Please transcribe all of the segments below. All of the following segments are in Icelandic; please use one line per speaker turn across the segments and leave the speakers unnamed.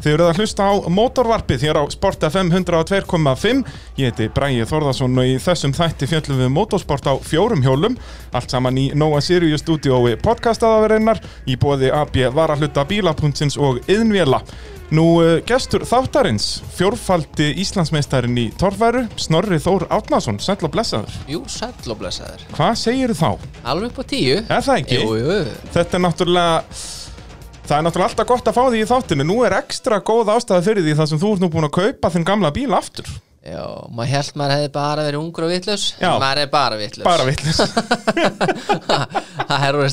Þið eruð að hlusta á mótorvarpið hér á Sport FM 102.5 Ég heiti Bræði Þórðarsson og í þessum þætti fjöllum við um motorsport á fjórum hjólum Allt saman í Nóa Sirius stúdiói podcastaðaverinnar Í bóði AB varahluta bíla.sins og yðnvjela Nú, eh, gestur þáttarins, fjórfaldi Íslandsmeistarinn í torfæru, Snorri Þór Átnason, sæll og blessaður.
Jú, sæll og blessaður.
Hvað segir þá?
Alveg upp á tíu.
Er það ekki?
Jú, jú.
Þetta er náttúrulega Það er náttúrulega alltaf gott að fá því í þáttinu Nú er ekstra góð ástæða fyrir því þar sem þú ert nú búin að kaupa þinn gamla bíl aftur
Já, maður held maður hefði bara verið ungur og vitlaus.
Já.
Maður er bara vitlaus.
Bara vitlis
það er orðið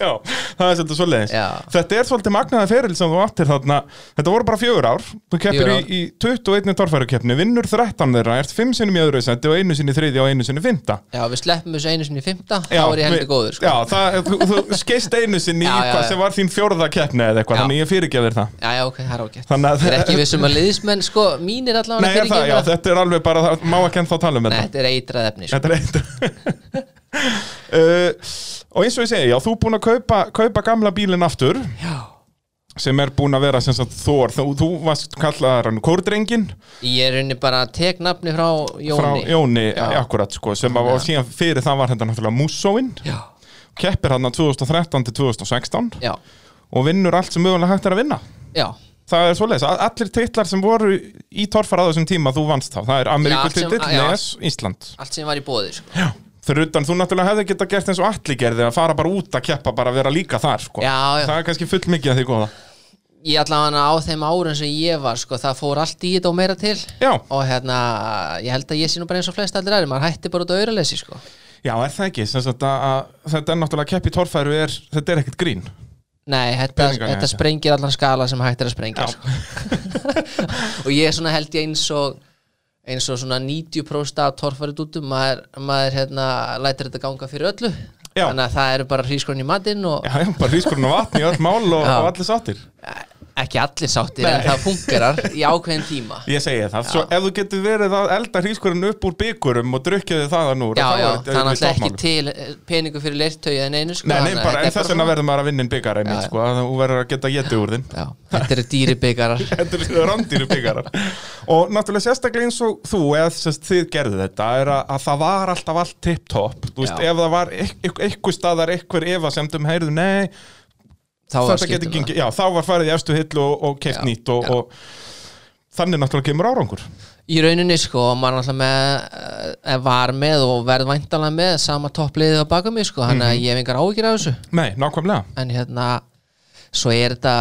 Já, það er svolítið svoleiðis
Já.
Þetta er svolítið magnaði feril sem þú áttir þarna Þetta voru bara fjögur ár Þú keppir
Fjögur
í,
ár.
í 21 torfærukeppni Vinnur 13 þeirra, ert 5 sinni í öðru sendi og einu sinni í þriði og einu sinni í fymta
Já, við sleppum þessu einu sinni í fymta, þá er ég heldur
við-
góður, sko.
Já, það, þú, þú skeist einu sinni í
Já, já,
hvað
já.
sem var þín fjórða keppni eða eitthvað,
Já.
þannig ég fyrirgefir það
Já, já, ok, það er ágætt.
Þannig að-
Ég er ekki vissum að liðismenn, sko, mínir allavega
Nei, er það, já,
fyrirgefna.
þetta er alveg bara, það má ekki ennþá tala um
Nei,
þetta
þetta er eitrað efni, sko.
Þetta er eitt uh, Og eins og ég segi, já, þú er búin að kaupa, kaupa gamla bílinn aftur
Já.
sem er búin að vera sem sagt Þór þú, þú varst kallaðar hann Kórdrengin
Ég er unni bara að tek nafni frá
frá
Jóni.
Jóni,
Já.
akkurat sko sem að, og síðan fyrir það var þetta náttúrulega Mussóin
Já.
keppir hann 2013 til 2016
Já.
og vinnur allt sem mögulega hægt er að vinna
Já.
Það er svoleiðis, A- allir titlar sem voru í torfar á þessum tíma þú vannst þá, það er
sem-
Ameríkultitill,
já.
NES, Ísland
Allt sem var í bóði, sko.
Já, fyrir utan þú náttúrulega hefði geta gert eins og allir gerði að fara bara út að keppa bara að vera líka þar sko.
Já, já.
það er kannski full mikið að því góða
Ég allavega á þeim árum sem ég var, sko, það fór allt í þetta og meira til.
já,
og hérna, ég held að ég sé nú bara eins og flest allir aðri, maður hætti bara út á auðralesi sko.
já, er það ekki Sem sagt að, að, þetta er náttúrulega kepp í torfæru er, þetta er ekkert grín
Nei, þetta,
Peningarnir,
þetta
já.
sprengir allan skala sem hægt er að sprengja
Já.
sko. og ég er svona held ég eins og eins og svona 90% af torfærið út um maður, maður hérna, lætir þetta ganga fyrir öllu
Já.
þannig að það eru bara hrískorn í matinn og
já, já, bara hrískurinn og vatn í öll mál og,
Já.
og allir sáttir
ekki allir sáttir
Nei.
en það fungerar í ákveðin tíma
ég segi það, svo ef þú getur verið að elda hrískurinn upp úr byggurum og drukkið þið þaðan úr
Já,
þá
já,
er þetta
þannig að
í
ekki
toppmálum.
til eh, peningur fyrir leirtögi en einu sko,
Nei, nei,
þannig að
bara, en
þetta er
þess vegna
svona-
verður maður að vinna inn byggar einmitt, sko, að þú verður að geta getið úr þinn
Já, Þetta eru dýri byggarar
Þetta eru rándýru byggarar Og náttúrulega sérstaklega eins og þú eða sérst, þið gerðu þetta er að, að það var alltaf allt tipptopp Þú veist,
Já.
ef það var eitthvað staðar eitthvað efasemdum, heyrðu, nei
Þá
þetta
var
getur
skiptum það.
gengið, já, þá var farið í efstu hill og, og keft
Já,
nýtt og, og þannig náttúrulega kemur árangur
í rauninni sko og maður alltaf með, eh, var með og verð væntalega með sama toppliðið á baka mig sko þannig að ég hef engar áhyggjur af þessu
Nei, nákvæmlega
en hérna svo er þetta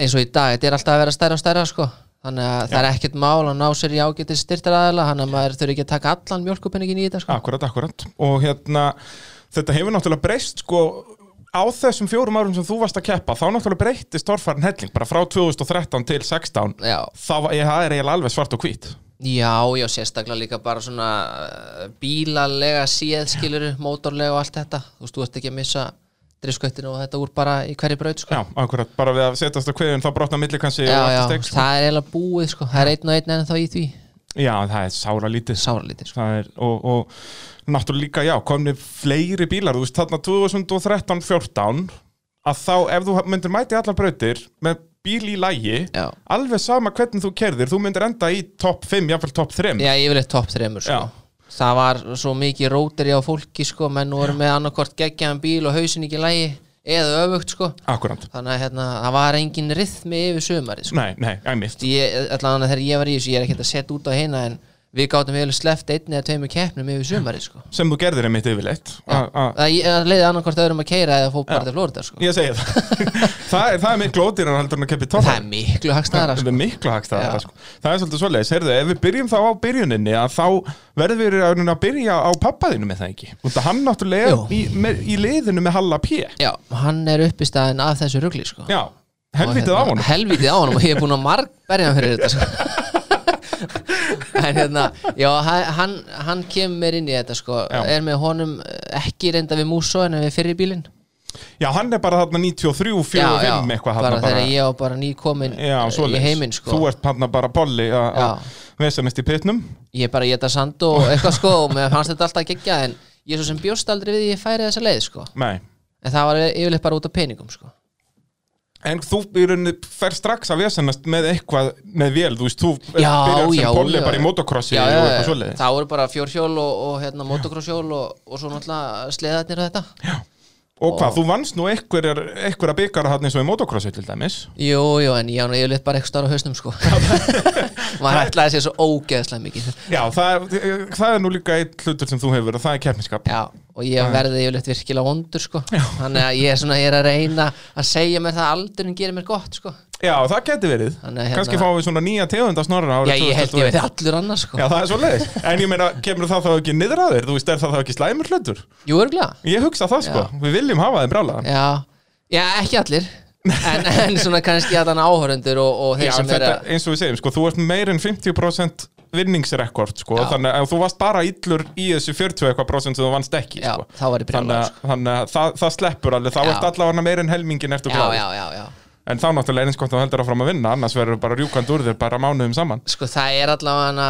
eins og í dag þetta er alltaf að vera stærra og stærra sko þannig að það er ekkert mál að ná sér í ágætið styrtar aðeila þannig að maður þurfi ekki að taka allan mjölkupenningin í þetta sko
Akkurat, akkurat Og hérna, þetta hefur náttúrulega breyst sko á þessum fjórum árum sem þú varst að keppa þá náttúrulega breyttist torfærin helling bara frá 2013 til 16
Já,
þá var- ég- það er eiginlega alveg svart og hvít
já, já, sérstaklega líka bara svona eh, bílalega séð skiluru, mótorlega og allt þetta þú veist, þú ert ekki að missa driftskauttinu og þetta úr bara í hverju braut sko
Já, akkurat, bara við að setjast á kveðin þá brotna milli kannski og
já,
allt
já,
að steik, sko.
það er eiginlega búið sko. það er einn og einn en þá í því
já, það er sára lítið sko.
sáralítið sko.
Það er, og, og náttúrulega líka, já, komni fleiri bílar, þú veist, þarna 2013-14 að þá, ef þú myndir mæti allar brautir með bíl í lægi
já.
alveg sama hvernig þú kerðir, þú myndir enda í topp 5, jáfnvel topp 3
já, yfirleitt topp þreymur sko.
Já.
það var svo mikið róteri á fólki sko, menn voru með annarkort geggjaðan bíl og hausin ekki lægi eða öfugt sko.
Akkurat,
þannig að hérna, það var engin rithmi yfir sömarið sko.
nei, nei, æmist
ég, allan að þegar ég var í þessu, ég er ekkert að setja út á hérna en við gátum yfirleitt sleppt einn eða tveimur keppnum yfir sömarið sko.
sem þú gerðir einmitt yfirleitt A- a-
það ég- leiði annarkort öðrum að keira eða fór bara til Florida sko.
Ég segi það Það er, það er miklu ódýran heldur en að keppi
það
topp
er miklu hagstæðara
Það
sko.
er miklu hagstæðara
Já.
sko. Það er svolítið svoleiðis, heyrðu, ef við byrjum þá á byrjuninni að þá verðum við í rauninni að byrja á pappaðinu með það ekki Út að hann náttúrulega
Jú.
er í, með, í liðinu með Halla P
já, hann er uppistaðin af þessu rugli sko.
Já, helvitið á
Og hérna,
honum
helvítið á honum og ég er búin að margberja hann fyrir þetta sko. en hérna já, ha- hann, hann kemur mér inn í þetta sko.
Já.
er með honum eh, ekki reynda við Músó en við fyrir bílinn
Já, hann er bara þarna 93, 45 eitthvað
bara
þarna
þegar ég var bara nýkomin
Já,
í
svoleiðis
heiminn sko.
Þú ert þarna bara bolli að
Já.
að vesanist í pitnum
ég bara geta sand og eitthvað sko og mér fannst þetta alltaf gegja en ég svo sem bjóst aldrei við að ég færi þessa leið sko.
Nei,
en það var yfirleitt bara út af peningum sko.
En þú í rauninni fer strax að vesennast með eitthvað, með vél, þú veist, þú
Já,
byrjar sem
já,
polli
já.
bara í motocrossi
Já,
og
já,
eitthvað
já.
svoleiðis.
það voru bara fjórhjól og, og hérna, motocrosshjól og, og svo náttúrulega sleðarnir og þetta
Og hvað, þú vannst nú einhverjar, einhverjar byggara hann eins og í motocrossi til dæmis.
Jú, jú, en ég á nú yfirleitt bara eitthvað á hausnum sko maður ætlaði sér svo ógeðslega mikið
Já, það, er- það er nú líka eitt hlutur sem þú hefur verið, það er keppniskap.
Já, og ég verði yfirleitt virkilega vondur sko þannig að ég er, svona, ég er að reyna að segja mér það að aldurinn gerir mér gott sko
Já, það geti verið.
Þannig að hérna-
Kannski fáum við svona nýja tegunda snorra
Já,
árið
ég held
2021.
ég verði allur annars sko
Já, það er svoleiðis. En ég meina, kemur það þá ekki niður að þér? Þú veist, er það þá ekki slæmur hlutur?
Jú, örgulega
Ég hugsa það, sko. Við viljum hafa þeim brálaðan.
Já, já ekki allir en, en svona kannski að hann áhörundur og, og þeir
Já,
sem er
þetta,
að
eins og við segjum, sko, þú ert meir en 50% vinningsrekord, sko,
Já.
þannig að þú varst bara illur í þessu 40 eitthvað prósent sem þú vannst ekki,
Já,
sko.
þá var ég brjálaður,
Þannig að- þannig að það, það sleppur alveg, þá
Já.
ert allavega meir en helmingin eftir
Já, já,
gláð.
já, já
En þá náttúrulega er eins gott að þú heldur áfram að vinna, annars verður bara rjúkand úr þér bara mánuðum saman.
Sko það er allavega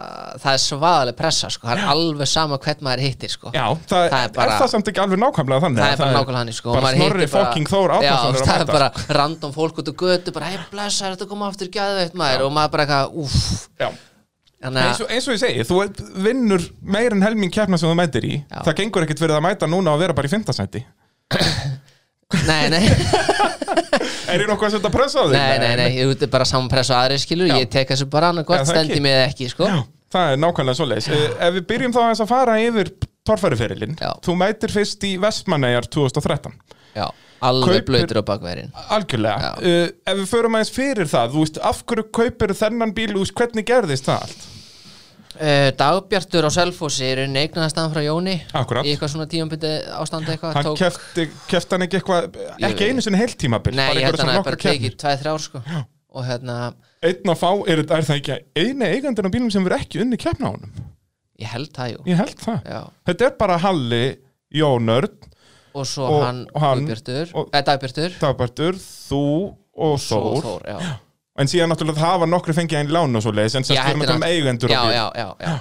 að það er svaðaleg pressa sko, það er alveg sama hvern maður hittir sko
Já, það,
Það er
er,
bara-
það samt ekki alveg nákvæmlega þannig.
það
að
er bara nákvæmlega hann sko og
Bara
maður hittir
snorri fokking Þór
Já,
Átnason er að
það er
mæta.
bara random fólk út og götu bara, hei blessa, þetta koma aftur gæðveitt maður og maður bara eitthvað, úff
Já.
Þannig
eins
að,
og, eins og ég segi, þú ert- vinnur meir en helming keppna sem þú mætir í
Já.
það gengur ekkert verið að mæta núna og vera bara í fymtasæti
nei, nei,
er ég nokkuð að setja pressa á þig?
nei, nei, nei, þú ert bara saman pressa og aðri skilur,
Já.
ég tek þessu bara annað gott,
Já, það ekki.
stendi mig eða ekki sko
Já, það er nákvæmlega svoleiðis uh, ef við byrjum þá aðeins að fara yfir torfæriferilinn,
Já.
þú mætir fyrst í Vestmannegar 2013
Já, alveg
Kaupir-
blöytur á bakverðin
algjörlega, uh, ef við förum aðeins fyrir það þú veist, af hverju kaupir þennan bíl þú veist, hvernig gerðist það allt?
Uh, Dagbjartur á Selfossi er eignaðast staðan frá Jóni
Akkurat.
í eitthvað svona tíumbyndi ástand eitthvað
hann
tók-
kefti, kefti hann ekki eitthvað
Ég-
ekki einu sinni heilt tímabil
Nei, ég
einhverja
held
svona
að hann er
nokkrar
bara
keppnir.
tekið tveið þrjár sko og hérna,
einn að fá, er, er það ekki eini eigandir á bílum sem verður ekki unni keppna á honum?
ég held það jú
Ég held það.
Já.
Þetta er bara Halli, Jónörd,
og svo
Og
hann,
hann-
Guðbjartur
og-
eh, Dagbjartur
Dabartur, þú og
svo
Þór.
Þór já.
En síðan náttúrulega það hafa nokkru fengið einn lán og svo leiðis, en
Já,
sérst við erum að
þetta
tala um
er
eigendur
já,
á bíl.
já, já, já.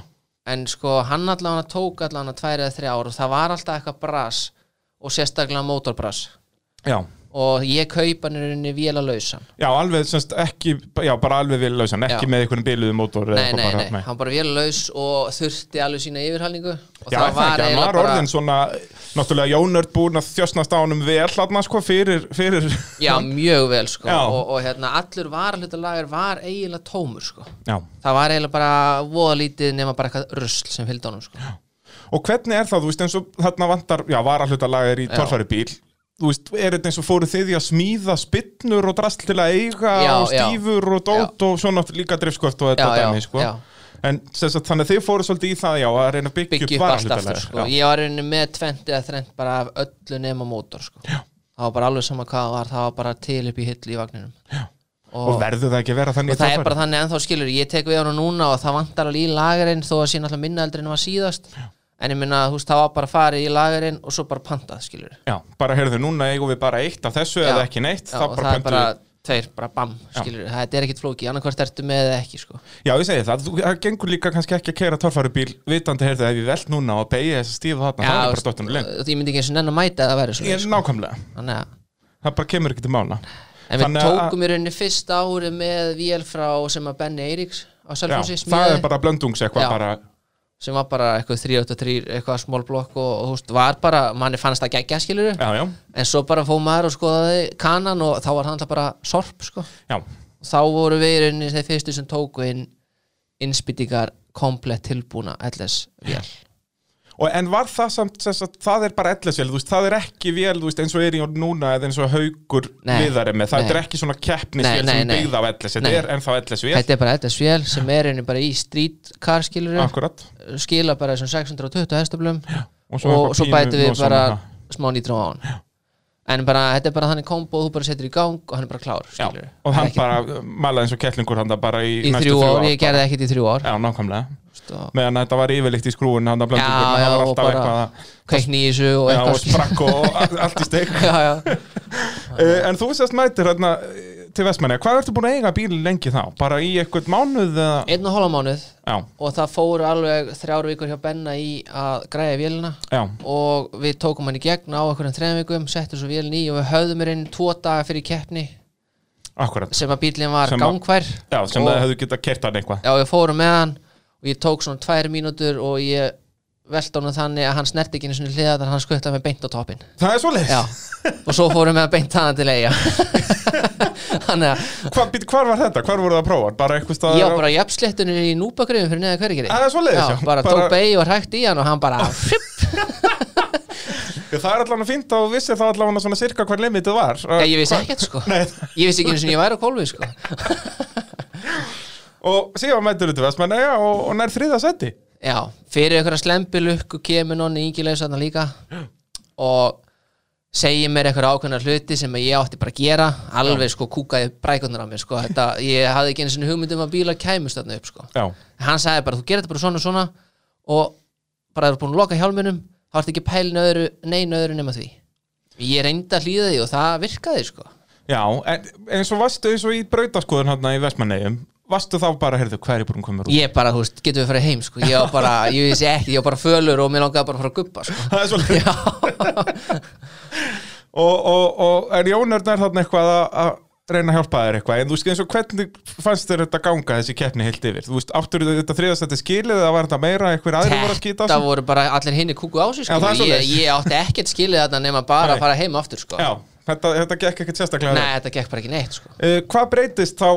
en sko hann allan að tók allan að tveið eða þrjár og það var alltaf eitthvað bras og sérstaklega mótorbras
Já,
og ég kaupa hann í rauninni vél að lausa
já, alveg, sérst ekki, já, bara alveg vil lausan, ekki
Já.
með einhverjum bíluðu mótor
Nei, nei, nei, hann bara vél laus og þurfti alveg sína yfirhalningu og
Já, það var ekki, hann
eiginlega
var orðin sko. svona, náttúrulega Jónörd búin að þjósnast á honum vel hérna, sko, fyrir, fyrir,
Já, mjög vel sko
Já.
og, og hérna allur varalutalagur var eiginlega tómur sko
já.
Það var eiginlega bara voða lítið nema bara eitthvað rusl sem fylgdi honum sko
Og hvernig er það, þú veist, eins og þarna vantar, já, varahlutalagir í torfæri bíl Þú veist, er þetta eins og fóru þið í að smíða spinnur og drasl til að eiga
Já,
og
já.
stífur og dót og svona líka drifskvöft og þetta
Já, já,
dæmi, sko
já.
En sem sagt, þannig að þið fóru svolítið í það, já, að reyna að byggja,
Byggja
upp
upp allt aftur
varahlutalagir
sko
já.
Ég var einu með tvent eða þrent bara af öllu nema mótor sko Já. Það var bara alveg sama hvað það var, það var bara til upp í hillu í vagninum Já.
Og verður það ekki að vera þannig
og það er bara þannig ennþá skilur ég tek við hann núna og það vantar alveg í lagerinn þó að sé náttúrulega minna eldri en var síðast en ég minna, þú veist, það var bara farið í lagerinn og svo bara pantað skilur
Já, bara heyrðu, núna eigum við bara eitt af þessu
Já.
eða ekki neitt
Já,
það
og
bara
það er
pöntum
bara
við
tveir, bara bam skilur, þetta er ekkit flóki, annarkvært ertu með eða ekki sko.
Já, ég segi það, þú það gengur líka kannski ekki að keira torfæri bíl vitandi, heyrðu, ef ég velt núna og beigja þessi stífu þarna, það
Já,
er bara
veist, uh,
dottinu lengt
og ég myndi ekki eins og nenn að mæta að það væri svo
Ég- Nákvæmlega,
Þannig að
það bara kemur ekki til mála
En við
Þannig að-
tókum í rauninni fyrsta ári með vél frá sem að Benny Eiríks á
Já, það
Selfossi
er
smíðaði,
bara blöndungs eitthvað
Já.
bara
sem var bara eitthvað 383, eitthvað small blokk og, og þú veist, var bara, manni fannst það geggja skilur
Já, já,
en svo bara fóð maður og skoðaði kanan og þá var hann alltaf bara sorp sko.
já,
og þá voru við í rauninni þeir fyrstu sem tóku inn innspýtingar komplett tilbúna LS vél
Og en var það samt, sem sagt, það er bara ellisvél, þú veist, það er ekki vél, þú veist, eins og er í núna eða eins og haugur
Nei,
viðari með, það
nei.
er ekki svona keppnisvél
Nei, nei,
sem
nei.
byggða á ellis, þetta
Nei.
er ennþá ellisvél,
þetta er bara LS vél sem er einu bara í streetcar skilur
akkurat,
skila bara þessum 620 hestablum
og
og
svo
svo,
eitthvað pínu
bæti við
og svona,
bara
ha.
smá nýtrá á hann en bara, þetta er bara þannig kombo þú bara setur í gang og hann er bara klár
já,
skilur
og hann bara uh, malaði eins og kettlingur hann það bara í,
í
næstu
þrjú ár,
bara.
ég gerði ekkert í þrjú ár
Já, nákvæmlega,
Þú veist, og-
meðan þetta var yfirleitt í skrúin, hann það
já,
blöndungur,
já,
það var
og
alltaf
bara
eitthvað að,
kveikni í þessu og
já, og
eitthvað
sprakk og allt í steik
já, já,
Uh, en þú sérst mætir hérna eh, til Vestmanni Hvað ertu búin að eiga bíl lengi þá? Bara í eitthvað mánuð eða
einn og hálfa mánuð
Já,
og það fór alveg þrjár vikur hjá Benna í að græja vélina
já,
og við tókum hann í gegn á einhverjum þrejum vikum, settum svo vélina í og við höfðum hann tvo daga fyrir keppni
akkurat
sem að bílinn var
Sem að-
gangvær
Já, sem
og,
það hefðu getað kert hann eitthvað
já, við fórum með hann og ég tók svona tvær mínútur og ég velta hann þannig að hann snerti ekki einu svona hliða þannig að hann skutta með beint á toppin
Það er svoleiðis
já, og svo fórum við að beint hann til eiga þannig að
Hva, býtu, Hvar var þetta? Hvar voru það að prófa? Bara eitthvað staðar á-
ég var bara í uppsléttunni í núbakrifum fyrir neða hverjir
Það er svoleiðis, já.
bara
Bara-
tók beig og hrækt í hann og hann bara
Já, Það er allavega fínt að þú vissir þá allavega svona cirka hver limitið var
Já, ég vissi ekkert sko
Nei.
Ég vissi ekki eins og ég væri á kólfi sko
Og síðan mættur þetta Vestmannaja og, og nær þriða seti
Já, fyrir einhverja slembilukku kemur nonni yngilegs þarna líka og segir mér einhverja ákveðna hluti sem ég átti bara að gera alveg sko kúkaði brækunar á mér sko þetta, ég hafði ekki einu sinni hugmynd um að bíla kæmust þarna upp sko
Já,
hann sagði bara þú gerir þetta bara svona og svona og bara eru búin að loka hjálminum þá ertu ekki pælin öðru, nein öðru nema því ég reyndi að hlýða því og það virkaði sko
já en, eins og varstu eins og í brautaskoðun hann í Vestmannaegum Varstu þá bara, heyrðu, hver er búin að koma úr?
ég bara, þú veist, getum við farið heim sko ég var bara, ég vissi ekki, ég var bara fölur og mér langaði bara að fara að guppa sko
Það er svolítið
Já,
og, og, og er Jónörn er þarna eitthvað að, að reyna að hjálpa þér eitthvað en þú veist eins og hvernig fannst þér þetta ganga þessi keppni heilt yfir þú veist áttur þetta þriðastætti skilið eða var þetta meira einhver aðri voru að skýta á
þetta
sig?
voru bara allir hinni kúku á sig
Já,
sko.
það er
ég,
svoleiðis.
ég átti ekkert skilið þarna nema bara
Nei.
að fara heim aftur sko.
Já, þetta, þetta gekk ekkert sérstaklega
Nei,
vel.
þetta gekk bara ekki neitt sko.
uh, Hvað breytist þá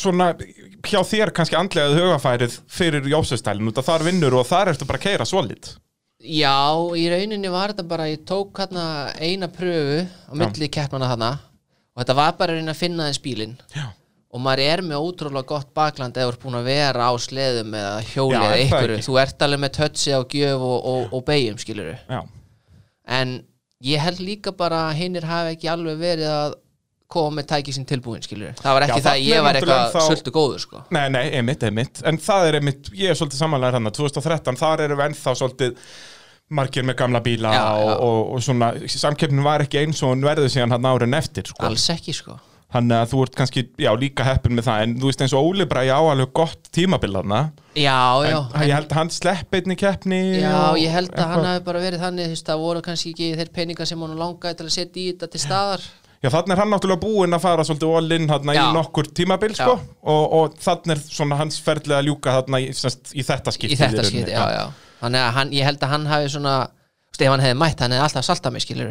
svona hjá þér kannski andlega hugafærið fyrir Jósustælin út að þar vinnur og þar ertu bara að keira svolít
Já, í rauninni var þetta bara ég tók hérna eina pröfu á milli keppnana þarna og þetta var bara að reyna að finna þess bílinn
Já.
og maður er með ótrúlega gott bakland eða þú ert búin að vera á sleðum eða
Já,
hjóli eða
er það
einhverju,
ekki?
þú ert alveg með tötsi á gjöf og, og, og beigjum skiluru
Já,
en ég held líka bara að hinnir hafi ekki alveg verið að koma með tæki sín tilbúin skilur það var ekki
Já,
það að
þarna er
ég var
náttúrulega
eitthvað
þá-
sultu góður sko
Nei, nei, einmitt, einmitt En það er einmitt, ég er svolítið samanlega hann 2013, þar erum við ennþá svolítið margir með gamla bíla
Já,
og,
já.
Og, og svona, samkeppnin var ekki eins og hún verður síðan hann árin eftir sko.
alls ekki sko
Þannig að þú ert kannski, já, líka heppin með það En þú veist eins og Óli bara, já, alveg gott tímabilana
já, já,
En ég held að hann slepp einni keppni
Já,
og
ég held að hann
eitthvað.
hafi bara verið þannig þú veist, það voru kannski ekki þeir peningar sem hann langaði til að setja í þetta til staðar
Já, þannig er hann náttúrulega búinn að fara svolítið all-in hann í
Já.
nokkur tímabil, sko
Já.
og, og þannig er svona hans ferðlega að ljúka þarna í, semst, í um þetta skipti
í þetta
rauninni.
skipti, já, já Þannig að hann, ég held að hann hafi svona þú veist, ef hann hefði mætt, hann hefði alltaf saltað mig skilur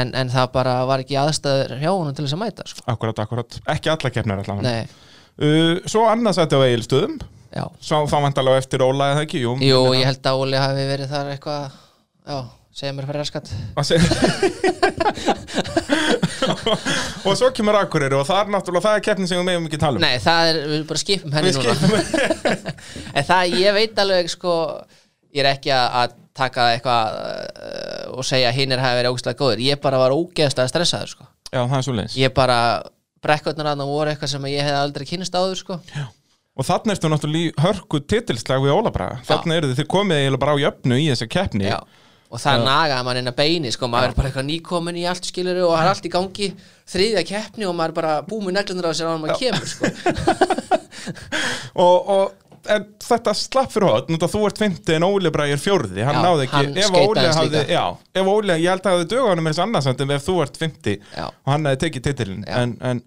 en, en það bara var ekki aðstæður hjá honum til þess að mæta, sko
Akkurat, akkurat, ekki alla keppnir allan
Nei,
uh, Svo annars þetta á Egilstöðum
já,
Sá þá vantarlega eftir Óla eða ekki Jú,
jú, ég held að Óli hafi verið þar eitthvað já, segja mér fyrir raskat
Að segja- Og svo kemur Akureyri og það er náttúrulega það er keppni sem við meðum ekki tala um
Nei, það er, við bara skipum henni
Við
núna En það, ég veit alveg sko Ég er ekki að, að taka eitthvað uh, og segja að hinnir hafi verið ógæslega góðir Ég bara var ógeðslega stressaður sko
Já, það er svo leins
Ég bara, brekkotnar aðna voru eitthvað sem ég hefði aldrei kynist áður sko
Og þannig ertu náttúrulega í hörku titilslag við Óla Braga Þannig eru þið komið eiginlega bara á jöfnu í þessa keppni
Já Og það nagaði mann inn að beini sko, maður er bara eitthvað nýkomin í allt skilur og það er allt í gangi þriðja keppni og maður er bara búmið neglundur á sér ánum að kemur sko.
og, og en þetta slapp fyrir hotn Þú ert fymti en Óli Braga er fjórði Hann
Já,
náði ekki
hann
ef
skeytaði
Óli
aðeins
hafði,
líka.
já, ef Óli, ég held að hafði dögunum er þess annarsandum ef þú ert fymti
Já.
og hann hefði tekið titilin
Já.
en, en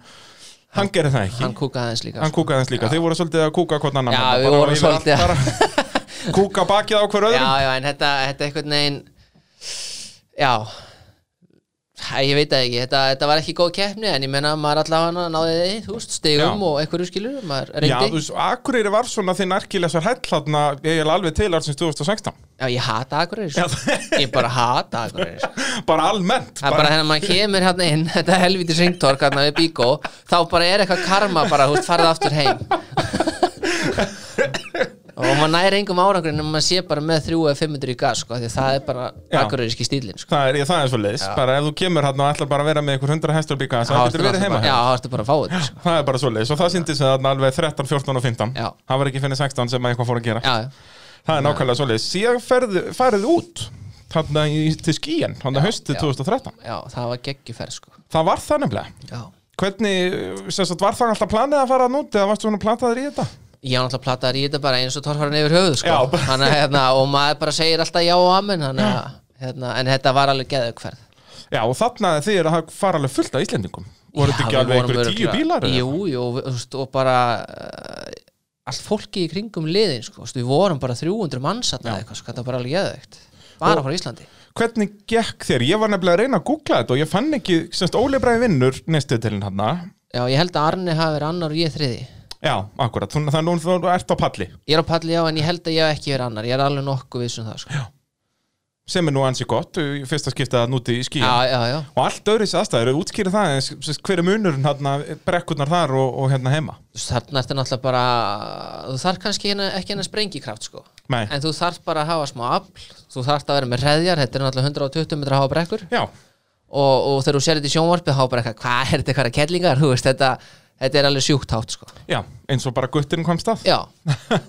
hann gerir það ekki
Hann kúkaði aðeins líka
Hann kúkaði hans líka, þið voru svolítið að kúka hvort annan
Já,
Bara
við vorum
yfir allt
svolítið að-
bara, Kúka bakið á hver öðrum
Já, já, en þetta, þetta eitthvað negin Já Æ, Ég veit það ekki, þetta, þetta var ekki góð keppni En ég menna að maður allavega náði því Þú veist, stigum
Já.
og einhverju skilur Maður
Já,
reyndi
þú veist, Akureyri var svona þinn arkilegsar hæll þarna, ég er alveg til ársins 2016
Já, ég hata akureyri
Já,
sko. Ég bara hata akureyri sko.
bara almennt
Það er bara hennar maður kemur hérna inn Þetta helviti syngtork hérna við bíkó Þá bara er eitthvað karma bara, þú veist, farið aftur heim Og maður næri engum árangur En maður sé bara með 3 eða 500 í gas sko, af Því að það er bara
Já.
akureyriski stílinn sko.
Það er, ég, það er svo leiðis, bara ef þú kemur hann og ætlar bara að vera með einhver 100 hestur bíka
Þá
það
ertu
getur verið
náttúrulega
heima hérna.
bara- Já, þá ertu bara að fá þetta sko.
Það er bara svo leiðis og það sýndi sig þarna alveg 13, 14 og 15
Já.
Það var ekki finnir 16 sem að eitthvað fór að gera
Já, já
Það er nákvæmlega svo leiðis Síðan ferð, farið út þarna í, til skíin, hann að haustið
já.
2013
Já, það var geggjuferð sko
Það var það nefnilega
Já
Hvernig, sem sagt, var það alltaf planið að fara nút eða varstu svona plataður í þetta?
Ég var náttúrulega plattaður í þetta bara eins og torfarinn yfir höfuð sko.
Já, bara-
Þannig, að, hérna, og maður bara segir alltaf já og amen þannig, að, hérna, en þetta var alveg geðaukferð
Já, og þarna þið eru að fara alveg fullt af Íslendingum. Voru þetta ekki
Já, við
alveg
vorum
einhverju tíu
örugglega-
bílar? eða?
Jú, jú, og við- þú veist, og bara uh, allt fólki í kringum liðin sko, þú veist, við vorum bara 300 manns þarna eða eitthvað, sko, þetta var bara alveg geðaukt bara frá Íslandi
Hvernig gekk þér? Ég var nefnilega að reyna að googla þetta og ég fann ekki, semst, Óli Bræði vinnur nýstuðtilinn hann.
Já, ég held að Arne hafi verið annar og ég þriði
Já, akkurat, þannig að nú þú ert á palli,
Ég er á palli já, en ég held að ég hef ekki verið annar ég er alveg nokkuð viss um það sko.
sem er nú ansi gott, í fyrsta skipta núti í skíin.
Já, já, já
Og allt öðru sér aðstæður, útskýri það, eins, semst, hver er munurinn hann, brekkurnar þar og, og hérna heima?
Þú veist, Þarna ertu náttúrulega bara þú þarf kannski hérna, ekki hérna sprengikraft sko.
Nei,
en þú þarf bara að hafa smá afl þú þarf að vera með reðjar, þetta er náttúrulega 120 metra háa brekkur
já,
og, og þegar þú sér þetta í sjónvarpið þá bara eitthvað, hvað er þetta eitthvað kellingar þú veist, þetta, þetta er alveg sjúkt hátt sko.
já, eins og bara guttirinn kom stað.
já,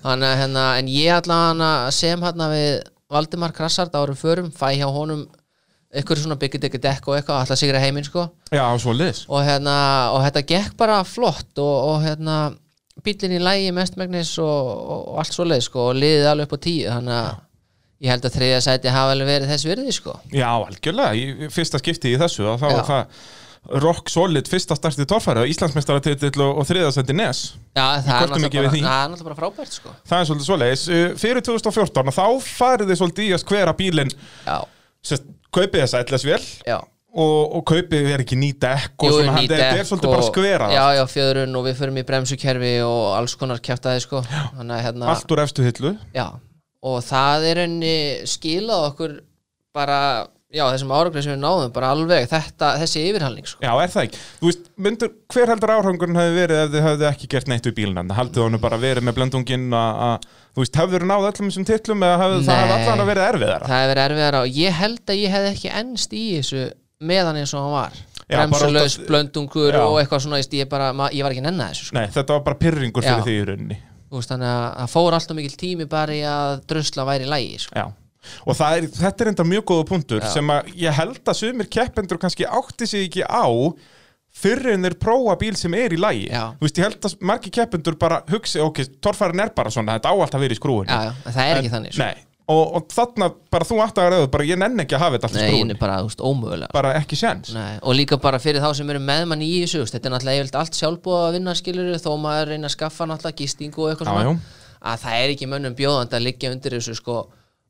þannig að hérna en ég allan að sem hérna við Valdimar Krassard árum förum fæ hjá honum ykkur svona byggjit ykkur dekk og eitthvað, alltaf sigra heiminn sko
Já, svo liðs.
og hérna, og þetta gekk bara flott og, og hérna bílinn í lægi mestmægnis og, og, og allt svoleið sko og liðið alveg upp á tíu þannig að ég held að þriðja sæti hafa alveg verið þess virði sko
Já, algjörlega, í fyrsta skipti í þessu að þá
Já.
er það rock solid fyrsta startið torfæri og Íslandsmeistaratitill og, og þriðasendi NES
Já, það er
kvörtum ekki
náttúrulega
við
bara,
því.
það er náttúrulega bara frábært sko
Það er svolítið svoleiðis Uh, Fyrir 2014 þá farið þið svolítið í að skvera bílinn
Já,
sérst, kaupið þessa ætlas vel
já
og, og kaupið er ekki ný dekk og
Jú,
svona,
ný
þetta er- þetta er
dekk
svolítið bara að skvera
Já,
það.
já, fjöðrun og við förum í bremsukerfi og alls konar kjæftaði sko Þannig að hérna
Allt úr efstu hillu
Já, og það er henni skilað okkur bara, já, þessum áragrið sem við náðum bara alveg, þetta, þessi yfirhalning sko
Já, er það ekki? Þú veist, myndur, hver heldur áhrangurinn hefði verið ef þið hefði ekki gert neitt úr bílinn Haldið honum bara verið með blendunginn að, að, þú veist, hefur náð öllum þessum tillum eða hefði það hefði
Nei.
allan að verið erfiðara
Það hefur verið erfiðara og ég held að ég hefði ekki ennst í þessu meðan eins og hann var
Já, bara
Bremsulaus,
út af-
blöndungur
Já.
og eitthvað svona, ég, ég, bara, ma- ég var ekki nenni þessu sko
Nei, þetta var bara pyrringur fyrir
Já.
því í rauninni
Þú veist, Þannig að það fór alltaf mikill tími bara í að drusla væri í lægi sko.
Já, og það er, þetta er enda mjög góða punktur sem að ég held að sumir keppendur kannski átti sig ekki á fyrir en þeir prófa bíl sem er í lagi
Já.
Þú veist, ég held að margi keppendur bara hugsi, ok, torfærin er bara svona, þetta á allt að vera í skrúinu
Já, já, en það er ekki þannig sko.
Nei, og, og þarna bara þú átti að rauðu, bara ég nenn ekki að hafa þetta allt í
Nei, hún
skrúinu
er bara, þú veist, ómögulega
Bara ekki séns
Nei, og líka bara fyrir þá sem eru með mann í þessu þú veist, þetta er náttúrulega yfirleitt allt sjálfbúið að vinna skilur þó maður reyna að skaffa náttúrulega gistingu og
Já,
eitthvað svona
já.
að það er ekki mönnum bjóðandi að liggja undir þessu sko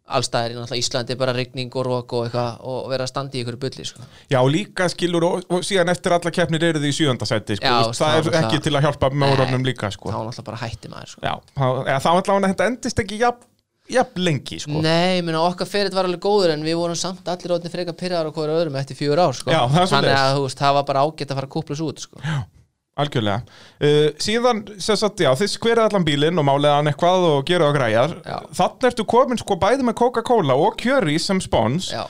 allstaðir í náttúrulega Íslandi bara rigning og rók og eitthvað og vera að standa í ykkur bulli sko.
Já, líka skilur og, og síðan eftir alla keppnir eru þið í sjöndasæti sko,
Já,
þú veist,
það-
Það er ekki
það-
til að hjálpa með orðunum líka
þá
sko.
náttúrulega bara hætti maður sko.
Já, þá eða þá ætla að þetta endist ekki jafn, jafn lengi sko.
Nei, ég meina okkar fyrir var alveg góður en við vorum samt allir orðin frekar pyrraðar og hverju öðrum eftir fjör ár sko.
Já, það er
þannig
svoleiðis.
að þú veist, það var bara ágætt að fara að kúplus út sko.
Algjörlega. Uh, síðan, sem sagt, já, þið skverið allan bílinn og málega hann eitthvað og gera og græjar.
Já.
Þannig ertu komin sko bæði með Coca-Cola og Curry sem spons.
Já.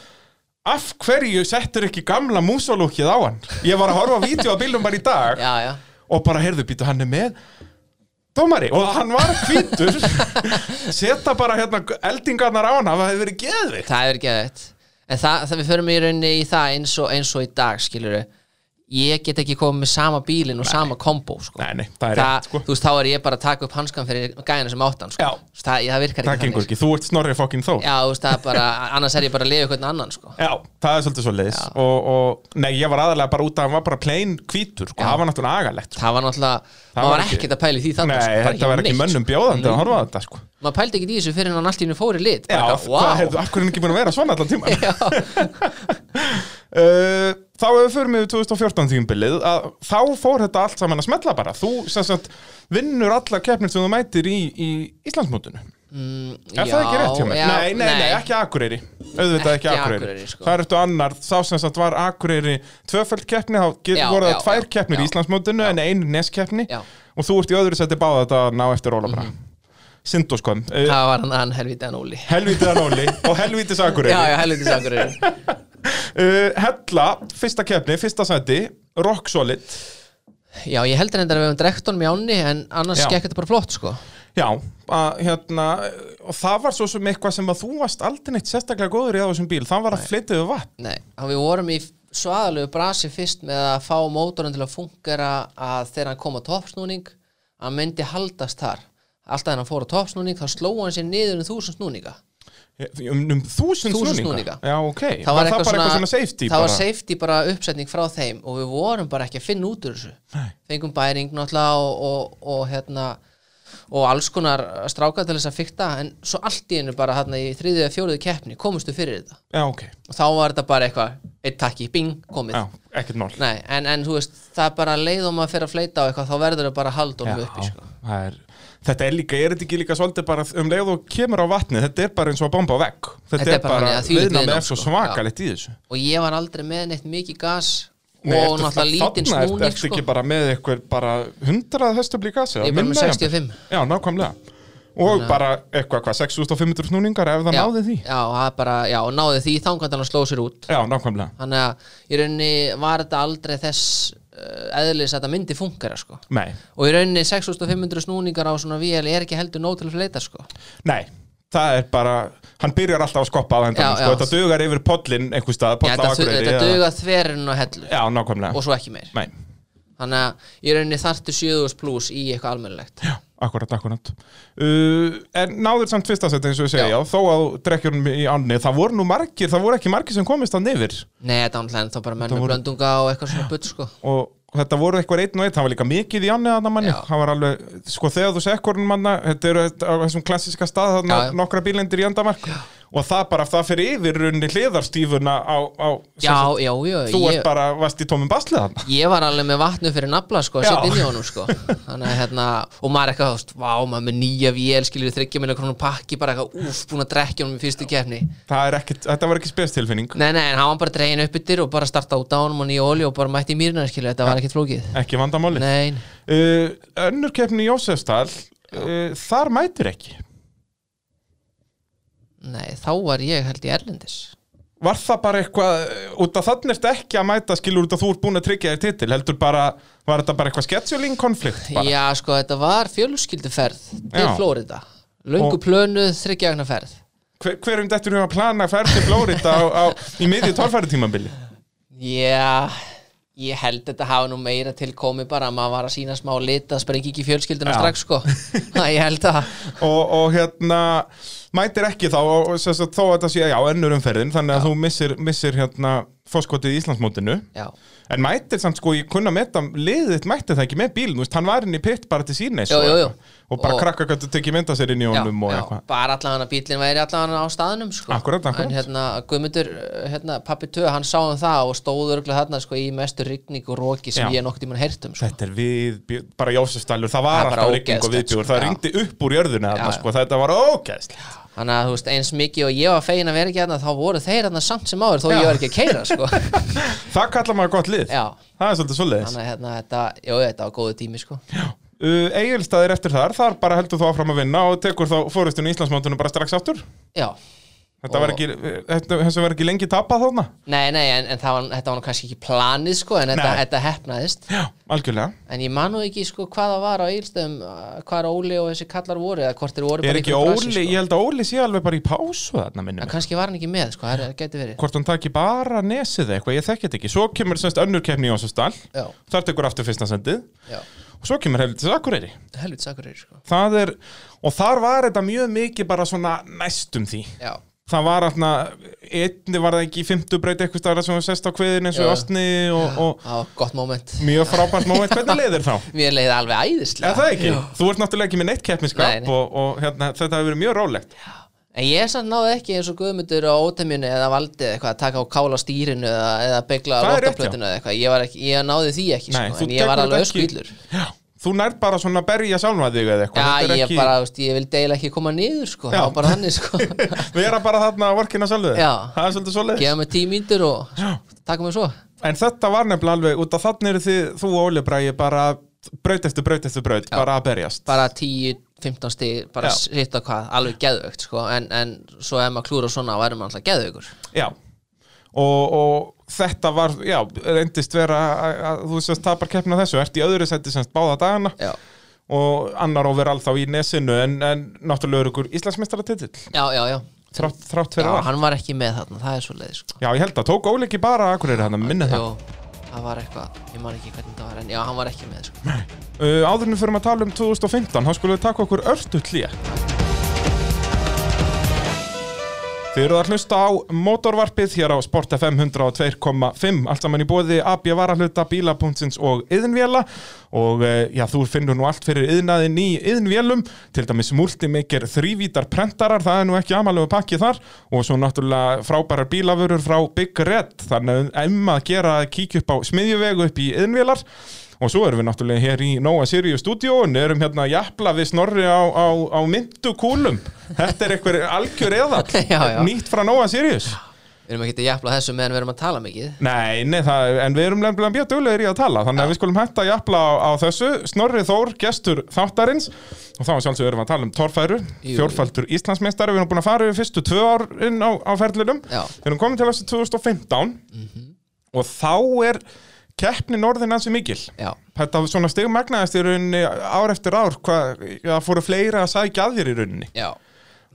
Af hverju settur ekki gamla músolúkið á hann? Ég var að horfa á vídeo af bílnum bara í dag
Já, já.
og bara, heyrðu, býtu, hann er með dómari og hann var hvítur. Seta bara hérna eldingarnar á hann, það hefði verið geðvikt.
Það er geðvægt En það, það við förum í rauninni í það eins og, eins og í dag skilur Ég get ekki komið með sama bílinn og sama kombo sko.
Nei, nei, það er
það,
rétt, sko.
Þú veist, þá er ég bara að taka upp hanskan fyrir gæðina sem áttan sko.
Já.
það, það virkar
Það gengur
ekki þannig sko.
ekki, þú ert snorrið fokkin þó.
Já, þú veist, það er bara, annars er ég bara að lifa eitthvað annan sko.
Já, það er svolítið svo leiðis og, og nei, ég var aðalega bara út að hann var bara plain hvítur, sko, það var náttúrulega agalegt sko.
Það var náttúrulega, maður
var
var
ekki-
ekkert að pæla í því
Nei,
þannig sko. bara
þetta var ekki
neitt,
mönnum bjóðandi að horfa á þetta, sko
sko. Maður pældi ekki í þessu fyrir en hann allt í hennu fóri lit
Já,
bara,
wow. hvað hefðu, af hverju er ekki búin að vera svona allan tíma
Já,
uh, Þá ef við förum yfir 2014 tímbilið að þá fór þetta allt saman að smetla bara þú, sem sagt, vinnur alla keppnir sem þú mætir í, í Íslandsmótinu
mm,
Er það ekki rétt hjá mér?
já,
nei, nei, nei, ekki Akureyri Auðvitað ekki,
Ekki
Akureyri,
Akureyri, sko.
Það er eftir annar, sá sem sagt var Akureyri tvöföld keppni, þá get-
Já,
voru það
já,
tvær
já,
keppnir í
já.
Íslandsmótinu en einu neskeppni
Já. Mhm.
og þú ert í öðru seti báða þetta ná eftir Ólafra mm -hmm. Sindoskon, uh,
Það var hann, hann helvítið hann Óli
helvítið að Nóli og helvítis Akureyri
Já, já, helvítið sakurinn
Uh, Hella, fyrsta keppni, fyrsta seti Rock Solid
Já, ég heldur endur að við hefum drekt honum í ánni en annars
Já.
gekk þetta bara flott sko
Já, að, hérna, og það var svo sem eitthvað sem að þú varst aldrei neitt sérstaklega góður í á þessum bíl, það var að flytta yfir vatn
Nei, þá við vorum í svaðalegu brasi fyrst með að fá mótorinn til að fungera að þegar hann kom á toppsnúning hann myndi haldast þar alltaf þegar hann fór á toppsnúning þá sló hann sér niður um þúsund snúninga
um, um þúsund,
Þúsund
snúninga.
snúninga.
já ok, það var það bara eitthvað svona safety
það var
bara?
safety bara uppsetning frá þeim og við vorum bara ekki að finna út úr þessu
Nei.
fengum bæring náttúrulega og, og, og hérna og alls konar stráka til þess að fykta en svo allt í einu bara hérna í þriðið eða fjóriðu keppni komustu fyrir þetta
já ok,
og þá var þetta bara eitthvað eitt takki, bing, komið
já, ekkert mál
Nei, en, en þú veist, það er bara leið og maður fer að fleita á eitthvað, þá verður þau bara að halda honum uppi sko.
það er, þetta er líka, er þetta ekki líka svolítið bara um leið og kemur á vatni, þetta er bara eins og að bomba á vegg þetta, er bara,
þannig
bara
að þvílík
viðnámið
viðnám,
er svo
sko.
svakalegt í þessu
og ég var aldrei með neitt mikið gas
Nei,
og
ertu-
náttúrulega lítinn
þarna ertu-
snúning
ertu
sko.
ekki bara með eitthvað bara 100 hestöfli gasi
Ég er bara með 65.
já, nákvæmlega og bara eitthvað hvað 6500 snúningar ef það
já,
náði því
já, það er bara, já, og náði því þangandan að sló sér út
já, nákvæmlega
þannig að í rauninni var þetta aldrei þess uh, eðlis að þetta myndi funkara sko.
nei,
og í rauninni 6500 snúningar á svona vél er ekki heldur nóg til að fleita sko.
nei, það er bara hann byrjar alltaf að skoppa á
Já,
hendan sko.
já.
þetta dugar yfir pollin einhver stað,
Já,
poll á
þetta,
akureyri
þetta
eða-
duga þverinn og hellu
já, nákvæmlega
og svo ekki meir
nei,
þannig að í rauninni þartu 70 pluss í eitthvað almennilegt
já, akkurat, akkurat uh, en náður samt fyrsta seti eins og ég segja,
Já.
já. þó að drekkjörnum í ánni, það voru nú margir, það voru ekki margir sem komist að nefir
Nei, þetta er náttúrulega ennþá bara menn með blöndunga og eitthvað svona butt sko.
og þetta voru eitthvað einn og einn, það var líka mikið í annið þarna manni,
Já.
það var alveg, sko þegar þú segir hvorn manna, þetta eru þetta- á þessum klassiska stað þarna,
Já, já.
nokkra bílendir í endamark og það bara, það fyrir yfir runni hliðarstífuna á, á sem
Já,
sagt,
já, já,
þú
ég,
ert bara, varst í tómum baslið þarna
ég var alveg með vatnu fyrir nafla sko,
Já.
að setja inn í honum sko. Þannig að hérna, og maður er eitthvað, þú veist, vá, maður með nýja vél skilur þryggja milja krónu pakki, bara eitthvað úf, búin að drekja honum í fyrstu kefni
það er ekkit, þetta var ekki spestilfinning
Nei, nei, en hann var bara dregin upp yttir og bara starta út á honum og nýja olju og bara mætti í mýrina skilur, þetta var ekkert flókið
ekki vandamáli uh,
Nei,
önnur keppni í Jósefstal uh, þar mætir ekki
nei, þá var ég held í Erlendis
var það bara eitthvað, út af þannig ertu ekki að mæta skilur út af þú ert búin að tryggja þér titil heldur bara, var þetta bara eitthvað scheduling konflikt bara?
Já, sko, þetta var fjölskylduferð til
Já.
Flórida Löngu
Og-
plönuð þryggjagna ferð
Hver, hverjum dettur við að plana að ferð til Flórida á, á, í miðju torfæritímabili?
Já, ég held þetta hafa nú meira til komið bara að maður var að sína smá lit að sprengi ekki fjölskylduna
Já.
strax sko Það ég held að
Og, og hérna, mætir ekki þá, og, og, og, þó að þetta sé, já, önnur umferðin, þannig að þú missir, missir hérna fórskotið í Íslandsmótinu.
Já,
En mætir samt sko, ég kunna metta, liðið mætti það ekki með bíl, þú veist, hann var inn í pitt bara til sína eins
Jú, jú, jú.
Og bara
Og-
krakka hvernig tekið mynda sér inn í
já,
honum og
já
eitthvað.
bara allan að bílinn væri allan á staðnum sko
Akkúrat, akkúrat.
En hérna, Guðmundur, uh, hérna, pappi Tö, hann sá um það og stóð örgulega þarna sko í mestu rigning og roki sem
Já.
ég nokk tímann heyrt um sko
Þetta er við, bara Jósefstælur, það
Það
var
er bara
alltaf rigning og
ógeðslegt,
viðbjúr,
sko,
það
já.
ringdi upp úr jörðuna þarna,
Já, já.
sko, þetta var ógeðslega.
Þannig að þú veist, eins mikið og ég var fegin að vera ekki hérna þá voru þeir hérna samt sem áður þó
Já.
ég var ekki að keira sko
Það kallar maður gott lið.
Já,
Það er svolítið svoleiðis.
þannig að hérna, þetta, jó, þetta var góðu tími sko
Uh, Egilstaðir eftir þar, þar bara heldur þú áfram að vinna og tekur þá fórustun í Íslandsmótinu bara strax aftur
Já,
Þetta var
Og-
ekki, eh, þetta- þessu var ekki lengi tapað þarna
Nei, nei, en, en það var, þetta var nú kannski ekki planið sko, en þetta,
Nei.
þetta hefnaðist
Já, algjörlega
En ég man nú ekki sko hvað það var á Egilstöðum hvað er Óli og þessi kallar voru eða hvort þeir voru
Er
bara í
ekki
einhverju
Óli, ég
sko.
held að Óli sé alveg bara í pásu þarna minnum
En kannski var hann ekki með, sko, það er- gæti verið
Hvort hann taki bara nesið eða eitthvað, ég þekki þetta ekki Svo kemur semst önnur kemni í Jónsastal
Já,
Þar tekur aftur fyrsta sendið
já,
Og svo kemur heldur til Akureyri
helvits akkur er sko
Það er, og þar var þetta mjög mikið bara svona næstum því
Já,
það var aðna, einni var það ekki í fymtu breyti eitthvað staðar sem var sest á kveðin eins og
Jú.
astni og, og
á, gott moment
Mjög frábært móment, hvernig leiðir þá?
Mér leiði alveg
Er
æðislega
það ekki? Þú ert náttúrulega ekki með neitt keppniskap
Nei, nei.
og, og hérna, þetta hefur verið mjög rólegt
En ég samt náði ekki eins og Guðmundur á ótemjunni eða valdi eða eitthvað að taka á kála stýrinu eða, eða begla á
Það er rétt, já.
rottaplötinu eða eitthvað ég, var ekki, ég náði því ekki
Nei,
sko,
þú
en ég var
tekur
alveg
þetta ekki-
öskvílur
Já, þú nærð bara svona að berja sjálfa þig eða eitthvað
Já,
Þetta er
ég
ekki-
bara, þú veist, ég vil deila ekki koma niður, sko,
Já.
það var bara þannig, sko
Vera bara þarna að vorkina sjálfu þig
Já.
Það er svolítið svoleiðis
Geða mig tíu mínútur og sko, taka mig svo
En þetta var nefnilega alveg, út af þannig eru þið, þú og Óli Bræði bara braut eftir braut eftir braut, bara að berjast
Bara 10-15 stig, bara
Já.
sitt á hvað, alveg geðvögt, sko En, en svo ef maður klúra svona, væri maður alltaf geðvögur
Já Og, og þetta var, já, reyndist vera að, að þú sést tapar keppna þessu, ert í öðru seti semst báða dagana
Já,
og annar overall þá í nesinu en, en náttúrulega er ykkur Íslandsmeistaratitil
já, já, já
þrátt, þrátt
Já,
fyrir allt.
hann var ekki með þarna, það er svo leiði sko.
Já, ég held að tók Óli ekki bara Akureyri hann að minna það.
Jó, það var eitthvað, ég man ekki hvernig það var en já, hann var ekki með sko.
Uh, áður en við fyrir að tala um 2015, þá skulum við taka okkur örstu hlýja. Þið eruð að hlusta á motorvarpið hér á Sport FM 102.5 allt saman í bóði AB varahluta, bíla.sins og yðinvjela og eh, já, þú finnur nú allt fyrir yðnaðin í yðinvjölum, til dæmis multimaker þrývítar prentarar, það er nú ekki amalegu pakki þar og svo náttúrulega frábærar bílavörur frá Big Red þannig að um að gera kíkja upp á smiðjuvegu upp í yðinvjelar og svo erum við náttúrulega hér í Nóa Sirius stúdíón, erum hérna að japla við snorri á, á, á myndukúlum þetta er einhver algjör eða
Já, já.
Eh, nýtt frá Nóa Sirius
Við erum ekki að jafla þessu meðan við erum að tala mikið
Nei, nei, það, en við erum lefnilega mjög duglegir í að tala þannig að við skulum hætta að japla á, á þessu Snorri Þór, gestur þáttarins og þá sjálfsög erum við að tala um torfæru
Jú.
fjórfæltur Íslandsmeistari, við erum búin að fara yfir fyrstu tvö árin á, á ferlinum
Já. Mhm.
við erum komin til þessu 2015 og þá er keppnin orðin ansi mikil
Já,
Þetta svona stigmagnaðist í rauninni ár eftir ár, hvað, það fóru fleira að sækja að þér í rauninni
já,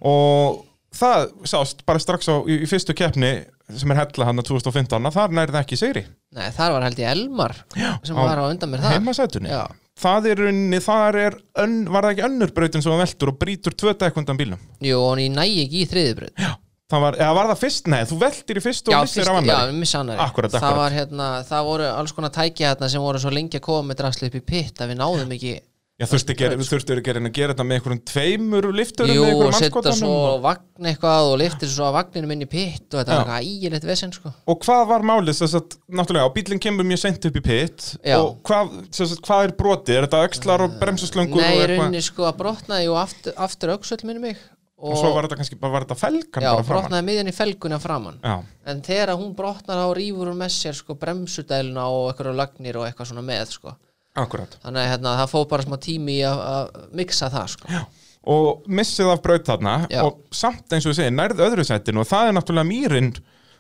og það sást bara strax á, í, í fyrstu keppni sem er hella hann 2015, að þar nærði ekki sigri
nei, þar var held ég Elmar sem
á-
var á undan mér þar
heimasætunni.
Já.
Það er í rauninni, þar er ön, var það ekki önnur brautin sem var veldur og brýtur tvö dekkundan bílnum.
Jú, og hann í nægi ekki í þriðibröð Já,
Það var, eða var það fyrst, nei, þú veldir í fyrstu og missir af
já,
annar.
við missa annari
Akkúrat, akkúrat.
Það var hérna, það voru alls konar tæki hérna sem voru svo lengi að koma með drasli upp í pitt að við náðum ekki
Já, þurftu ekki, þurftu ekki að reyna að gera þetta með einhverjum tveimur lifturum, með
Jú, og
einhverjum
setja
anskotanum.
svo vagn eitthvað og liftir svo að vagninum inn í pitt og þetta
Já.
var eitthvað ægilegt vesinn sko
Og hvað var málið, þess að, náttúrulega, á bílinn kemur mjög seint upp í pitt
Já. Eh,
og hvað, sem sagt, hvað er brotið? Er þetta öxlar og bremsuslöngur
Nei,
og
í rauninni sko að brotnaði og aftur, aftur öxull minni mig
Og svo var þetta kannski, bara var þetta felgan
já,
bara framan?
brotnaði miðjan í felguna framann
Já,
en þegar hún brotnar þá rýfur hún með sér sko bremsudæluna og eitthvað lagnir og eitthvað svona með sko
akkurat.
þannig að hérna, það fóð bara smá tími í að- að mixa það sko já,
Og missið af braut þarna
Já.
og samt eins og við segir, nærð öðru sættinu og það er náttúrulega mýrin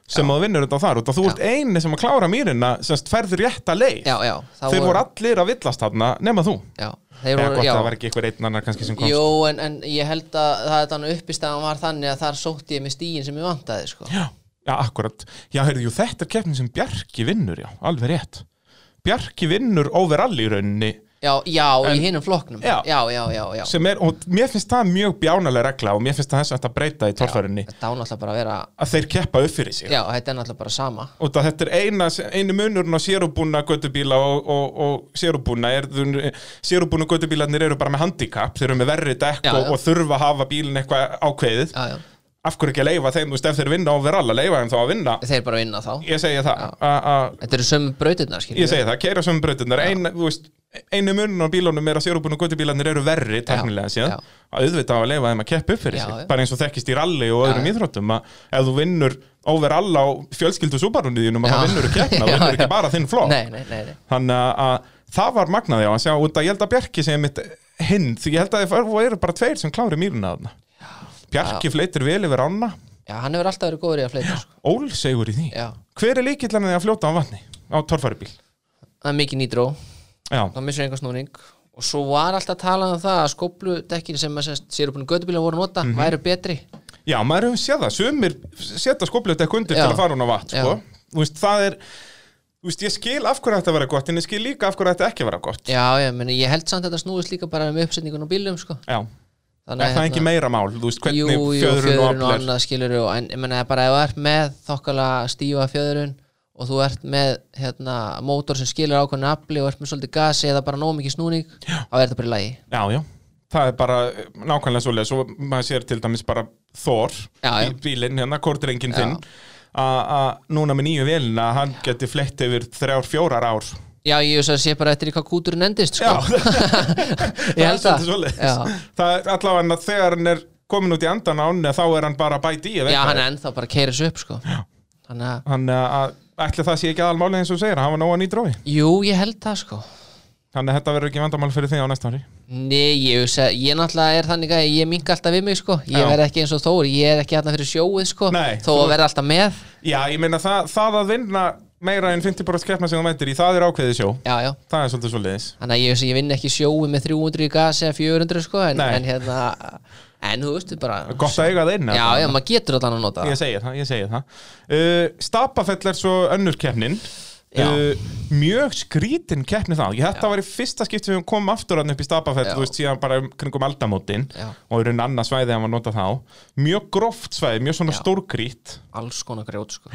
sem að vinnur þetta þar út og þú ert eini sem að klára mýrinna semst ferður rétta leið.
já, já það
Þeir voru allir að villast þarna nema þú.
já, þeir
Eða
voru,
gott
já,
að það var ekki einhver einn annar kannski sem komst.
jú, en, en ég held að það er þannig uppistæðan var þannig að þar sótti ég með stíin sem ég vantaði sko
Já, já, akkurat. Já, heyrðu, jú, þetta er keppnin sem Bjarki vinnur, já, alveg rétt. Bjarki vinnur overall í rauninni
já, já, í hinum flokknum
Já.
já, já, já, já.
sem er, og mér finnst það mjög bjánalega regla og mér finnst það þess að þetta breyta í torfærinni
þetta á náttúrulega bara að vera
að þeir keppa upp fyrir sig.
já, þetta er náttúrulega bara sama
Og það, þetta er eina, einu munurinn á sérubúna göttubíla og, og, og sérubúna er, sérubúna göttubílarnir eru bara með handicap, þeir eru með verri dekk
Já,
og,
já.
og þurfa að hafa bílinn eitthvað ákveðið.
já, já.
Af hverju ekki að leifa þeim, þú veist, ef þeir vinna overall að leifa þeim þá að vinna.
þeir bara vinna þá
Ég segi það, að- að
þetta eru sömu brautirnar
Ég
skiljum
segi það, keira sömu brautinnar ein, þú veist, einu munun á bílunum er að sérubun og göttubílarnir eru verri teknilega síðan
já.
að auðvitað á að leifa þeim að keppa upp fyrir
Já,
sig
já.
bara eins og þekkist í rally og öðrum íþróttum að ef þú vinnur overall á fjölskyldu súbarunniðinum að
Já.
það vinnur að keppna, það
Já,
vinnur
já.
ekki bara þinn flokk
nei, nei, nei, nei.
þannig að- að það var magnaði á að sjá út að ég held að Bjarki sem mitt hinn, því ég held að það eru bara tveir sem klári mýruna þarna Bjarki fleitir vel yfir ána,
já, hann hefur alltaf verið góður í að fleita sko.
Ól segur í því
Já.
Hver er líkillan að fljóta á vatni á torfæribíl?
það er mikið nýtró
Já,
þá missur einhver snúning og svo var alltaf talað um það að skópludekkin sem að sérubunum gödubíla voru að nota
Mhm.
væru betri
Já, maður hefur séð það, sumir setja skoplut eitthvað undir
Já.
til að fara hún á vatn sko. Þú veist, það er Þú veist, ég skil af hverju þetta að vera gott en ég skil líka af hverju þetta ekki að vera gott
já, já, meni, ég held samt að þetta snúist líka bara um uppsetningun á bílum sko.
Já,
þannig hérna-
er það ekki meira mál, þú veist,
jú,
hvernig
jú,
fjöðrun og
og
aflir
annað skilur og, en ég meina bara ef þú ert með þokkala stífa fjöðrun og þú ert með hérna, mótor sem skilur ákveðin afli og ert með svolítið gasi eða bara nóg mikið snúning þá er þetta bara í lagi
Já, já, það er bara eh, nákvæmlega svoleið Svo maður sér til dæmis bara Þór
Já, já.
í bílinn, hérna, kortrengin
Já.
þinn að að núna með nýju velina hann geti flett yfir þrjár, fjórar ár
já, ég veist að sé bara eftir í hvað kúturinn endist sko. ég held
það er
það
svolítið
já.
svoleiðis. Það er allavega þegar hann er komin út í andan á hann þá er hann bara að bæta í ef
já,
eitthvað er.
hann er ennþá bara að keira þessu upp sko. þannig að,
Þannig að ætli það sé ekki aðalmálið eins og þú segir, að hafa nóga nýdrói.
jú, ég held það sko.
Þannig að þetta verður ekki vandamál fyrir þig á næsta ári.
Nei, ég, hugsa- ég náttúrulega er þannig að ég minga alltaf við mig sko. ég
Já.
verð ekki eins og Þór, ég er ekki alltaf fyrir sjóið sko.
Nei,
þó
þú-
að verða alltaf með
Já, ég meina það, það að vinna meira en 50% keppna sem þú mætir í, það er ákveðið sjó
já, já
það er svolítið svolítið
Þannig að ég, ég vinn ekki sjói með 300 í gas eða 400 sko en,
Nei.
en hérna En þú veistu bara
gott að eiga það inn
Já,
allavega.
já, maður getur allan að nota
ég
það
segi það, ég segi það uh, Stapafell er svo önnur keppnin
Já.
Uh, mjög skrítin keppni það ég þetta var í fyrsta skipti við komum aftur hann upp í Stapafell,
Já.
þú veist, síðan bara um- kringum aldamótin
Já.
og í raun annað svæði hann var nota þá mjög gróft svæði, mjög svona
Já.
stórgrít
Alls konar grjót sko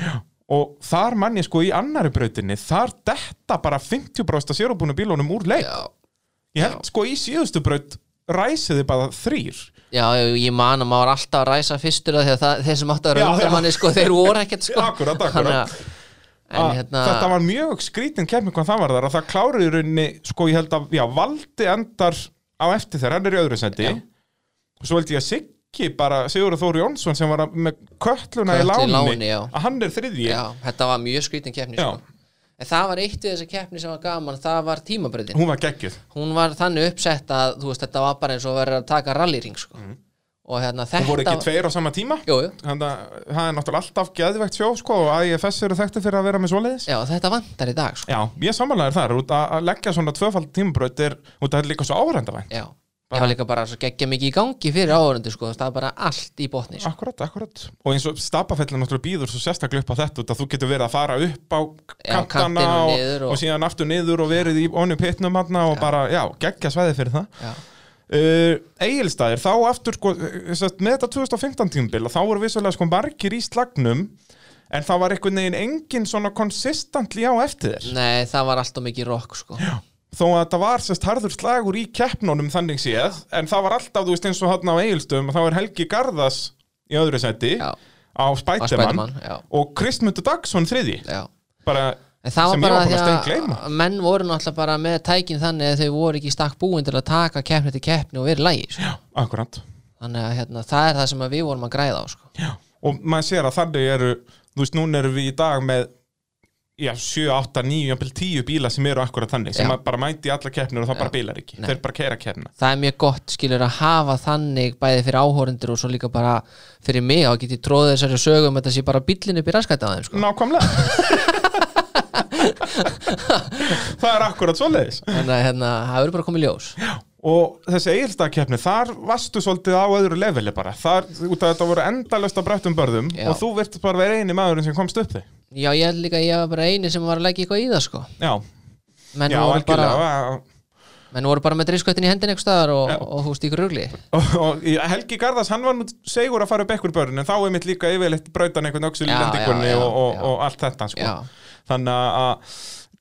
og þar mann ég sko í annari brautinni þar detta bara 50% af sérubúnu bílunum úr leik
Já,
ég held sko í síðustu braut ræsiði bara þrýr
já ég man að maður var alltaf að ræsa fyrstur af því að það, þeir sem áttu að
Já,
vera undir
já.
manni sko, þeir voru ekkert sko
Akkúrat, akkúrat.
Þannig að- En
Að
hérna
Ah, þetta var mjög skrítin keppni hvað það var þar að það kláruði í rauninni sko ég held að, já, Valdi endar á eftir þegar, hann er í öðru sendi
Já.
og svo held ég að Siggi bara Sigurður Þóri Jónsson sem var að- með kölluna í
Kötlu í
láni,
láni, já.
að hann er þriðji
Já, þetta var mjög skrítin keppni
Já.
sko En það var eitt við þessa keppni sem var gaman, það var tímabröðin
hún var geggjuð
hún var þannig uppsett að þú veist þetta var bara eins og verið að taka rallyring sko. og hérna þetta
hún Mhm. voru ekki tveir á sama tíma
jú, jú.
þannig að það er náttúrulega alltaf geðvægt sjó sko og AIFS eru þekkti fyrir að vera með svoleiðis
Já, þetta vantar í dag sko.
Já, ég samanlega er þar, út að að leggja svona tvöfald tímabraut er, út að það er líka svo áhrendavænt
Já. ég var líka bara svo geggja mikið í gangi fyrir áhörundu sko. það var bara allt í botni sko.
Akkurat, akkurat Og eins og stapafellin náttúrulega býður svo sérstaklega upp á þetta út að þú getur verið að fara upp á kantana
Já, kantinn
og,
og niður og-
og síðan aftur niður og verið í onni pitnum hann og bara, já, geggja svæði fyrir það
Já.
uh, Egilstaðir, þá aftur sko, eh, sem sagt, með þetta 2015 tímabil þá voru vissulega sko margir í slagnum en það var einhvern veginn engin svona konsistantli á eftir þér
Nei, það var alltaf mikið rock sko.
þó að þetta var sérst harður slagur í keppnunum þannig séð, en það var alltaf, þú veist, eins og hann á Egilstöðum, þá er Helgi Garðas í öðru seti
Já.
á
Var
Spætemann
Spiderman, já,
og Kristmundur Dagsson þriði,
já.
bara
En það var
sem ég
bara
var búin að
því
steingleyma.
að menn voru náttúrulega bara með tækin þannig að þau voru ekki í stakk búin til að taka keppni til keppni og verið lægi sko.
akkurant
þannig að hérna, það er það sem að við vorum að græða á sko.
og maður sér að þannig eru þú veist, núna erum við í dag með já, 7, 8, 9, jafnvel 10 bíla sem eru akkurat þannig, sem
Já.
maður bara mæti í alla keppnur og það bara bílar ekki,
Nei.
þeir bara keira keppna
það er mjög gott skilur að hafa þannig bæði fyrir áhórendur og svo líka bara fyrir mig og geti tróðið þessari sögum þetta sé bara bíllinn upp í raskætti á þeim sko.
nákvæmlega það er akkurat svoleiðis
þannig að hérna, það verður bara komið ljós
og þessi eigilstakeppni, þar varstu svolítið á öðru leveli bara þar, út að þetta voru endalösta brettum börðum
Já.
og þú virtist bara vera eini maðurinn sem komst upp þig
já ég held líka að ég var bara eini sem var að leggja eitthvað í það sko.
já,
menn,
já,
voru
algjörlega
bara,
bara...
menn voru bara með driskvættin í hendin einhvers staðar og,
Já.
og þú stíkur rugli
og, og í- Helgi Garðas, hann var nú segur að fara upp ekkur börðin en þá er mitt líka yfirleitt brautan einhvern öxul í
Já,
lendingunni
já, já,
og, og,
já.
og allt þetta sko.
Já.
þannig að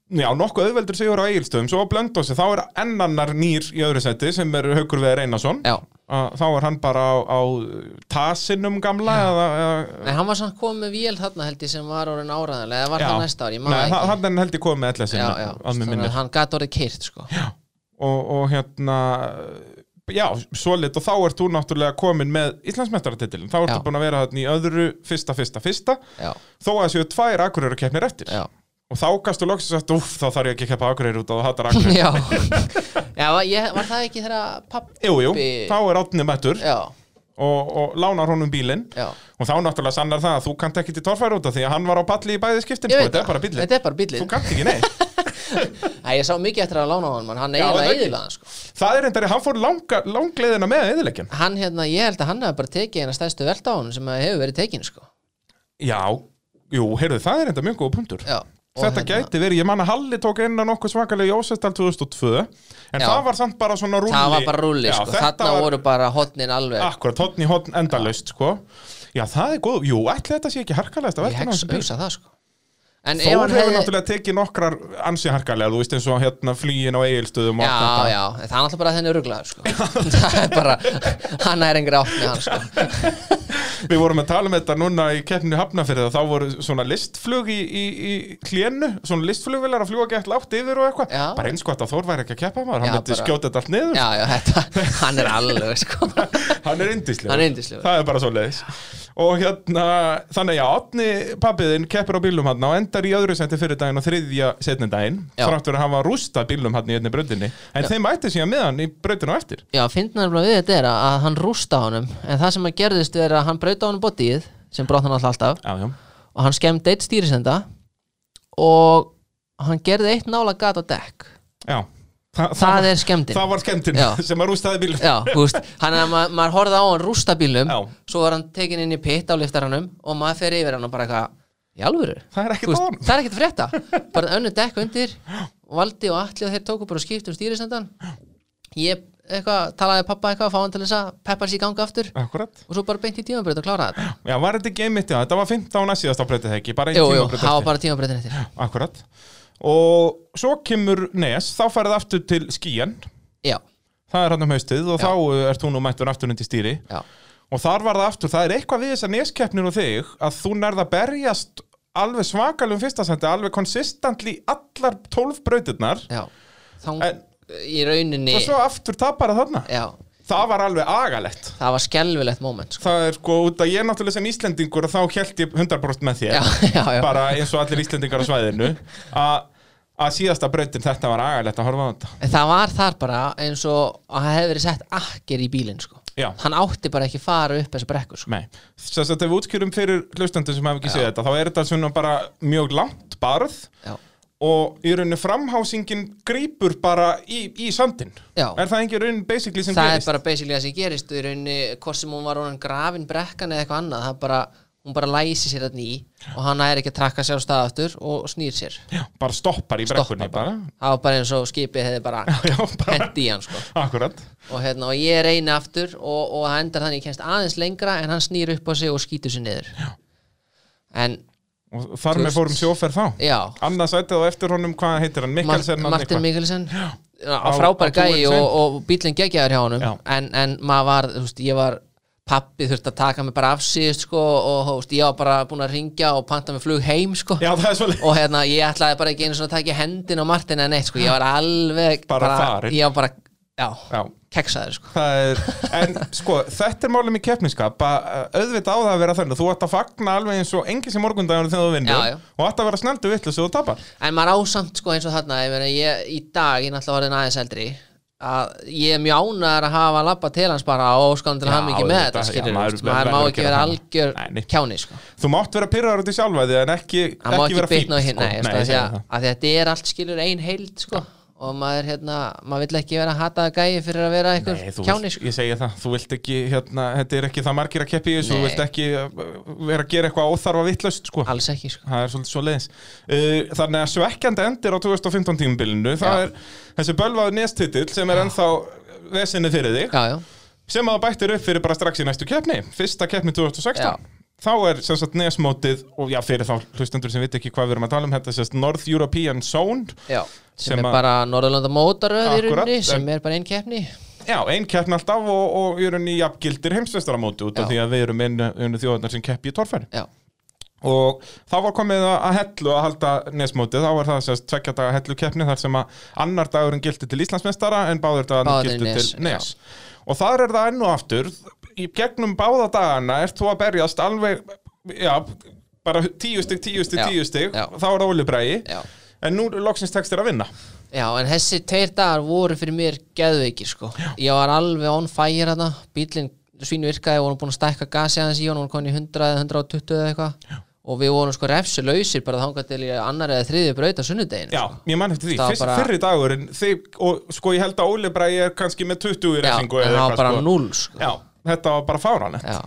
Já, nokkuð auðveldur sigur á eigilstöðum, svo á blöndósi þá er ennannar nýr í öðru seti sem er Haukur Veðar Einarsson
já.
Að þá er hann bara á, á tasinum gamla eða, eða,
en hann var samt komið með vél þarna held ég sem var orðin áraðanlega eða var
Já.
það næsta ár, ég maður
Nei,
ekki
hann er held ég komið með ætla
já,
sinni
já.
að mér
Þannig
minnir
að hann gat orðið kyrt sko.
og, og hérna já, svolít og þá ert þú náttúrulega komin með Íslandsmeistaratitilin, þá ertu
Já.
búin að vera hann í öðru fyrsta, fyrsta, fyrsta
já,
þó að séu tvær akureyru keppnir eftir
já
og þá gastu loksins að uff, þá þarf ég ekki að keppa akureyru út og það hattar akureyru
já, já var, ég, var það ekki þegar pappi
Jú, jú,
Bi-
þá er átni mættur
já,
og, og lánar honum bílinn
já
og þá náttúrulega sannar það að þú kannt ekki til torfæru út af því að hann var á palli í bæði skiptin
Ég
sko,
veit
þetta er
það.
bara bíllinn,
Þetta er bara bíllinn.
þú kannt ekki neitt
Æ, ég sá mikið eftir að lána á hann, hann
Já,
eiginlega
það ekki.
eðilaðan sko.
það er reyndari, hann fór langa, langleiðina með eðilegjan
Hann hérna, ég held að hann hefði bara tekið eina stæðstu velta á hann sem hefur verið tekin sko.
Já, jú, heyrðu, það er enda mjög góða punktur
Já, og hérna-
Þetta gæti verið, ég man að Halli tók einna nokkuð svakalega í Ósestal 2002 En
Já.
það var samt bara svona rúli
Það var bara rúli,
Já,
sko.
þetta
þarna
var- Ah,
voru bara hotnin alveg
Akkurat, hotn í hotn endalaust, sko Já, það er góð, jú, ætli þetta sé ekki harkalegast að
Ég
velta
heks
náttúrulega
hugsa það sko. En ef
Þór
hann
hefur
hefði
náttúrulega tekið nokkrar ansi harkalega, þú veist eins og hérna flýin á eigilstöðum og
Já, já, en það er alltaf bara að henni ruglaður sko. Það er bara, hann er engri átt með hann sko.
Við vorum að tala um þetta núna í keppninu hafnafyrða þá voru svona listflug í, í, í hlénu, svona listflugvilar að fljúa gett látt yfir og eitthvað,
Já.
bara eins gott að Þór væri ekki að keppa maður, hann
Já,
myndi
bara-
skjóta þetta allt niður
Já, já, þetta, hann er alveg sko.
hann er indislegur
Hann er yndislegur.
það er bara svo leiðis og hérna, þannig að já, Otni pappiðin keppir á bílum hann og endar í öðru senti fyrir daginn og þriðja setni daginn
Já.
þrátt fyrir að hafa rústa bílum hann í einni bröndinni en þeim ætti síðan með hann í bröndinu á eftir
Já, fyndnar bara við þetta er að, að hann rústa á honum En það sem að gerðist er að hann brauta á honum bodyið Sem brotna hann alltaf
já, já,
og hann skemmdi eitt stýrisenda og hann gerði eitt nála gat á dekk
Já, Þa,
það er skemmtinn
það var skemmtin
Já.
sem að rústaði bílum
Já, þú veist, hann er að ma maður horfði á hann rústa bílum
Já.
svo var hann tekin inn í pitt á liftaranum og maður fer yfir hann og bara eitthvað í alvöru,
Það er ekkert
Þú
á
veist,
honum.
það er ekkert frétta bara önnu dekk undir, valdi og allir og þeir tóku bara skipt um stýrisendan ég eitthvað, talaði við pappa eitthvað fá hann til þess að peppa sér í ganga aftur
Akkurat
og svo bara beint í tímabröð og klára þetta
Já, var þetta ekki einmitt, já, þetta var 15 að síðast á breytið ekki, bara einn
Jú, jú,
tímabrautartíð.
það var bara tímabröðin eftir
Akkurat Og svo kemur Nes, þá færið aftur til skíjan
Já,
Það er hann um haustið og
Já.
þá uh, ert þú nú mættur aftur undir stýri
já,
Og þar var það aftur, það er eitthvað við þessar neskeppnir og þig Að þú nærð að berjast alveg svakalum fyrsta sendi Alveg konsistantli allar 12 brautirnar
já þá
En-
í rauninni
Og svo aftur tapar að þarna
Já,
Það var alveg agalegt
það var skelfilegt moment sko.
Það er sko út að ég náttúrulega sem Íslendingur að þá held ég 100% með þér
Já, já, já
Bara eins og allir Íslendingar á svæðinu Að að síðasta brautin þetta var agalegt að horfa á þetta
En það var þar bara eins og að það hefði verið sett akkir í bílinn sko.
Já.
Hann átti bara ekki að fara upp þessu brekkur sko.
Nei, þess að ef við útskýrum fyrir hlustendur sem hafa ekki séð þetta, þá er þetta svona bara mjög langt barð
Já,
og í rauninu framhásingin grýpur bara í, í sandin
Já.
er það engin raunin basically sem
það
gerist?
er bara basically það sem gerist og í rauninni, hvort sem hún var honan grafin brekkan eða eitthvað annað, það bara hún bara læsi sér þarna í og hann er ekki að trakka sér á stað aftur og snýr sér
Já, bara stoppar í brekkunni bara.
það var bara eins og skipið hefði bara
Já, bara,
hent í hann sko.
akkurat
og, hérna, og ég reyni aftur og, og það endar þannig ég kennst aðeins lengra en hann snýr upp á sig og skýtur sér niður já. en
og þar
Þú
með
veist-
fórum sjóferð þá
já,
annars ættið á eftir honum, hvað heitir hann?
Mar
Mikkelsen hann
Martin
eitthvað?
Mikkelsen já,
Á-
frábær
á
gæi
Dualsense.
og, og bílinn geggjaður hjá honum
Já.
en, en maður var, þú veist, ég var pappi þurfti að taka mig bara af síðust sko, og þú veist, ég var bara búin að ringja og panta mig flug heim sko.
Já, það er svolítið
og hérna, ég ætlaði bara ekki einu svona að taka í hendin á Martin en neitt, sko. ég var alveg
Bara farinn.
ég var bara, já,
Já,
keksaður sko.
það er, en sko, þetta er málum í keppniskap að að auðvitað á það að vera þannig þú ætti að fagna alveg eins og engin sem morgundagur þegar þú vinnur
Já, já.
og ætti að vera snældu vitlu sem þú tapar
En maður ásamt sko eins og þarna ég meina, ég, Í dag, ég er náttúrulega orðin aðeins eldri að ég er mjög ánæður að hafa lappa til hans bara og skáðum til
Já,
hann ekki með
auðvitað,
þetta
já, maður
skilur, maður, maður
verður
má
að
ekki
gera
vera
það.
algjör
Nei, nei.
kjáni sko.
Þú mátt vera pyrraður út í sjálfæði en ekki,
hann má ekki
vera fín
bitna á hinn
sko.
nei, nei,
Nei, ég
nei, því
segi
að,
það.
að því að þetta er allt skilur ein heild sko. og maður, hérna, maður vill ekki vera að hata gæi fyrir að vera einhver
Nei, þú
kjáni
vilt-
sko.
Ég segi það, þú vilt ekki hérna, þetta er ekki það margir að keppi í þessu þú
Nei.
vilt ekki uh, vera að gera eitthvað óþarfa vitlaust sko.
alls ekki sko.
það er svolítið svo leiðis uh, þannig að svekkjandi endir á 2015 tímubilinu það
Já.
er þessi bölvaðu nestitill sem er ennþá vesinni fyrir þig
já, já,
sem að það bættir upp fyrir bara strax í næstu keppni fyrsta keppni 2016
Já.
þá er sem sagt nesmótið og já fyrir þá hlustendur sem veit ekki hvað við erum að tala um þetta sérst North European Zone
já sem,
Sem
er
að-
bara Norðurlanda mótaröð í
Akkurat,
rauninni sem
en-
er bara einn keppni
já, ein keppni alltaf og, og í rauninni jafngildir heimsvestaramóti út af
Já.
því að við erum einu, einu þjóðarnar sem keppi í torfæri
já,
og þá var komið að að hellu að halda nesmótið, þá var það sérst tveggja daga hellu keppni þar sem að annar dagurinn gildi til Íslandsmeistara en báður dagarnir
Báðir
gildi
Nes,
til nes og þar er það enn og aftur í gegnum báða dagana ert þú að berjast alveg já, bara tíu stygg, tíu stygg,
Já,
tíu stygg
já.
þá er það Óli Bragi
já
en nú loksins tekst þér að vinna
Já, en þessi tveir dagar voru fyrir mér geðveikir sko. Ég var alveg on fire hana, bílinn svínu virkaði, vorum búin að stækka gasi aðeins í hann, vorum komin í 100 eða 120 eða eitthvað og við vorum sko refsu lausir bara þangað til ég annar eða þriðju braut á sunnudeginu
já,
sko.
ég man eftir því,
Það var
Fyrst,
bara-
fyrri dagurinn þig, og sko ég held að Óli Bragi er kannski með 20 í
Já,
resingu
en það var bara null sko.
já, þetta var bara fáranett
Já,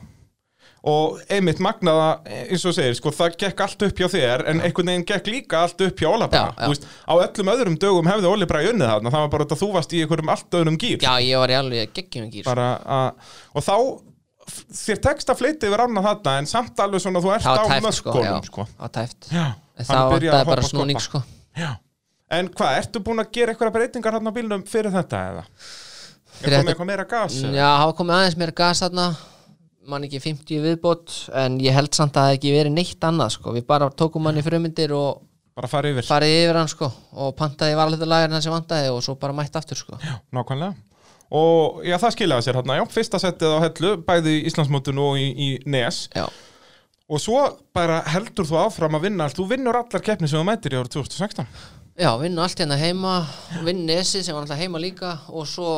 og einmitt magnaða eins og þú segir, sko, það gekk allt upp hjá þér en einhvern veginn gekk líka allt upp hjá Óla bara
Já, já.
Þú veist, á öllum öðrum dögum hefði Óli bara unnið þarna, það var bara út að þú varst í einhverjum allt öðrum gýr
já ég var í alveg geggjum gýr sko.
bara, að, og þá f- þér tekst að flytja yfir ána þarna en samt alveg svona þú ert á
Það var tæft sko, já,
mörkunum sko.
það var tæft
Já,
En
hann
það var
byrjaði að hoppa
bara
og skoppa.
snúning sko
Já. en hvað, ertu búin að gera einhverja breytingar hann á bílnum fyrir þetta eða? er
Fyrir
komið
þetta-
eitthvað meira gas? eða?
Já, hafa komið aðeins meira gas þarna mann ekki 50 viðbót en ég held samt að það hafi ekki verið neitt annað sko. við bara tókum hann í frumindir og
bara farið yfir
farið yfir hann sko og pantaði varalitulagarinn hann sem vantaði og svo bara mætt aftur sko
Já, nákvæmlega og já, það skiljaði sér hérna, já, fyrsta settið á hellu bæði í Íslandsmótinu og í, í NES
Já,
og svo bara heldur þú áfram að vinna allt, þú vinnur allar keppni sem þú mætir í ára 2016
já vinnu allt hérna heima vinn Nesi sem var alltaf heima líka og svo,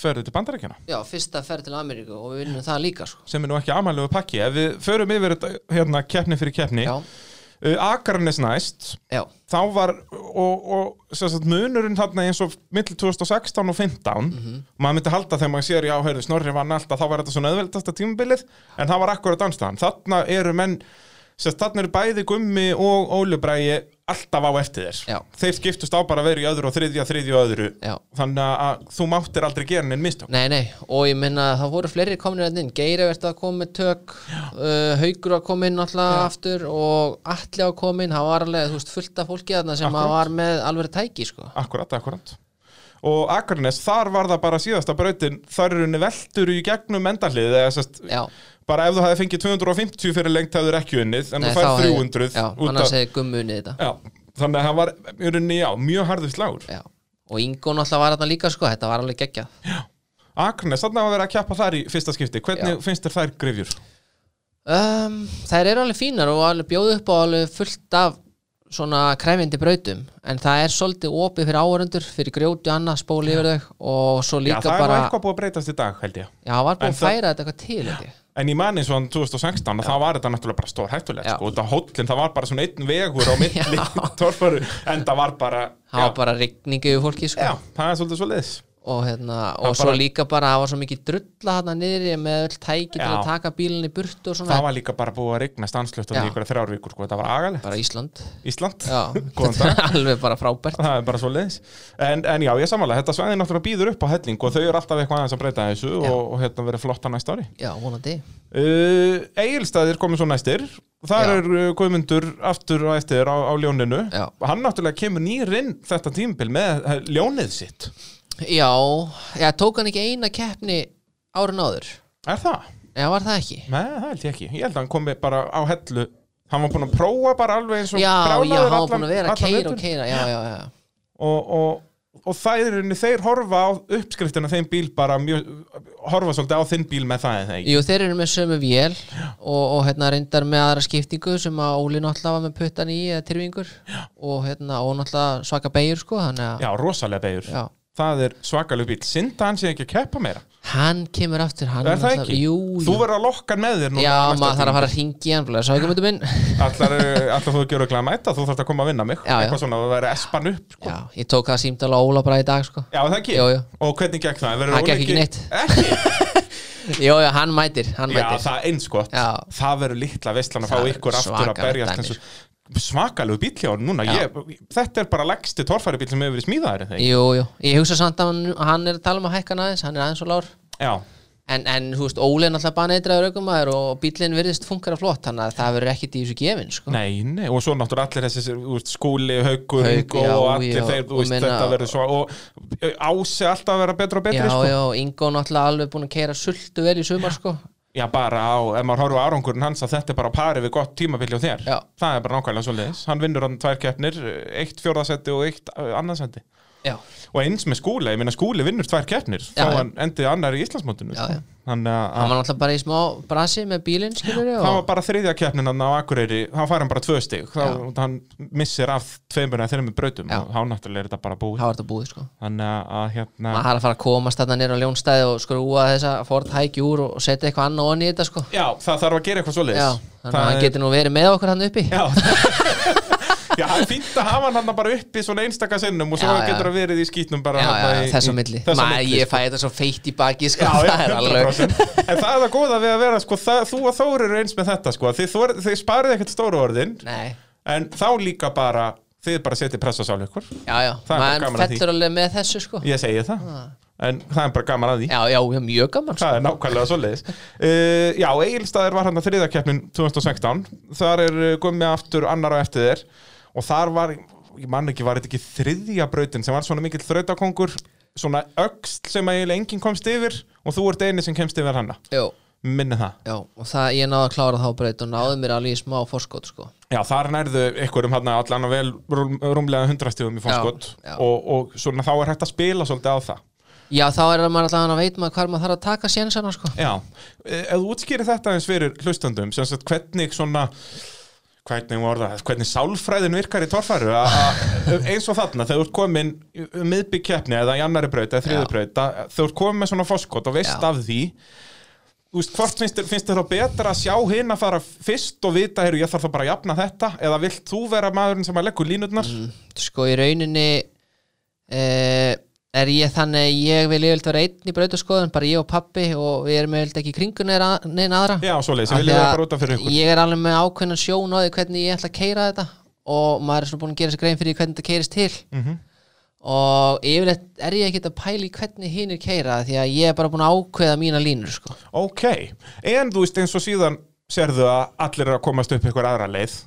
ferðu til bandarækjana,
já, fyrsta ferð til Ameríku og við vinnum það líka sko
sem er nú ekki amælegu pakki ef við förum yfir þetta, hérna keppni fyrir keppni
Já,
uh, Akarnes næst
já,
þá var og, og sem sagt, munurinn þarna eins og milli 2016 og 15 maður myndi halda þegar maður sér já, heyrðu, snorri vann alltaf, þá var þetta svona öðveldasta tímabilið en það var akkurat anstæðan þarna eru menn, sem sagt, þarna eru bæði Gummi og Óli Bræi alltaf á eftir þér,
Já.
þeir skiptust á bara að vera í öðru og þriðja, þriðja og öðru
já
þannig að þú máttir aldrei gera neinn mistök
Nei, nei, og ég minna að það voru fleiri komin hérna inn, Geira verði að koma með tök uh, Haugur að koma inn alltaf aftur og Atli að koma inn, það var alveg, þú veist, fullt af fólki þarna sem
Akkurat.
að var með alveg tæki, sko
akkurat, akkurat og Akarnes, þar var það bara síðasta brautin þar eru henni veldur í gegnum endahlið eða sest,
Já,
bara ef þú hefði fengið 250 fyrir lengt hefur ekki unnið en
nei,
þú fær
hefði-
300
Já,
út
annars
af,
hefði gummunni þetta
já, þannig að hann var í rauninni, já, mjög harður slagur
Já, og Ingo náttúrulega var þarna líka, sko, þetta var alveg geggjað
Agnes, þannig að vera að keppa þar í fyrsta skipti hvernig finnst þér þær grifjur?
Um, þær eru alveg fínar og alveg bjóðu upp á alveg fullt af svona kræfindi brautum en það er svolítið opið fyrir áhörundur fyrir grjóti og annað spóli yfir þau og svo
Já,
líka
það er
bara
nú eitthvað búið að breytast í dag, held ég
já, var búin
En
að
það-
færa þetta eitthvað til þetta
En ég man eins og hann 2016 að það var þetta náttúrulega bara stór hættulegt
Já.
sko, út af hóllin, það var bara svona einn vegur á milli torfaru, en það var bara
það var
já,
bara rigningu yfir fólki sko.
já, það er svolítið svo liðs
og, hérna, og
Það
svo
bara-
líka bara það var svo mikið drulla þarna niðri með öll tæki til
Já.
að taka bílinni burt og svona
Það var líka bara búið að rigna stanslöft
Já.
og líka þrjár vikur, sko, þetta var agalegt
bara Ísland
Ísland,
já,
góðan dag
þetta er alveg bara frábært
það er bara svo leiðis en, en já, ég samanlega, þetta svæði náttúrulega býður upp á helling og þau eru alltaf eitthvað aðeins að breyta þessu og, og hérna verið flotta næsta ári
já, vonandi
uh, Egilstaðir komið svo næstir þar
Já.
er uh, Guðmundur aftur og eftir á, á ljóninu
Já.
hann náttúrulega kemur nýrinn þetta tímabil með eh, ljónið sitt
já, já, tók hann ekki eina keppni árun áður
er það?
Já, var það ekki?
Nei, það held ég ekki, ég held að hann komið bara á hellu hann var búin að prófa bara alveg eins og
Já, já,
brjálaður
hann var
allan-
búin að vera að
allan
keira og
veturinn.
keira Já, já, já,
og, og, og það er unni, þeir horfa á uppskriftina þeim bíl bara mjög, horfa svolítið á þinn bíl með það en það ekki
jú, þeir eru með sömu vél og, og hérna reyndar með aðra skiptingu sem að Óli náttúrulega var með puttan í eða tyrfingur og hérna, og náttúrulega svaka beigur sko, þannig að
Já, rosalega beigur
Já.
Það er svakalug bíl, synda hann sé ekki að keppa meira
hann kemur aftur hann
Er það
náttúrulega-
ekki?
Jú,
Þú
jú
verður að lokka hann með þér núna
Já,
næsta
maður þarf að
tímabil.
fara að ringi hann blá, sá ekki myndu minn
Allar, eh, allar þú gerur glæma þetta, þú þarft að koma að vinna mig
Já, já.
Eitthvað svona, það verður espan upp sko.
Já, ég tók það símdala Óla bara í dag sko
Já, það ekki?
Jú, jú.
Og hvernig gekk það? Verður
Það gekk
Óli
ekki neitt.
Ekki?
Jú, já, hann mætir, hann
Já,
mætir
það er eins gott
Já.
Það verður litla veistlan að
Það
fá
er
ykkur aftur að
svakaleg
berjast
dæmi,
eins og- Svakalegu bíl hjá honum núna ég, Þetta er bara leggsti torfæri sem hefur verið smíðaður er það ekki?
Jú, jú, ég hugsa samt að hann, hann er að tala um að hækka hann aðeins, hann er aðeins og lár
Já,
En, en þú veist, Óli er náttúrulega baneitraður aukumæður og bílinn virðist funkar að flott þannig að það verður ekkit í þessu gefin sko.
Nei, nei, og svo náttúrulega allir þessi úst, skúli, haukur,
Hauk,
og
já,
allir
já,
þeir, þú
og
veist,
meina-
þetta verður svo og eh, ási alltaf að vera betra og
já,
betri, sko
já, Ingo náttúrulega alveg búin að keira sultu vel í sumar sko.
Já, bara á, ef maður horfa árangurinn hans að þetta er bara á pari við gott tímabili á þér
Já.
Það er bara nákvæmlega svo leiðis, hann vinnur hann tvær keppnir, eitt fjórðasetti og eitt eh, annarsetti
Já,
Og eins með skúli, ég meina skúli vinnur tvær keppnir,
Já,
þá
já.
hann endið annar í Íslandsmótinu
Já, já.
Þannig að
hann var náttúrulega bara í smá brasi með bílinn skilur við
það var
og...
bara þriðja keppnin hann á Akureyri þá fær hann bara tvö stig,
Já.
þá hann missir af tveimur eða þreimur brautum
Já.
og þá náttúrulega er þetta bara búið
það var þetta búið sko.
Þannig að- að hérna
maður har að fara að komast þarna nýra á ljónstæði og skrúa þessa Ford Hike úr og setja eitthvað annað onni í þetta sko.
Já, það þarf að gera eitthvað svoleiðis
já, þannig að hann getur nú verið með okkur hann uppi
Já, já það er fínt að hafa hann hann bara uppi svona einstaka sinnum og svo
Já, já.
getur að verið í skítnum bara
já,
þarna
já,
í-
þess á
í-
milli,
þess á
maður
milli,
ég
sko.
fæ þetta svo feitt í baki sko.
Já, já,
það er alveg
100% En það er það góða við að vera sko, það, þú og Þóri eru eins með þetta sko, að þið, þor, þið sparið ekkert stóru orðin
Nei.
en þá líka bara þið bara setið pressasáli ykkur
já, já,
Það er bara
maður
gaman að því.
fellur alveg með þessu sko.
ég segi það, en það er bara gaman að því
Já, já, já, mjög gaman sko.
Það er nákvæmlega svoleiðis uh, Já, Egilstaðir var hérna hann að þriðakeppnin 2016 Þar er uh, gummi aftur annar á eftir þér Og þar var, ég man ekki, var þetta ekki þriðja brautin sem var svona mikill þrautakongur Svona öxl sem að eiginlega enginn komst yfir Og þú ert eini sem kemst yfir hanna
Jú,
Minni það
já, og það, ég náði að klára þá breyt og náði mér alveg í smá forskot sko.
Já, þar nærðu ykkur um hann allan að vel rúm, rúmlega 100 stíðum í fórskot
Já, já.
og, og svona þá er hægt að spila svolítið á það
Já, þá er maður allavega að veit maður hvar maður þarf að taka sénsana sko.
Já, Eh, ef þú útskýrir þetta eins fyrir hlustandum sem sagt hvernig svona hvernig var það, hvernig sálfræðin virkar í torfæru eins og þarna þegar þú ert komin miðbyggkeppni eða í annari braut eða þriði
Já.
braut að- þegar þú ert komin með svona foskot og veist
Já.
af því þú veist, hvort finnst þér, finnst þér þá betra að sjá hinn að fara fyrst og vita, heyrðu, ég þarf þá bara að jafna þetta eða vilt þú vera maðurinn sem að leggur línutnar
sko í rauninni uh, er ég þannig að ég vil yfirleitt vera einn í brautaskoðun bara ég og pappi og við erum yfirleitt ekki í kringun neina aðra
Já, svoleiðis,
Af
ég vil
því
vera
að
bara út af fyrir ykkur
ég er alveg með ákveðnan sjón á því hvernig ég ætla að keira þetta og maður er svona búin að gera sér grein fyrir því hvernig þetta keirist til
Mhm.
og yfirleitt er ég ekki að pæla í hvernig hinn er keira því að ég er bara búin að ákveða mína línur sko.
Ok, en þú veist eins og síðan serðu að allir eru að komast upp ykkur aðra leið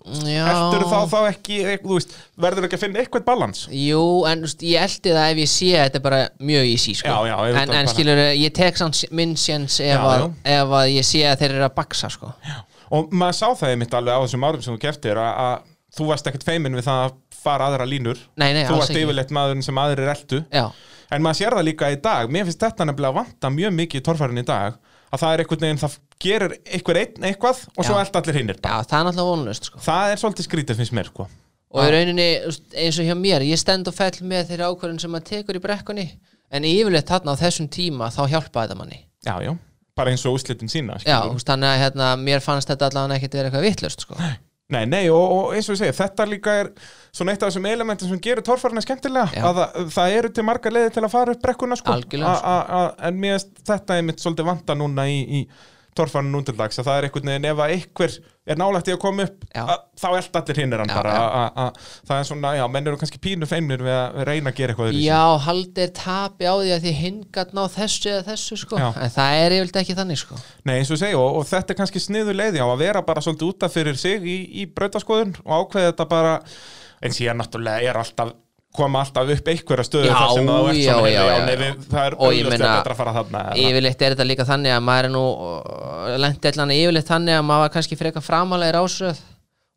Já.
Ertur þá þá ekki, ek- þú veist, verður ekki að finna eitthvað balans
Jú, en þú veist, ég eldi það ef ég sé að þetta er bara mjög easy sko.
Já, já, ef þetta
En,
bara-
en skilur, ég tek samt minn séns ef,
Já,
að-
já.
ef að ég sé að þeir eru að baksa sko.
Og maður sá það einmitt alveg á þessum árum sem þú keftir að, að þú varst ekkert feiminn við það að fara aðra línur
Nei, nei,
Þú
alls
varst
ekki
yfirleitt maðurinn sem aðrir eltu
Já,
En maður sér það líka í dag, mér finnst þetta nefnilega vanta mjög mikið í torfærin í dag að það er einhvern veginn, það gerir einhver einn eitthvað og svo
Já.
elda allir hinnir
já, það er náttúrulega vonlust sko.
Það er svolítið skrítið finnst mér, sko
Og í rauninni, þú veist, eins og hjá mér Ég stend og fell með þeirra ákvörðin sem maður tekur í brekkunni En yfirleitt þarna á þessum tíma Þá hjálpa þetta manni
Já, já, bara eins og úslitin sína
Já,
skilurðu.
þú veist, þannig að hérna, mér fannst þetta allavega ekkert vera eitthvað vitlust sko.
Nei, nei, og, og eins og ég segi, þetta líka er svona eitt af þessum elementum sem gerir torfarina skemmtilega,
Já.
að það, það eru til marga leiði til að fara upp brekkuna, sko
Algjörlega, sko.
A- a- a- en mér finnst þetta er mitt svolítið vanda núna í, í torfarinu núntildags, að það er einhvern veginn ef að einhver er nálægt í að koma upp
Já.
að, þá eld allir hinnir hann
Já,
bara
já.
A, a, a, það er svona, já, menn eru kannski pínu feimnir við að við að reyna að gera eitthvað öðruvísi.
Já, haldið er tapi á því að því hingat ná þessu eða þessu sko.
Já.
En það er yfirleitt ekki þannig sko.
Nei, eins og ég segi, og, og þetta er kannski sniður leiði á að vera bara svolítið útaf fyrir sig í, í brautaskoðun og ákveða þetta bara en síðan náttúrulega er alltaf koma alltaf upp einhverja stöðu
Já,
þar sem það er
já,
svona
já,
heyrðu,
já,
nei,
já.
við- það er
Og ég
auðvitað
meina,
betra að fara þarna eða-
yfirleitt er þetta líka þannig að maður er nú uh, lendi allan yfirleitt þannig að maður var kannski frekar framalega í rásröð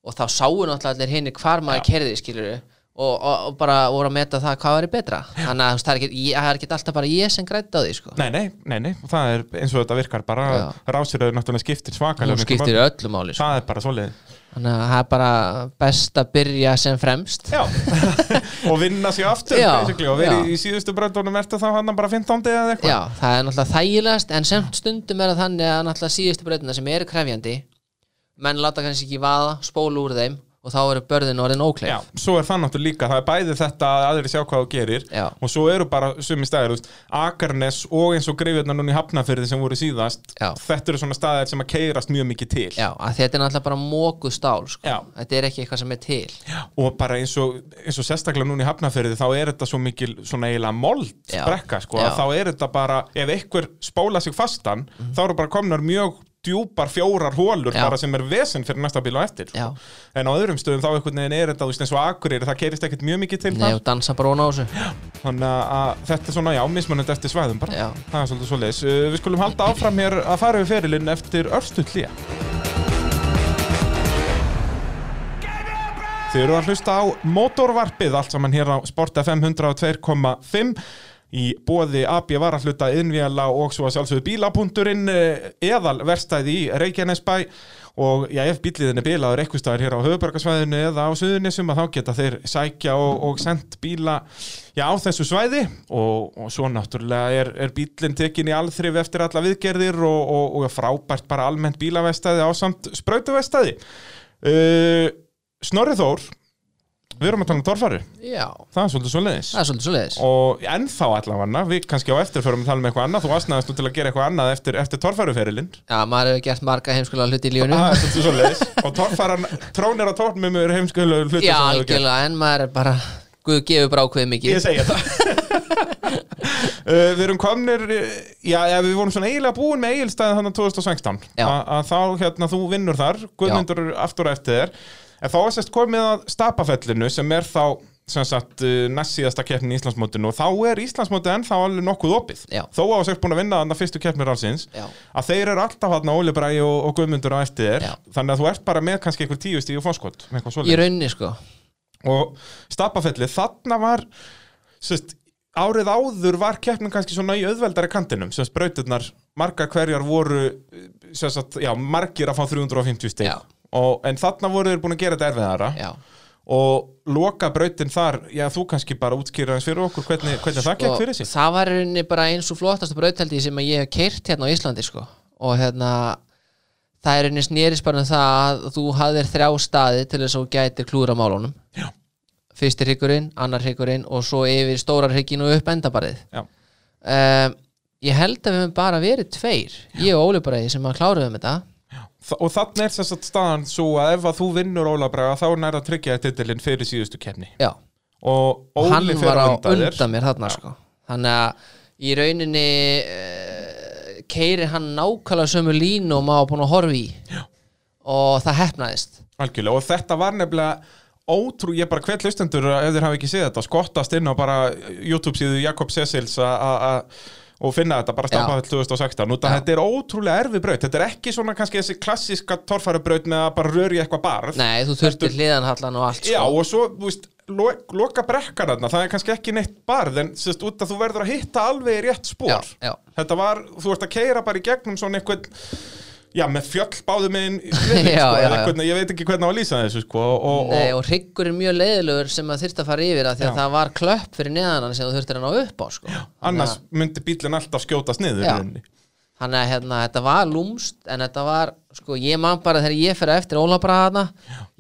og þá sáu náttúrulega allir hinni hvar maður kerði skilur og, og, og bara voru að meta það hvað er betra þannig að þú veist, það er ekki, ég- það er ekki alltaf bara ég sem grætti á því sko.
Nei, nei, nei, nei, það er eins og þetta virkar bara
Já.
rásiröðu náttúrulega skiptir svakalega
hún
miklu
skiptir
máli.
öllu máli sko.
Það er bara svoleiði
þannig að það er bara best að byrja sem fremst
Já, og vinna sér aftur
Já,
basically, og verið
já.
í síðustu brautunum ertu þá hann bara 15. eða eitthvað
Já, það er náttúrulega þægilegast en semt stundum er það þannig að náttúrulega síðustu breytina sem eru krefjandi menn láta kannski ekki vaða, spóla úr þeim og þá eru börðin orðin ókleif
Já, svo er það náttúrulega líka, það er bæði þetta að aðri sjá hvað þú gerir
Já.
og svo eru bara sumi staðir, þú veist, Akarnes og eins og greifjarnar núna í Hafnafyrði sem voru síðast
Já.
þetta eru svona staðir sem að keirast mjög mikið til
Já, að þetta er náttúrulega bara mókuð stál sko.
Já.
Þetta er ekki eitthvað sem er til Já,
og bara eins og, eins og sérstaklega núna í Hafnafyrði þá er þetta svo mikil svona eiginlega mold
Já.
brekka, sko,
Já. Mhm.
að þá er þetta bara ef einhver spóla sig fastan þá eru bara komnar mjög djúpar fjórar hólur
Já.
bara sem er vesen fyrir næsta bíl og eftir sko.
Já.
en á öðrum stöðum þá einhvern veginn er þetta þú veist, eins og Akureyri, það keirist ekkert mjög mikið til
Nei,
þar.
og dansa bara ón á þessu
Þannig að- að þetta er svona, já, mismunandi eftir svæðum bara.
Já.
Það er svolítið svoleiðis. Uh, Við skulum halda áfram hér að fara við ferilinn eftir örstuð hlýja. Þið eru að hlusta á Motorvarpið, allt saman hér á Sport FM 102.5 í bóði AB Varahluta, Innvíala og svo að sjálfsögðu bílapunkturinn eh, eðal verstaði í Reykjanesbæ og já, ef bíliðin er bilaður eitthvað staðar hér á höfubarkasvæðinu eða á suðunisum að þá geta þeir sækja og, og sendt bíla já, á þessu svæði og, og svo náttúrulega er, er bílinn tekin í alþrif eftir alla viðgerðir og, og, og frábært bara almennt bílavestæði á samt sprautuvestæði uh, Snorri Þór við erum að tala um Þorfari
Já,
það er svolítið svoleiðis
það er svolítið svoleiðis
og ennþá allavega, við kannski á eftir förum að tala um eitthvað annað, þú asnaðist nú til að gera eitthvað annað eftir, eftir Þorfaruferilinn
Já, maður hefur gert marga heimskulega hluti í lífunu
Það er svolítið svoleiðis og torfaran, trónir á tórnum eru heimskulega hluti
Já,
sem hefur gerst.
algjörlega, en maður er bara Guð gefur bara ákveðið mikið
Ég segja það uh, Við erum komnir uh, já, já, við vorum svona eiginlega búin með eigilstæði þannig 2016
Já.
A- að þá, hérna, þú vinnur þar Guðmundur er aftur á eftir þér en þá er sérst komið að stapafellinu sem er þá sem sagt uh, næst síðasta keppnin í Íslandsmótinu og þá er Íslandsmótið ennþá alveg nokkuð opið
Já.
þó að þessi búin að vinna þannig fyrstu keppnir allsins
Já.
að þeir eru alltaf hann Óli Bræði og, og Guðmundur á eftir þér
Já.
þannig að þú ert bara með kannski einhver tíu stíu fórskot með eitthvað svoleiðis
Í rauninni, sko
og stapafelli, þarna var sérst, árið áður var keppnin kannski svona í auðveldari kantinum sem sprauturnar, margar hverjar voru sérst, já, margir að fá 350 stig
Já.
og, en þarna voru þeir búin að gera þetta erfiðara
Já
og loka brautin þar já, þú kannski bara útskýra eins fyrir okkur hvernig, hvernig það gekk
Og
fyrir sig
Það var í rauninni bara eins og flottasta brautaldi sem að ég hef keirt hérna á Íslandi, sko og hérna það er einnig snerist bara um það að þú hafðir þrjá staði til þess að þú gætir klúra málunum
Já.
fyrsti hryggurinn, annar hryggurinn og svo yfir stóra hryggin og upp endabarið
Já.
um, ég held að við höfum bara verið tveir ég og Óli Bræði sem að kláruðum þetta
Þa- og þannig er þess að staðan svo að ef að þú vinnur Óla Braga þá er nær að tryggja þér titilinn fyrir síðustu kefni
já,
og
hann
Óli
var
fyrir
á
að undan þér
undan mér þarna sko. þannig að í rauninni uh, keirir hann nákvæmlega sömu línu og maður búin að horfa í já. og það hefnaðist
algjörlega og þetta var nefnilega ótrú, ég bara hvet hlustendur ef þeir hafi ekki séð þetta, skottast inn á bara YouTube síðu Jakob Sessils a- a- a- og finna þetta bara stampað 2016, út að
Já.
þetta er ótrúlega erfi braut, þetta er ekki svona kannski þessi klassíska torfæra braut með að bara röri eitthvað barð
nei, þú þurftir hliðanhallan og allt
Já,
sko.
og svo, þú veist, lo loka brekkan þarna, það er kannski ekki neitt barð en sérst, út að þú verður að hitta alveg í rétt spór
Já, já.
Þetta var, þú ert að keira bara í gegnum svona einhvern Já, með fjöll báðum minn sko,
Já, já,
eða
já.
einhvern, ég veit ekki hvernig á að lýsa þessu sko, og,
Nei,
og,
og hryggur er mjög leiðilegur sem að þyrfti að fara yfir að því að
Já.
það var klöpp fyrir neðan hann sem þú þurftir að ná upp á sko. Þannig
annars
að-
myndi bílinn alltaf skjótast niður í
Já.
rauninni.
þannig að hérna, þetta var lúmst en þetta var, sko, ég man bara þegar ég fyrir eftir ólabraðana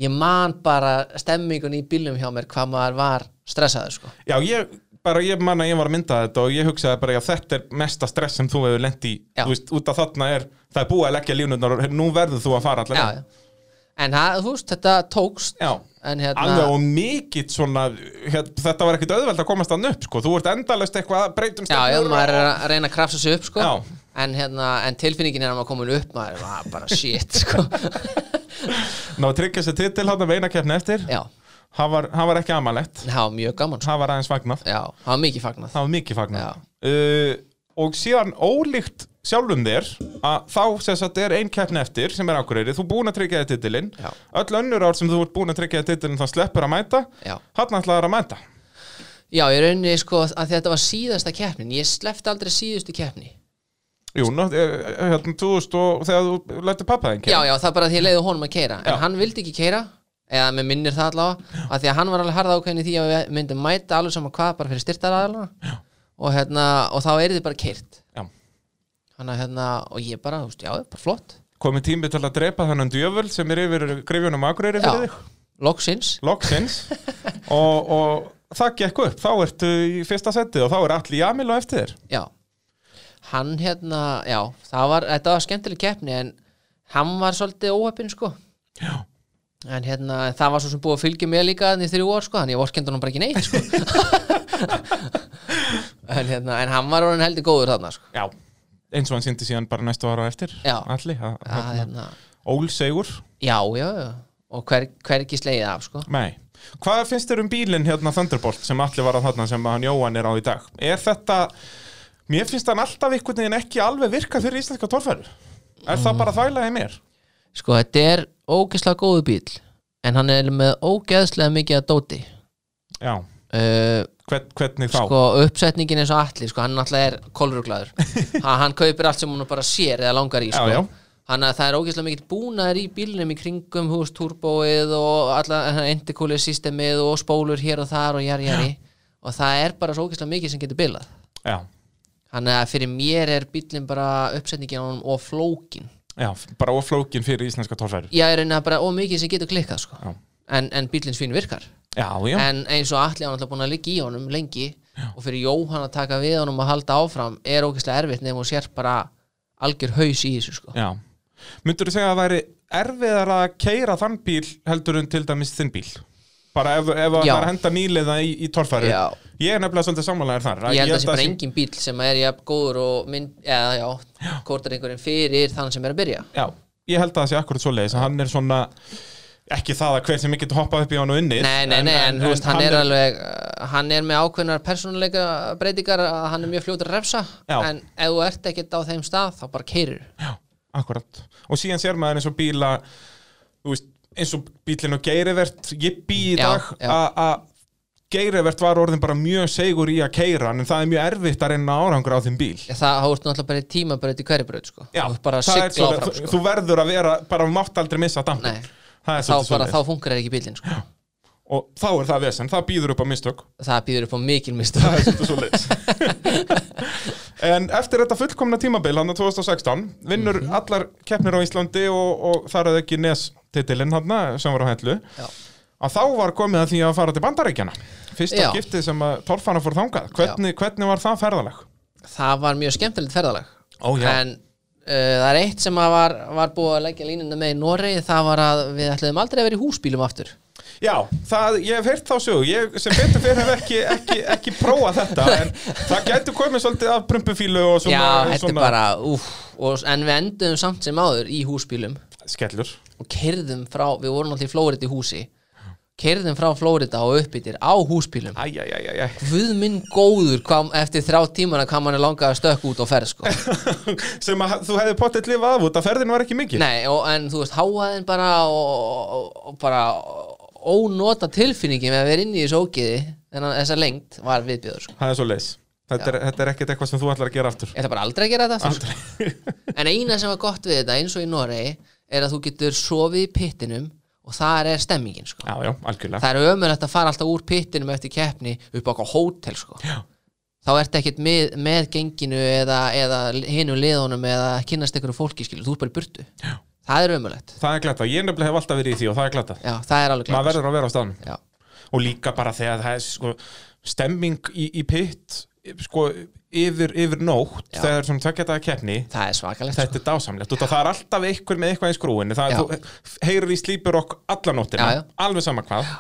ég man bara stemmingun í bílnum hjá mér hvað maður var stressaður sko.
Já, ég bara, ég man að ég var að mynda þetta og ég hugsaði bara, já, þetta er mesta stress sem þú hefur lent í,
Já.
þú veist, út að þarna er það er búið að leggja lífnurnar og nú verður þú að fara allar
já, já. en það, þú veist, þetta tókst
Já.
en hérna
alveg og mikill svona hér, þetta var ekkit auðveld að komast hann upp sko. þú ert endalaust eitthvað að um breytum
já, já,
stefnur
maður er að reyna að krafsa sig upp sko.
Já.
en, hérna, en tilfinningin er að maður komin upp maður er bara, bara shit sko.
ná að tryggja sér titil hann með eina keppni eftir
já,
hann var, hann var ekki amalett,
það var mjög gaman sko.
hann var aðeins fagnað
já, það var mikið fagnað
það var mikið fagnað
Já.
uh, og síðan ólíkt sjálfum þér að þá sem sagt er ein keppni eftir sem er ákvörðið, þú er búin að tryggja þér titilinn
Já.
öll önnur ár sem þú ert búin að tryggja þér titilinn þá sleppur að mæta,
Já.
hann ætlaður að mæta
já, ég rauninni sko að því þetta var síðasta keppnin ég slefti aldrei síðustu keppni
Jú, ná, hérna, þú veist og þegar þú lættir pappa þengi
Já, já, það er bara að því að leiði honum að keira
Já.
En hann vildi ekki keira Eða með minnir það allavega að Því að hann var alveg harða ákveðin í því að við myndum mæta alveg saman hvað bara fyrir styrtaraðalina og, hérna, og þá er þið bara keirt
Já.
Þannig að hérna, og ég bara, þú veist, já, bara flott
komið tími til að drepa þennan djöful sem er yfir grifjunum akureyri fyrir
Já,
þig
loksins
loksins og, og það gekk upp, þá ertu í fyrsta setið og þá er allir jamil og eftir þér
Já Hann hérna, já, það var, þetta var skemmtileg keppni en hann var svolítið óheppin sko
Já.
En hérna, það var svo sem búið að fylgja mér líka þannig þrjú ár sko, þannig ég vorkendi honum bara ekki neitt sko en, hérna, en hann var orðin heldur góður þarna sko
Já, eins og hann sýndi síðan bara næstu ára á eftir
Já.
allir, að-
það,
að-
hérna,
ólsegur
Já, já, já og hver, hver ekki slegið af sko
Nei, hvað finnst þér um bílinn hérna Thunderbolt sem allir var að þarna sem hann Jóhann er á í dag er þetta, mér finnst hann alltaf einhvern veginn ekki alveg virka fyrir íslenska torfæru er
Mm.
það bara þvælaði mér?
Sko, þetta er ógeðslega góðu bíl en hann er með ógeðslega mikið að dóti
Já,
uh,
Hvern, hvernig þá?
sko, uppsetningin eins og allir sko, hann náttúrulega er kolruglaður ha, hann kaupir allt sem hún bara sér eða langar í sko.
Já, já.
hann að það er ógeðslega mikill búnaður í bílnum í kringum hús turboið og alla endikúlið systemið og spólur hér og þar og jari jari og það er bara svo ógeðslega mikið sem getur bilað
Já,
þannig að fyrir mér er bílinn bara uppsetningin á hann og flókin
já, bara oflókin fyrir íslenska torfæru
ég er einnig að bara ómikið sem getur klikkað sko.
Já.
en, en bílinn svín virkar
Já, já
en eins og allir hann alltaf búin að liggja í honum lengi og fyrir Jóhann að taka við honum að halda áfram er ógeðslega erfitt nefnum og sér bara algjör haus í þessu sko.
Já. Myndur þú segja að það væri erfiðar að keira þann bíl heldur en til dæmis þinn bíl? Bara ef, ef að það
Já.
er að henda nýliða í, í torfæru
Já.
Ég er nefnilega svolítið sammálaðir þar
ég held að það sé bara
sé-
engin bíl sem er jafn góður og mynd, eða já, kortar einhverjum fyrir þann sem er að byrja
Já, ég held að það sé akkurat svoleiðis að Hann er svona, ekki það að hver sem getur hoppað upp í hann og unnið
Nei, nei, nei, en, þú veist, hann, er alveg uh, hann er með ákveðnar persónuleika breytingar, að hann er mjög fljótur að refsa
Já.
en ef þú ert ekkert á þeim stað þá bara keirir
Já, akkurat Og síðan sér maður eins og bíla þú veist, eins og bílinn og geirivert ég bý í
Já,
dag
já.
að að geirivert var orðin bara mjög segur í að keira hann, en það er mjög erfitt að reyna árangur á þeim bíl
það þá ertu náttúrulega bara í tímabraut í hverju braut sko.
Já,
þú ert bara að
það er
sigla
svolítið-
áfram
þú,
sko.
þú verður að vera, bara mátt aldrei missa dampin
Nei,
Það er
þá,
svolítið
bara,
svolítið
þá funkar ekki bílinn sko.
Og þá er það vesen, það býður upp á mistök
það býður upp á mikil mist
Það er svolítið svolítið En eftir þetta fullkomna tímabil, hann 2016, vinnur
Mhm.
allar keppnir á Íslandi og, og þar að ekki nes titilinn hann sem var á hætlu.
Já.
Að þá var komið að því að fara til Bandaríkjana. Fyrsta
Já.
skiptið sem að torfana fór þangað. Hvernig, hvernig var það ferðalag?
það var mjög skemmtilegt ferðalag
Ó, já.
en uh, það er eitt sem að var, var búið að leggja línuna með í Noregi það var að við ætluðum aldrei að vera í húsbílum aftur
Já, það, ég hef heyrt þá sög, ég sem betur fyrir hef ekki, ekki, ekki prófað þetta, en það gætu komið svolítið af prumpufílu og svona,
já, þetta er
svona
bara úf, og, en við enduðum samt sem áður í húsbílum
skellur.
og kerðum frá, við vorum alltaf í Flórida í húsi kerðum frá Flórida og uppbyttir á húsbílum
Æ, æ, æ, æ, æ.
Guð minn góður hvað, eftir þrjá tímana hvað mann er langað að stökk út og ferð sko.
sem að þú hefði pottet lifað af út að ferðin var ekki mikil
Nei, og, en þú veist, háaðin bara og, og, og bara ónota tilfinningin með að vera inni í þessu ógiði en að þessa lengt var viðbjöður sko.
það er svo leis þetta er, þetta er ekkert eitthvað sem þú ætlar að gera aftur
Ég ætla bara aldrei að gera þetta aftur, sko. En eina sem var gott við þetta, eins og í Noregi er að þú getur sofið í pittinum og þar er stemmingin sko.
já, já, algjörlega
Það er ömurlegt að fara alltaf úr pittinum eftir keppni upp á okkur hótel sko.
Já.
Þá ertu ekkert með, með genginu eða, eða hinu liðunum eða kynnast ykkur fólki skilur, þú ert bara í burtu Já. Það er ömurlegt
það er glata, ég nefnilega hef alltaf verið í því og það er glata
Já, það er alveg
maður
glæður
verður að vera á staðnum
Já,
og líka bara þegar það er sko, stemming í, í pitt sko, yfir, yfir nótt
Já.
þegar svona tökjataða keppni
það er svakalegt sko.
þetta er dásamlegt, út af það er alltaf einhver með eitthvað í skrúinu, það er
Já.
þú heyrir í slípur okk alla nóttina,
Já, já.
alveg sama hvað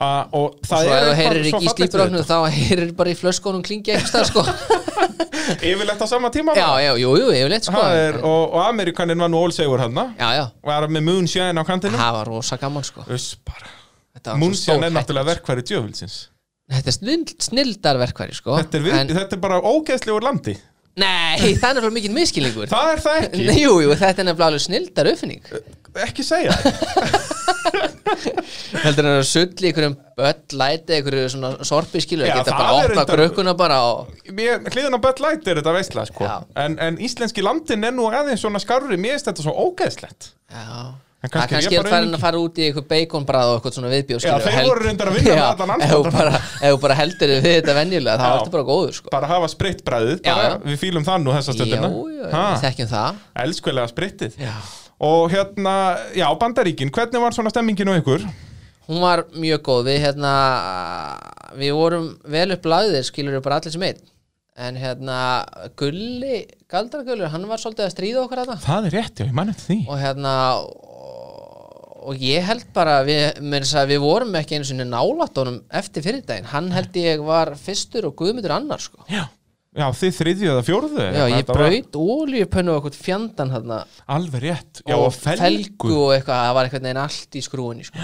uh, og
og
það
svo ef
er
þú
svo
heyrir ekki í
fallegt við
slíprófnu þá heyrir bara í flöskunum klingja ekki stað sko
þetta. yfirleitt á sama tíma
já, já, jú, jú, yfirleitt sko
Það er, og, og Amerikanin var nú ólsegur hann
já, já,
var með Moonshine á kantinum
það var rosa gaman sko
Uss bara
Þetta var svo
Moonshine er
stórhætt.
náttúrulega verkværi djöfulsins
þetta er snild, snildarverkværi sko
þetta er, við,
en,
þetta er bara ógeðslegur landi
nei, það er nefnilega mikið miskilingur
það er það ekki,
jú, jú, þetta er nefnilega alveg snildar uppfinning
ekki segja það.
heldur hann að sull í einhverjum böll læti, einhverju svona sorpi skilu
Já,
geta
það
bara
er
opna
reyndar-
grökkuna bara og
Mér- hliðin á Bud Light er þetta veistla sko.
Já.
en, en íslenski landin er nú aðeins svona skarri, mér finnst þetta svo ógeðslegt
Já,
En kannski er
það er
ég
kannski
bara
að fara að
auðmýkinn.
fara út í eitthvað beikonbræð og eitthvað svona viðbjóð
Já,
skilur,
þeir
held-
voru reyndar að vinna með
Já,
allan anskotan.
Ef þú bara, ef þú bara heldur þig við þetta venjulega,
Já.
þá ertu bara góður sko.
bara hafa sprittbræðið,
Já,
bara,
já.
við fýlum það nú þessa
Já, já,
stundina
já,
Ha,
við þekkjum það
elskulega sprittið
já.
og hérna, já, Bandaríkin hvernig var svona stemmingin á ykkur?
Hún var mjög góð, við hérna við vorum vel upp lagðir skilur við bara allir sem einn en hérna, Gulli Galdragullur, hann var svolítið að stríða okkur að það
það er rétt, já, ég mann eftir því
og hérna og, og ég held bara við, meira þess að við vorum ekki einu sinni nálat honum eftir fyrir daginn, hann held ég var fyrstur og guðmyndur annar sko
Já, já þið þriðju eða fjórðu
Já, ég
Þetta var
braut ólíupönnu og eitthvað fjandan hérna
Alveg rétt, já og felgu,
og eitthvað, það var eitthvað neginn allt í skrúinni sko.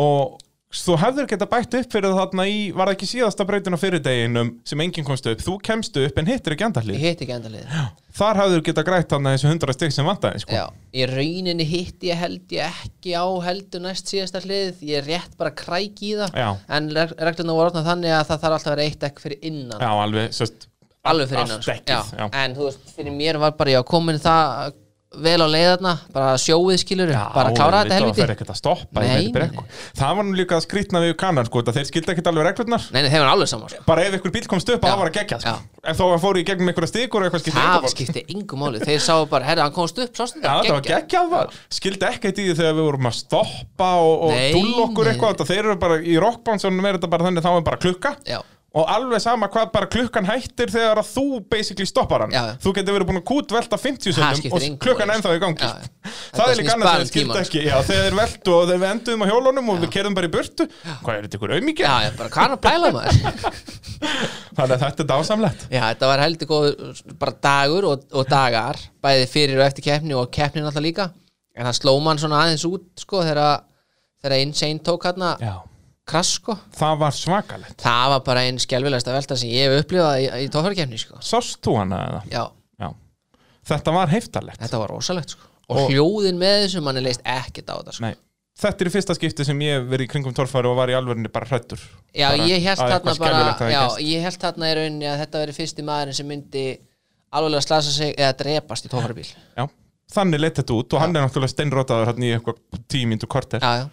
Og þú hefður geta bætt upp fyrir þarna í Var það ekki síðasta brautin á fyrir deginum sem enginn komst upp Þú kemst upp en hittir ekki
ég
andarlið
hitti ekki endalið
Þar hefður geta grætt þarna þessu 100 stygg sem vantaði sko.
Já, í rauninni hitti ég held ég ekki á heldur næst síðasta hlið ég rétt bara kræk í það
Já.
en reglunum voru orðnað þannig að það þarf alltaf að vera eitt ekk fyrir innan
já alveg, sérst
alveg fyrir innan
allt
sko.
dekkið, já.
en þú veist, fyrir mér var bara ég að komin það vel á leiðarna bara sjóið skilur, bara klára þetta
Það fer
helviti
ekkert að stoppa í
Nei,
neinni
nei,
brekku. Það var nú líka að skrýtna við kannan sko, að Þeir skildi ekkert alveg reglurnar
Nei, nei, þeir var alveg saman sko.
Bara ef ykkur bíl komst upp, það var að gegja sko. Ef þá fóru í gegnum einhverja stikur og eitthvað skipti engu
það
máli.
skipti yngu máli, þeir sáu bara herra, hann komst upp, sástu
Já, þetta var
geggjað.
geggjað var Skildi ekkert í því þegar við vorum að stoppa og, og
Nei,
dúlla okkur
nei.
eitthvað þetta, Þeir eru bara í rockbánsunum er þetta bara þannig þá er bara klukka
Já.
Og alveg sama hvað bara klukkan hættir þegar að þú basically stoppar hann
Já.
Þú getur verið búin að kútvelta 50
Ha,
sekundum
skiptir
og
engu
klukkan
máli,
ennþá í gangi
Já,
sko.
já.
Það
Þetta
er líka
snýst
annað
bara
sem þeir
um
skildi
tímann,
ekki Já, þegar þeir veltu og þegar við endum á hjólunum og við kerðum bara í burtu Hvað er þetta ykkur auðmikið?
Já, já, bara hvað er að pæla maður
Þannig að þetta er dásamlegt
Já, þetta var heldur góð bara dagur og, og dagar bæði fyrir og eftir keppni og keppnin alltaf líka en það sló mann svona aðeins út sko þegar, þegar Insane tók hérna
Já,
krass sko
það var svakalegt
það var bara einn skelfilegasta velta sem ég hef upplifað í, í tófhörkeppni sko
Sást þú hana eða?
Já,
Já Þetta var heiftalegt
þetta var rosalegt sko og,
Og-
hljóðin með þessu manni leist ekkert á þetta sko
Nei, þetta er í fyrsta skipti sem ég hef verið í kringum torfæri og var í alvörinni bara hrættur
Já,
bara,
ég held
að
þarna
eitthvað skelfilegt
bara
hafi
já,
gerst.
ég held þarna í rauninni að þetta veri fyrsti maðurinn sem myndi alveg að slasa sig eða drepast í tófhörbíl Já,
já, þannig leitt þetta út og hann er náttúrulega steinrótaður hann í eitthvað tímindu korter
já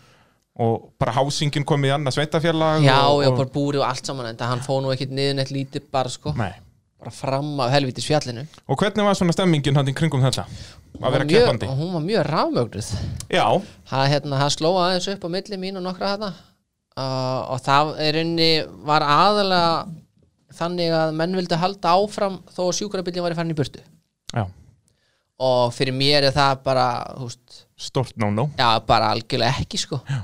og bara hásingin komið í annað sveitafjallag
Já,
og,
já,
og,
bara búri og allt saman en það hann fóð nú ekkert niður neitt lítið bara sko
Nei,
bara fram af helvitis fjallinu
Og hvernig var svona stemmingin hann í kringum þetta? Að vera
mjög,
keppandi?
og hún var mjög rafmögnuð
Já,
það, hérna, það sló aðeins upp á milli mín og nokkra þarna uh, og það er unni var aðalega þannig að menn vildi halda áfram þó að sjúkrabillin var í farin í burtu
já,
og fyrir mér er það bara húst,
stort no-no
já, bara algjörlega ekki sko já.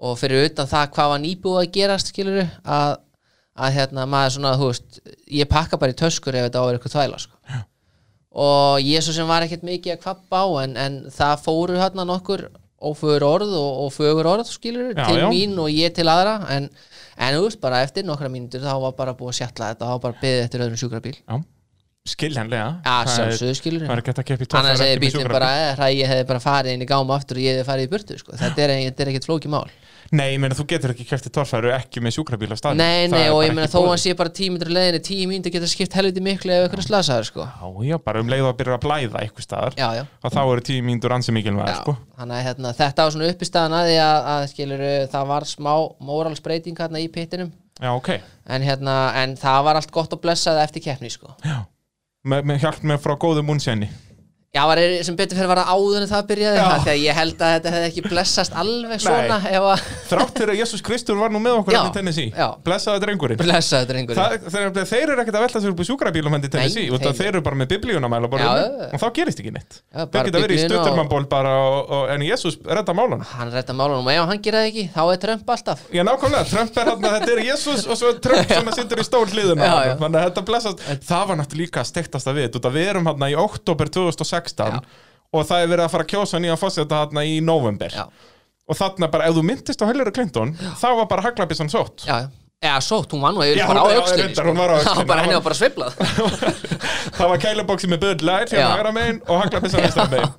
og fyrir utan það hvað var nýbúið að gerast skilur að, að hérna, maður svona húst, ég pakka bara í töskur ef þetta á er eitthvað þvæla sko já. og ég svo sem var ekkert mikið að kvappa á en, en það fóru hérna nokkur ófögur orð og, og fögur orð skilur
Já,
til
já.
mín og ég til aðra en, en þú veist bara eftir nokkra mínútur þá var bara búið að sjalla þetta þá var bara beðið eftir öðrum sjúkrabíl
Já, skiljanlega
Já,
Það er-
sjálfsögur skilur
Það er ekki hægt að keppa í töffara
annars hefði
ekki með
bílinn
sjúkrabíl.
bara að ég hefði bara farið inn í gáma aftur og ég hefði farið í burtu sko. þetta, er, þetta er ekkert flókið mál
Nei, ég meina þú getur ekki kæft í torfæru ekki með sjúkrabíl á staðnum
nei,
Það
nei,
er
og
bara
ég meina
ekki
þó
í
hann sé bara tíu myndur leðinni tíu myndur geta skipt helviti miklu ef ykkur er slasaður sko.
boði. Já, já, bara um leið að byrja að blæða eitthvað staðar
já, já,
og þá eru tíu mínútur ansi mikilvæg
já.
sko.
Þannig, að, hérna, þetta var svona uppistaðan að því að, að skilur, það var smá moralsbreyting hérna í pittinum
Já, ok
en, hérna, en það var allt gott og blessað eftir keppni sko.
með, með hjálp með frá góðu munnsjæni
Já, var, er- sem betur fyrir var það áður en það byrjaði
Já.
það, því að ég held að þetta hefði ekki blessast alveg svona ef að
Þrátt fyrir að Jésús Kristur var nú með okkur
Já,
hérna í Tennessee
já.
Blessaði drengurinn
blessaði drengur
Það, þeir, þeir eru ekkert að velta sér upp í sjúkrabílum hendi í Tennessee
Nei,
út af
þeir-
þeir eru bara með biblíuna mæla
Já, já, já.
og þá gerist ekki neitt
Já,
þeir
bara
geta verið í
Biblíuna og-
stuttermannból bara og, og, en Jésús redda málan
hann redda málunum og ef hann gera það ekki þá er Trump alltaf
Já, nákvæmlega, Trump er hann þetta er Jésús og svo er Trump sem að sittur í stól hliðina
Já,
á honum.
já.
Þannig að þetta blessast Það var náttúrulega líka að stektast að við út að við erum hann í oktober 2016 og það er verið að fara að kjósa nýjan fósita hann í november
já,
og þarna bara, ef þú myndist á Hillary Clinton þá var bara Haglabisson sótt
já, já, eða sótt, hún var nú yfir
Já,
bara á
já,
aukslinni
reyndar, hún var á öxlinni,
bara
hún
henni
var-
var bara sveiflað
það var kælubóksi með Bud Light hérna
Já.
hægra megin og Haglabisson hægra megin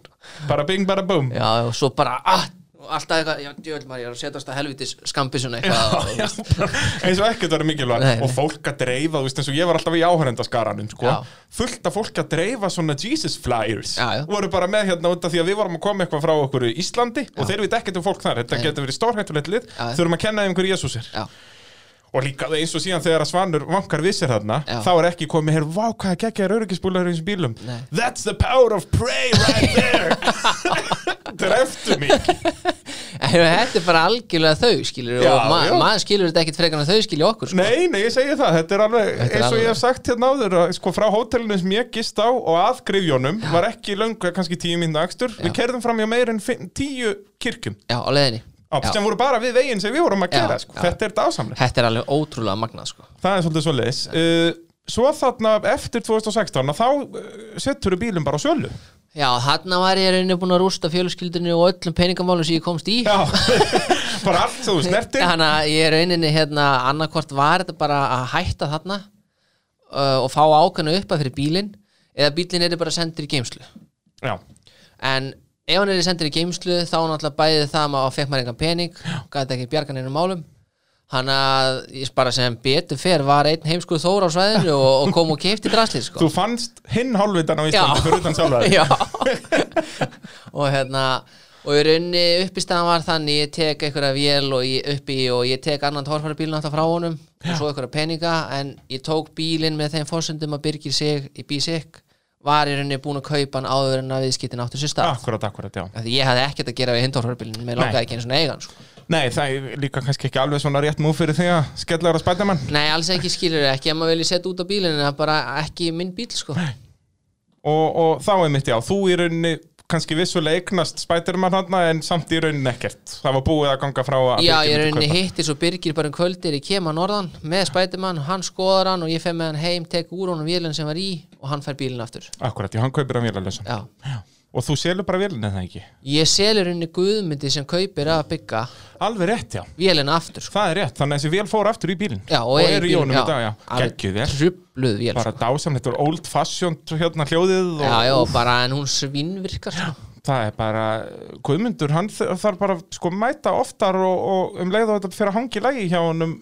bara bing, bara boom
já, og svo bara ah, og alltaf eitthvað, já, djöld maður, ég er að setjast að helvitis skambisuna eitthvað og-
Já, bara eins og ekkert verið
Nei,
mikilvægt
nei.
og fólk að dreifa, þú veist eins og ég var alltaf í áhörendaskaranum sko.
Já.
fullt af fólk að dreifa svona Jesus flyers
Já, já.
voru bara með hérna út af því að við vorum að koma eitthvað frá okkur í Íslandi og þeir veit ekkert um fólk þar, þetta getur verið stórhættulegt lið
Já, já.
þurfum að kenna þeim hverju Jesus er
já,
og líka eins og síðan þegar að Svanur vankar vissir þarna,
Já.
þá er ekki komið hér vá hvað geggjaður öryggisbúlar í þessum bílum
Nei.
that's the power of pray right there dreftu mig
en þetta er bara algjörlega þau skilur,
Já,
og ma
já.
maður skilur þetta ekkit frekar en þau skilja okkur sko.
Nei, nei, ég segi það, þetta er alveg
Þetta er
eins og
alveg-
ég hef sagt hérna áður að sko frá hótelinu sem ég gist á og að grifjónum var ekki löngu, eh, kannski tíu mínútu akstur við kerðum fram hjá meir en fimm- tíu kirkjum
já, á leiðinni
á,
Já.
sem voru bara við veginn sem við vorum að
Já,
gera sko.
já.
þetta er dásamlega,
þetta er alveg ótrúlega magnað sko.
það er svolítið svo leis uh, Svo þarna eftir 2016 að þá uh, settur við bílum bara á sjölu
já, þarna var ég rauninni búin að rústa fjölskyldinu og öllum peningamálum sem ég komst í
Já, bara allt sem þú snertir
Þannig að ég er rauninni hérna annarkvort var þetta bara að hætta þarna uh, og fá ákveðna uppa fyrir bílinn eða bílinn er bara sendur í geimslu
Já,
en ef hann er sendur í geimslu þá náttúrulega bæði það að maður fekk maður engan pening gæti ekki bjargan einum málum hann að ég bara sem betur fer var einn heimskuð þóra á svæðinu og, og kom og keipti draslið sko
þú fannst hinn hálfvitan á Íslandi fyrir utan sjálfæði
Já Og hérna Og í raunni uppistaðan var þannig ég tek einhverja vél og ég uppi og ég tek annan torfærabílinn alltaf frá honum og svo einhverja peninga en ég tók bílinn með þeim fórsöndum að Birgir sig í bísik var í rauninni búin að kaupa hann áður en að viðskiptin áttu sér stað
Akkurat, akkurat, já
Af Því ég hafði ekkert að gera við hinn torfærabílinn með langaði ekki einu svona eigan sko.
Nei, það er líka kannski ekki alveg svona rétt múf fyrir því að skellar á spædamann
Nei, alls ekki skilur ekki að maður vilji setja út á bílinn en það er bara ekki minn bíl sko.
og, og þá er mitt já, þú í rauninni kannski vissulega eignast Spiderman hann en samt í rauninni ekkert það var búið að ganga frá að Birgir
Já, ég
myndi
rauninni
kaupa.
hittir svo Birgir bara um kvöldir ég kem að norðan með Spiderman, hann skoðar hann og ég fer með hann heim, tek úr honum vélun sem var í og hann fær bílinn aftur
Akkurat, já, hann kaupir að vélalösa
Já.
og þú selur bara vélina það ekki
Ég selur henni guðmyndi sem kaupir að bygga
alveg rétt, já,
vélun aftur sko.
það er rétt þannig að þessi vél fór aftur í bílinn
já,
og,
er
er í
bílnum,
honum í dag, já,
Alveg
geggjuð vel
Trufluð vél
bara
sko.
dásamlegt og old fashioned hérna hljóðið og
Já, já, bara en hún svinnvirkar sko.
það er bara Guðmundur, hann þ- þarf bara sko mæta oftar og, og um leið og þetta fyrir að hangi lægi hjá honum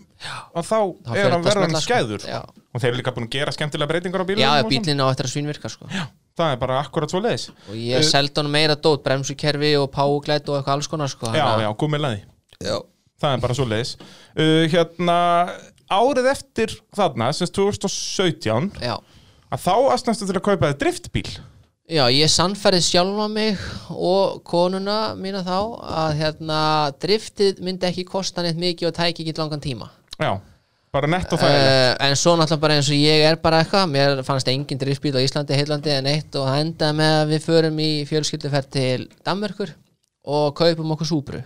og þá,
Þá
er
fer
hann
þetta að
verðan
smella, sko.
skæður
Já.
og þeir eru líka búin að gera skemmtilega breytingar á bílunum
Já,
og svona.
bílinn á eftir að svinnvirka sko.
það er bara akkurat svo leiðis
og ég seldi honum meira dót bremsukerfi og páuglætt og eitthvað alls konar sko.
já,
Þannig
já, gummilaði,
að- já.
það er bara svo leiðis uh, hérna, árið eftir þarna, semst 2017
já
að þá aðstæmstu til að kaupa þér driftbíl
Já, ég sannferði sjálfa mig og konuna mína þá að hérna, driftið myndi ekki kosta neitt mikið og tæki ekki langan tíma
Já, bara nett og þægilegt
uh, En svo náttúrulega bara eins og ég er bara eitthvað mér fannst engin driftbíl á Íslandi, Heillandi en eitt og það endaði með að við förum í fjölskylduferð til Danmörkur og kaupum okkur súbru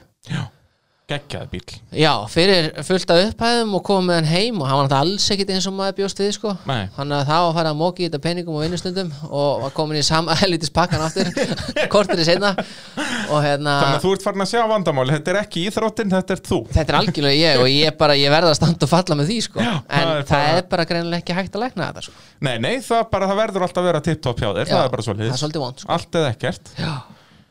Gekkjaði bíl
Já, fyrir fullt af upphæðum og komum með hann heim og hann var náttúrulega alls ekkit eins og maður bjóst við sko
Nei.
Þannig að það var að fara að móki í þetta peningum og vinnustundum og var komin í sama helvitis pakkan aftur kortir í seinna og hérna
Þannig að þú ert farin að sjá vandamáli, þetta er ekki íþróttin, þetta er þú
þetta er algjörlega ég og ég, bara, ég verða að standa og falla með því sko
Já,
en
það er
það,
bara-
er bara greinilega ekki hægt að lækna þetta sko.
Nei, nei, það, er bara, það verður alltaf að vera tipptopp hjá þér,
Já,
það er bara svo
það er svolítið vond sko.
Allt eða ekkert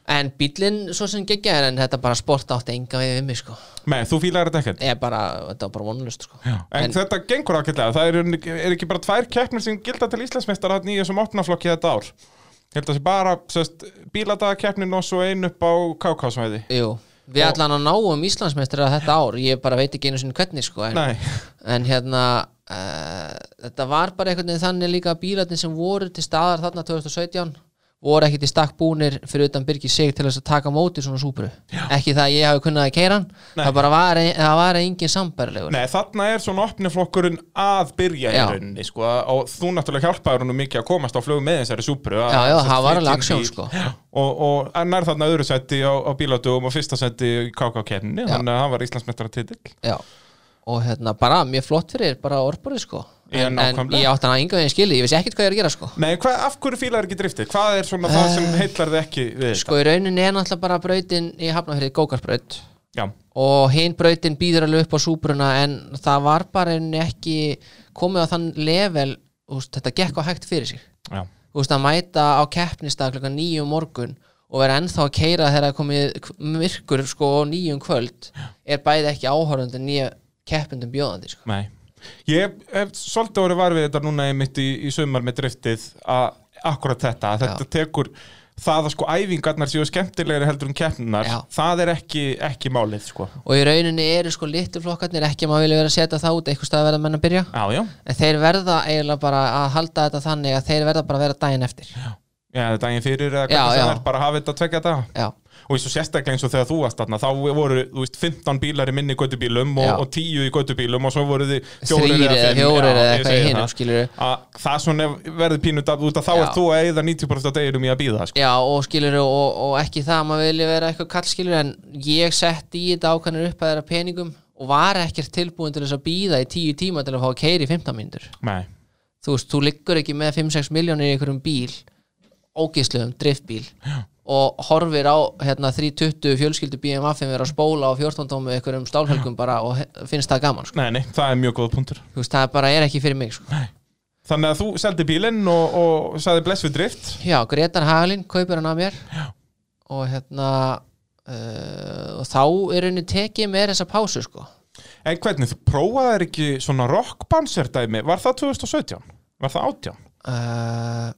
en bílinn svo sem geggja er en þetta bara sport átti enga við við mig sko
Nei, þú fílar þetta ekkert
ég bara, þetta var bara vonlust sko
en, þetta gengur ákveðlega, það er, er ekki bara tvær keppnir sem gilda til Íslandsmeistar hann í þessum opnaflokki þetta ár Ég held að það sé bara sest, bíladagakeppnin og svo einu upp á kákásvæði
Jú, við
Og-
allan að náum Íslandsmeistara þetta ár, ég bara veit ekki einu sinni hvernig sko, en,
Nei,
en hérna uh, þetta var bara einhvern veginn þannig líka að bílarnir sem voru til staðar þarna 2017 voru ekki til stakk búnir fyrir utan Birgir sig til þess að taka á móti svona súpru, ekki það að ég hafi kunnað að keira hann,
Nei.
það bara var, ein- það var engin sambærilegur,
nei, þarna er svona opniflokkurinn að byrja í
Já.
rauninni sko, og þú náttúrulega hjálpaður hún mikið að komast á flugum með þessari súpru að-
Já, já,
sest,
það
flytja
var alveg
inn
aksjón,
bíl.
sko.
Já, og, og en er þarna öðru seti á, á bíladugum og fyrsta seti í kákákeppninni
Já.
þannig að hann var Íslandsmeistaratitill
já og hérna bara mjög flott fyrir, bara orðbúrið sko
Já,
en, en
nákvæmlega.
ég átti hann að enga veginn skili, ég vissi ekkert hvað ég er að gera sko
Nei, hvað, af hverju fílar ekki driftið? Hvað er svona það sem heillar þið ekki við þetta?
Eh. sko í rauninni er náttúrulega bara brautin í hafnafyrði gókarbraut
Já,
og hinn brautin býður alveg upp á súbruna en það var bara en ekki komið á þann level úst, þetta gekk á hægt fyrir sig
já,
úst, að mæta á keppnistag klukkan nýju morgun og vera ennþá að keira þegar það er komið k- myrkur sko á nýjum kvöld er bæði ekki áhörðandi nýja keppindum bjóðandi sko.
nei Ég hef svolítið orðið var við þetta núna einmitt í, í sumar með driftið að akkurat þetta, að þetta tekur það að sko æfingarnar séu skemmtilegri heldur en keppninar,
Já.
það er ekki, ekki málið sko.
og í rauninni eru sko litlu flokkarnir ekki að maður vilja vera að setja það út eitthvað stað að vera menn að byrja
Já, já,
en þeir verða eiginlega bara að halda þetta þannig að þeir verða bara að vera daginn eftir
já daginn fyrir eða
Já,
hvernig sem
já.
það er bara að hafa þetta tvekja daga
já,
og eins og sérstaklega eins og þegar þú varst þarna þá voru, þú veist, 15 bílar í minni göttubílum og,
Já.
og 10 í göttubílum og svo voru þið fjórir
þrýri eða
fimm.
fjórir
Já,
eða
ég
eitthvað
segi
í
það.
hinum skilur
að það svona verður pínut af út að þá
Já.
er þú að eigða 90% af deginum í að býða sko.
Já og skilur og, og ekki það að maður vilja vera eitthvað kall skilur en ég sett í þetta ákvæmur upp að þeirra peningum og var ekkert tilbúin til þess að býða í tíu tíma til að fá að keiri í 15 mínútur
Nei,
þú veist, þú liggur ekki með 5-6 miljónir í einhverjum bíl ógisluðum, driftbíl Já. og horfir á hérna 320 fjölskyldu BMW fimm vera að spóla á 14 tómu einhverjum stálhelgum bara og he- finnst það gaman sko.
nei, nei, það er mjög góð punktur
þú veist, það bara er ekki fyrir mig sko.
Þannig að þú seldi bílinn og, og sagði bless við drift
Já, Gretar Haglin kaupir hann af mér og hérna uh, og þá er henni tekið með þessa pásu sko
En hvernig, þú prófaðir ekki svona rockbanserdæmi Var það 2017? Var það 18?
uh,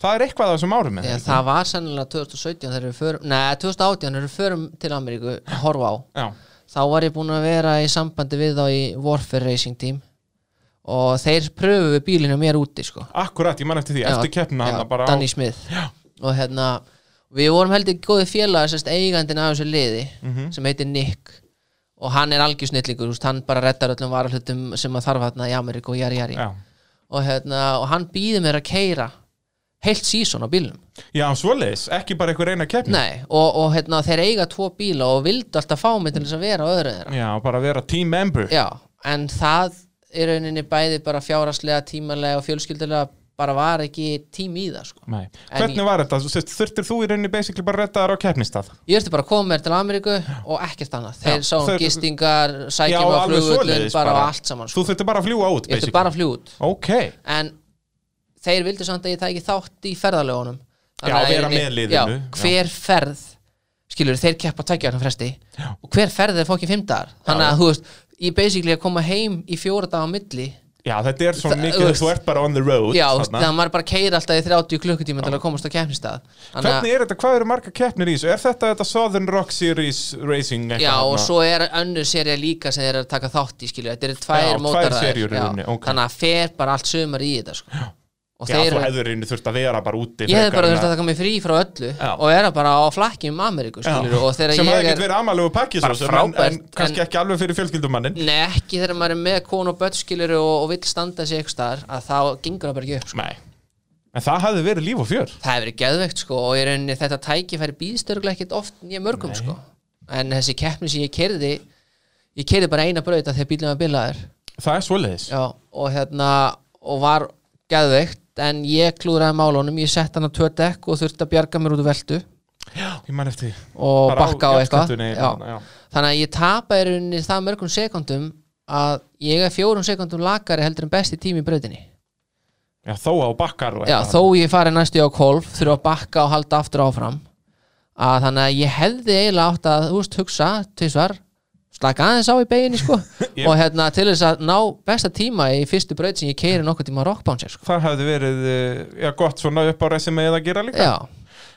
Það er eitthvað af þessum árum með
eða, það var sennilega 2017 þegar við förum, neða 2018 þegar við förum til Ameríku að horfa á
Já,
þá var ég búin að vera í sambandi við þá í Warfare Racing Team og þeir pröfu við bílinu mér úti sko
akkurat, ég man eftir því, eftir keppna hann bara á
Danny Smith og hérna, við vorum heldur góði félagar sérst eigandinn af þessu liði
Mhm.
sem heitir Nick og hann er algjörsnillingur, þú veist, hann bara rettar öllum varahlutum sem að þarf hérna í Ameríku og jari jari
Já,
og hérna, og hann býði mér að keira heilt sísón á bílnum
Já svoleiðis, ekki bara einhver eina keppni
Nei, og, og hérna, þeir eiga tvo bíla og vildu alltaf fá mig til þess að vera á öðru þeirra
Já, bara vera team member
Já, en það í rauninni bæði bara fjáraslega, tímanlega og fjölskyldulega bara var ekki tími í það sko.
Nei.
En
Hvernig var þetta? Þú veist, Þurftir þú í rauninni basically bara að redda þar á keppnistað?
Ég ertu bara að koma mér til Ameríku og ekkert annað Þeir
Já,
sáum
þeir-
gistingar,
Já,
sækjum á
alveg
flugullin
svoleiðis
bara á
bara.
allt saman sko.
Þú þurftir bara að fljúa út
Ég ertu bara að fljú út
Ok,
En þeir vildu samt að ég tæki þátt í ferðalögunum Þannig
Já,
að í
vera
rauninni-
með liðinu,
já,
já.
Hver ferð, skilur, þeir keppa tækja hann fresti
Já.
og hver ferð er fókið fimmdar Þannig að, þú veist, ég basically að koma heim í fjóra dag á milli
já þetta er svo
Það-
mikið
þú
að þú ert bara on the road
Já,
þarna.
þannig að maður bara keir alltaf í 30 klukkutíma til að komast á keppnistað
Hvernig er þetta, hvað eru marga keppnir í þessu? Er þetta þetta Southern Rock Series Racing? eitthvað
Já, og
þarna?
svo er önnur serið líka sem þeir eru að taka þátt í, skilju Þetta eru tvær
Já, tvær
mótarraðir.
seríur í
Já,
rauninni, ok.
Þannig að fer bara allt sömur í þetta sko. og
Já,
þeir,
þú hefur reynu þurft að vera bara úti
ég hef
frekar
bara
en
þurft að taka mig frí frá öllu
Já.
og vera bara á flakki um Ameríku
Já.
skilur, og þegar
sem hafði
ég
ekkert
er
verið amalegu pakki
Bara
svo sem, en, en
frábært,
kannski
en-
ekki alveg fyrir fjölskyldumannin
Nei, ekki þegar maður er með konu og börn skilur og, og vill standa sig eitthvað staðar að þá gengur það bara ekki upp sko.
Nei, en það hafði verið líf og fjör
það hefur verið geðveikt sko og í rauninni þetta tækifæri býðstörglega ekkit oft nýja mörgum sko en þessi keppni sem ég kerði ég kerði bara eina brauta þegar bílum var bilaður
Það er svoleiðis
Já, og hérna og var geðveikt en ég klúðraði málunum, ég sett hann á tvö dekk og þurfti að bjarga mér út úr veltu
Ég man eftir því.
og
Bara hérna, á
bakka á eitthvað
járnsléttunni,
Já.
já.
þannig að ég tapa í rauninni það mörgum sekundum að ég er fjórum sekundum lakari heldur en besti tími í brautinni
Já, þó á bakkar og
Já,
eitthvað.
þó ég fari næstu á kolf þurfa að bakka og halda aftur áfram að þannig að ég hefði eiginlega átt að þú veist, hugsa tvisvar slaka aðeins á í beginni sko
Ég-
og hérna til þess að ná besta tíma í fyrstu braut sem ég keiri nokkuð tíma rockbouncer sko.
Það hafði verið eh, já, gott svona upp á resumeið að gera líka
Já,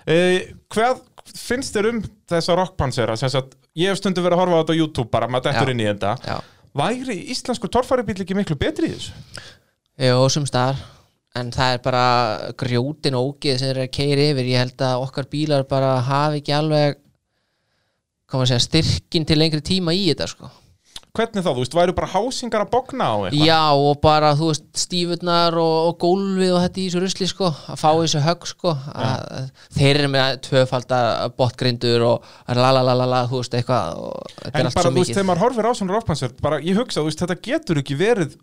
Uh, hvað finnst þér um þessa rockpansera? Sem sagt, ég hef stundu verið að horfa á þetta á YouTube bara, maður dettur
Já.
inn í þetta.
já,
Væri íslenskur torfaribíl ekki miklu betri í þessu?
jú, sem staðar en það er bara grjótin og ógið sem er að keiri yfir ég held að okkar bílar bara hafi ekki alveg koma að segja styrkin til lengri tíma í þetta sko
Hvernig þá, þú veist, væru bara hásingar að bogna á eitthvað?
Já og bara þú veist stífurnar og, og gólfið og þetta í þessu rusli sko að fá þessu högg sko að, að þeir eru með tvöfalda botgrindur og lalalala þú veist eitthvað og
En
þetta er
bara,
allt svo
þú veist,
mikið
þegar maður horfir á svona rockpansert, bara, ég hugsa, þú veist, þetta getur ekki verið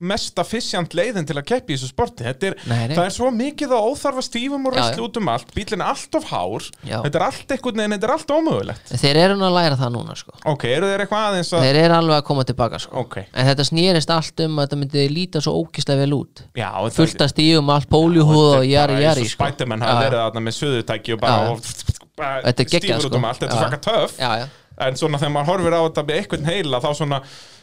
mesta fissjant leiðin til að keppi í þessu sporti. Þetta er,
Nei, nei.
það er svo mikið að óþarfa stífum og
Já,
rastli út um allt, bílinn er allt of hár,
Já.
þetta er allt eitthvað, en þetta er allt ómögulegt.
Þeir eru nú að læra það núna sko
Ok, eru þeir eitthvað aðeins að...
Þeir eru alveg að koma tilbaka sko
Ok,
En þetta snýrist allt um að þetta myndi líta svo ókislega vel út
já, þetta-
Fullt að stífum, allt póljuhúð og jari jari
sko. Spiderman hafa verið þarna með söðutæki og bara
Já.
og, bara
Þetta er geggjað,
stífur út um
sko.
allt, þetta er
Já.
svaka töff
Já, já,
en svona þegar maður horfir á þetta með einhvern heila þá svona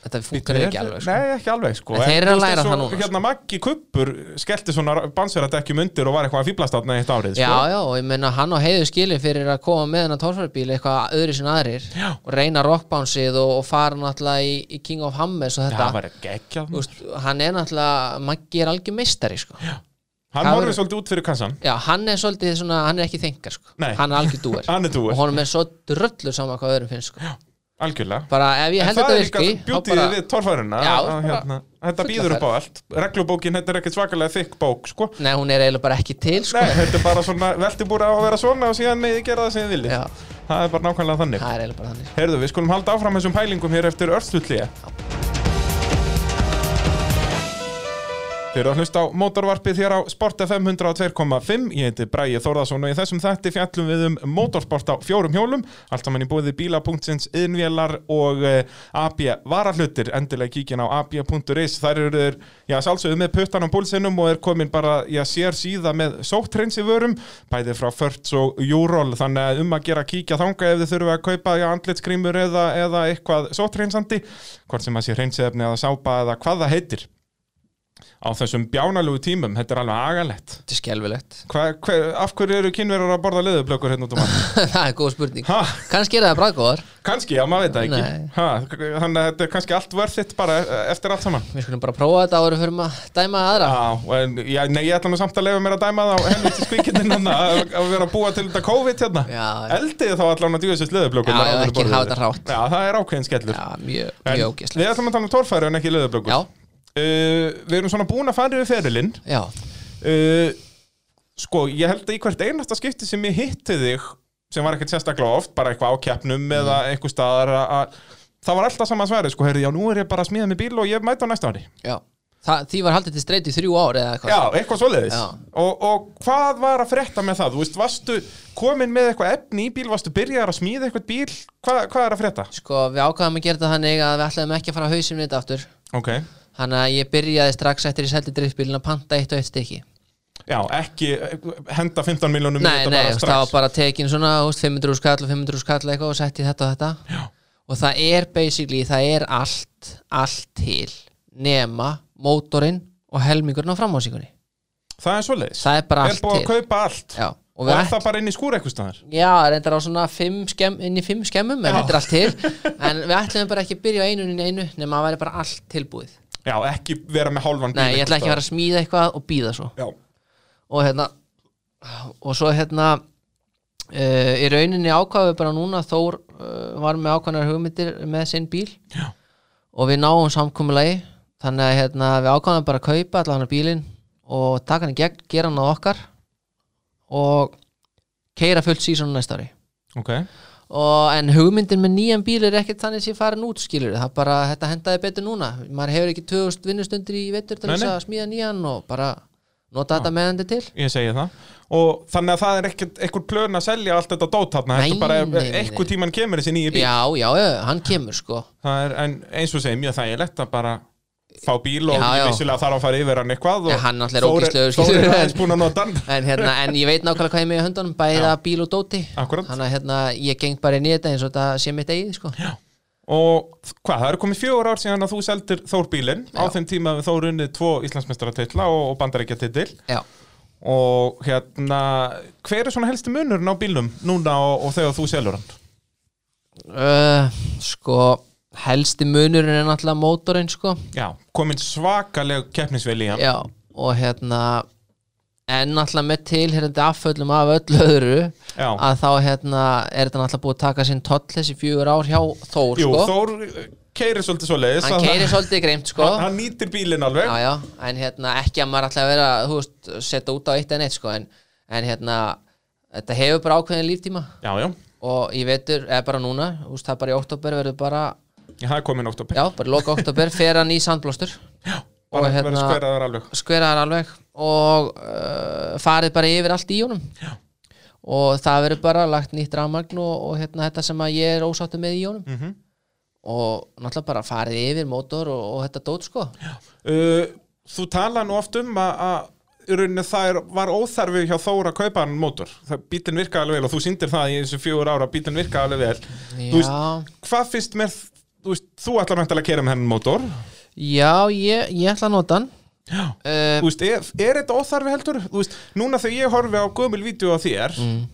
þetta funkar ekki alveg sko.
Nei, ekki alveg sko
En þeir eru að læra það núna, sko.
Hérna Maggi Kuppur skellti svona bansveradekkjum undir og var eitthvað að fýblast átna eitt árið
Já,
sko.
já, og ég meina hann á heiðu skilið fyrir að koma með hennar tórfærabíl eitthvað öðru sinna aðrir já. og reyna rockbánsið og, og fara náttúrulega í, í King of Hammers og þetta
það var geggjað
Þú
maður.
veist, hann er náttúrulega, Maggi er algjör meistari sko. já.
Hann
það
horfir
verður-
svolítið út fyrir kassan
hann er svolítið svona, hann er ekki þingar sko.
Nei.
hann er algjör dúer
Hann er dúer.
og honum er svo drullur saman hvað öðrum finnst sko.
Algjörlega
bara ef ég
En
held
það
þetta
er líka
virki þá
bjútið
bara,
við torfæruna
Já,
að- að
bara
hérna, Þetta
fulla
býður upp á
ferð.
allt Reglubókin, þetta er ekkert svakalega þykk bók sko.
nei, hún er eiginlega bara ekki til sko.
Nei, þetta er bara svona veltibúra á að vera svona og síðan meði gera það sem þið viljið
Já.
Það er bara nákvæmlega þannig
það er eiginlega bara þannig
Heyrðu, við skulum halda áfram þessum pælingum hér eftir örstutlíja Þið eru að hlusta á mótorvarpið hér á Sport FM 102.5 Ég heiti Bræði Þórðarsson og í þessum þætti fjallum við um mótorsport á fjórum hjólum Allt saman í búiði bíla.sins, yðnvélar og eh, AB varahlutir Endilega kíkin á ab.is Þær eru þeir, já, sálsögðu með puttan á púlsinum og er komin bara, já, sér síða með sóttreins í vörum Bæði frá Förts og Júról Þannig að um að gera kíkja þanga ef þið þurfa að kaupa, já, andlitsgrímur eða, eða eitthvað sóttreinsandi Hvort sem að sé hreinsefni eða sápa eða hvað það heitir á þessum bjánalögu tímum, þetta er alveg agalett
þetta er skelvilegt
hva, hva, af hverju eru kynverjar að borða leðublökur hérna út um allt?
það er góð spurning
Ha,
kannski er það bræðgóðar
kannski, já maður veit það
Nei.
ekki ha, þannig að þetta er kannski allt worth it bara e- eftir allt saman
við skulum bara prófa þetta áður en við förum að dæma aðra
Já, en, já, nei, ég ætla nú samt að leifa mér að dæma það á helviti skvíkindin hann að að vera að búa til þetta COVID hérna
Já.
Eldið þá allan að djúðisist leðublökur
Já, já, ekki hafa þetta hrátt.
Já, það er ákveðin skellur
Já, mjög,
En
mjög ógæslega
Við ætlum að tala um torfæri en ekki leðublökur
Já,
Við erum svona búin að fara yfir ferilinn
já,
Uh, sko, ég held að í hvert einasta skipti sem ég hitti þig sem var ekkert sérstaklega oft, bara eitthvað á keppnum
Mm.
eða eitthvað staðar að- að það var alltaf saman sverið, sko, heyrðu, já, nú er ég bara að smíða með bíl og ég mæta á næsta ári
já. Þa, Því var haldið til streit í þrjú ár eða eitthvað
Já, eitthvað svoleiðis
Já.
og, og hvað var að frétta með það? Þú veist, varstu komin með eitthvað efni í bíl, varstu byrjar að smíða eitthvað bíl Hva, hvað er að frétta?
Sko, við ákvaðum að gera þetta þannig að við ætlaðum ekki að fara á hausinn við þetta aftur
Ok,
Þannig að ég byrjaði strax eftir ég seldi driftbílinn að panta eitt og eitt stykki
já, ekki eh, henda 15 miljónum í
Nei,
þetta bara
nei, þú veist, það var
strax
bara tekin svona þú veist, 500 skall og 500 skall eitthvað og setti þetta og þetta já. Og það er basically, það er allt, allt til nema mótorinn og helmingurinn á framhásíkunni
Það er svoleiðis,
Það er bara
er
allt
búið að
til
kaupa allt
Já, og
og
við
er það bara inn í skúr eitthvað staðar
Já, reyndar á svona fimm skemm, inn í fimm skemmum en
Já.
þetta er allt til en við ætlum bara ekki að byrja á einu inn í einu nema að væri bara allt tilbúið
Já, ekki vera með hálfan bíl
Nei, ég
einhvers
ætla ekki að vera að smíða eitthvað og býða svo
staðar. Já,
og hérna og svo hérna uh, í rauninni ákvaðu bara núna Þór uh, var með ákvæðanar hugmyndir með sinn bíl
Já.
og við náum samkomulagi þannig að hérna, við ákvaðum bara að kaupa allan bílinn og taka hann í gegn, gera hann að okkar og keira fullt sísonu næsta ári
ok,
og en hugmyndin með nýjan bíl er ekkert þannig sem ég farin út skilur það bara, þetta hendaði betur núna maður hefur ekki 2000 vinnustundir í vettur til
Nei,
þess
nei.
að smíða nýjan og bara nota þetta meðan þetta er til
ég segi það og þannig að það er ekkert einhver plön að selja allt þetta dót þarna,
Nei,
þetta er bara
nei, nei, nei.
einhver tíman kemur þessi nýju bíl
já, já, já, hann kemur sko
það er, en eins og segja mjög þægilegt að bara fá bíl og
Já, já.
vissilega þarf að fara yfir hann eitthvað og
Já, hann náttúrulega
Þór
er ógeðslegur,
Þór er
skilur við.
aðeins búin að nota hann
en, hérna, en ég veit nákvæmlega hvað ég er með í höndunum bæða bíl og dóti
Akkúrat.
þannig að hérna, ég geng bara inn í þetta eins og þetta sé mitt eigið sko.
og hvað, það eru komið fjögur ár síðan að þú seldir Þór bílinn á
Já.
þeim tíma við Þór unnið tvo Íslandsmestaratitla og, og bandaríkjatitil
já,
og hérna hver er svona helsti munurinn á bílnum núna og, og þegar þú selur hann
uh, sko helsti munurinn er náttúrulega mótorinn sko
já, komin svakaleg keppnisvel í hann
já, og hérna en náttúrulega með tilherandi afföllum af öllu öðru
Já.
að þá hérna er þetta náttúrulega búið að taka sinn toll þessi fjögur ár hjá Þór
Jú,
sko.
Þór keirir svolítið svo leiðis
hann keiri svolítið greimt sko.
hann, hann nýtir bílinn alveg
já, já, en hérna ekki að maður ætla að vera þú veist, setja út á eitt en eitt sko, en, en hérna þetta hefur bara ákveðin líftíma
já, já,
og í vetur, eða bara núna þú veist, það er bara í oktober verður bara
já það er komin ótt
já, bara loka oktober, fer hann í sandblástur
og
og
hérna, verður
hérna-
skveraðar alveg
skveraðar alveg og uh, farið bara yfir allt í honum Já. og það verður bara lagt nýtt rafmagn og, og hérna þetta sem að ég er ósáttu með í honum
Mhm.
og náttúrulega bara farið yfir mótor og, og þetta dót sko
uh, Þú tala nú oft um að, að í rauninni það er, var óþarfi hjá Þór að kaupa hann mótor það, bílinn virkaði alveg vel og þú sýndir það í þessu fjögur ára bílinn virkaði alveg vel Þú veist-
Já,
Hvað finnst mér, þú, veist, þú ætlar mæntalega að kera með hennan mótor
já ég, ég ætla að nota hann
Já
uh,
Þú veist, er, er þetta óþarfi heldur? Þú veist, núna þegar ég horfi á gömul vídeo á þér
Mm.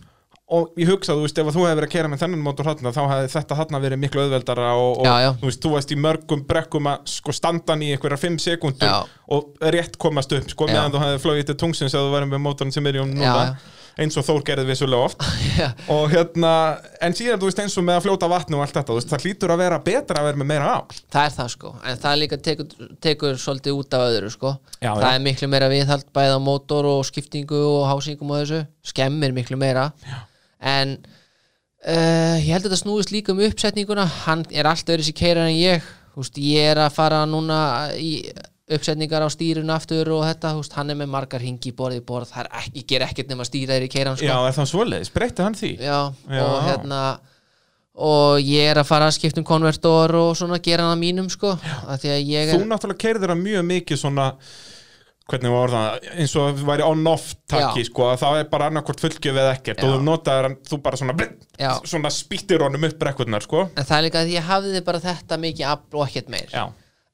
og ég hugsa, þú veist, ef að þú hefði verið að kera með þennan mótor hátna, þá hefði þetta hátna verið miklu auðveldara og, og
Já, já.
þú veist, þú veist í mörgum brekkum að sko standa hann í einhverja 5 sekundum
Já.
og rétt komast upp, sko,
Já.
meðan þú hefði flogið til tungsins að þú verið með mótorn sem er í hún núna
Já, já.
eins og Þór gerði vissulega oft
Já.
og hérna, en síðan þú veist eins og með að fljóta á vatni og allt þetta, þú veist, það hlýtur að vera betra að vera með meira á
það er það sko en það líka tekur, tekur svolítið út af öðru sko
Já,
það
já.
er miklu meira viðhald bæða mótor og skiptingu og hásingum og þessu skemmir miklu meira já. en uh, ég held að þetta snúist líka um uppsetninguna hann er allt öðru sér keirar en ég Húst, ég er að fara núna í uppsetningar á stýrun aftur og þetta Húst, hann er með margar hingi í borðið borð það er ekki, ég ger ekkert nema að stýra þeir í keiran sko
Já, er það svoleiðis, breytti hann því?
já,
Já.
og hérna og ég er að fara að skipta um konvertor og svona gera hann að mínum sko af því að ég
þú
er
náttúrulega keirðir það mjög mikið svona hvernig var það, eins og það væri on-off takki,
Já.
sko, að það er bara annarkvort fylgjöf eða ekkert
Já.
og þú notaðir hann, þú bara svona, blinn,
Já.
svona spýttir honum upp brekkurnar, sko
en það er líka að ég hafði bara þetta mikið afl og ekkert meir
Já,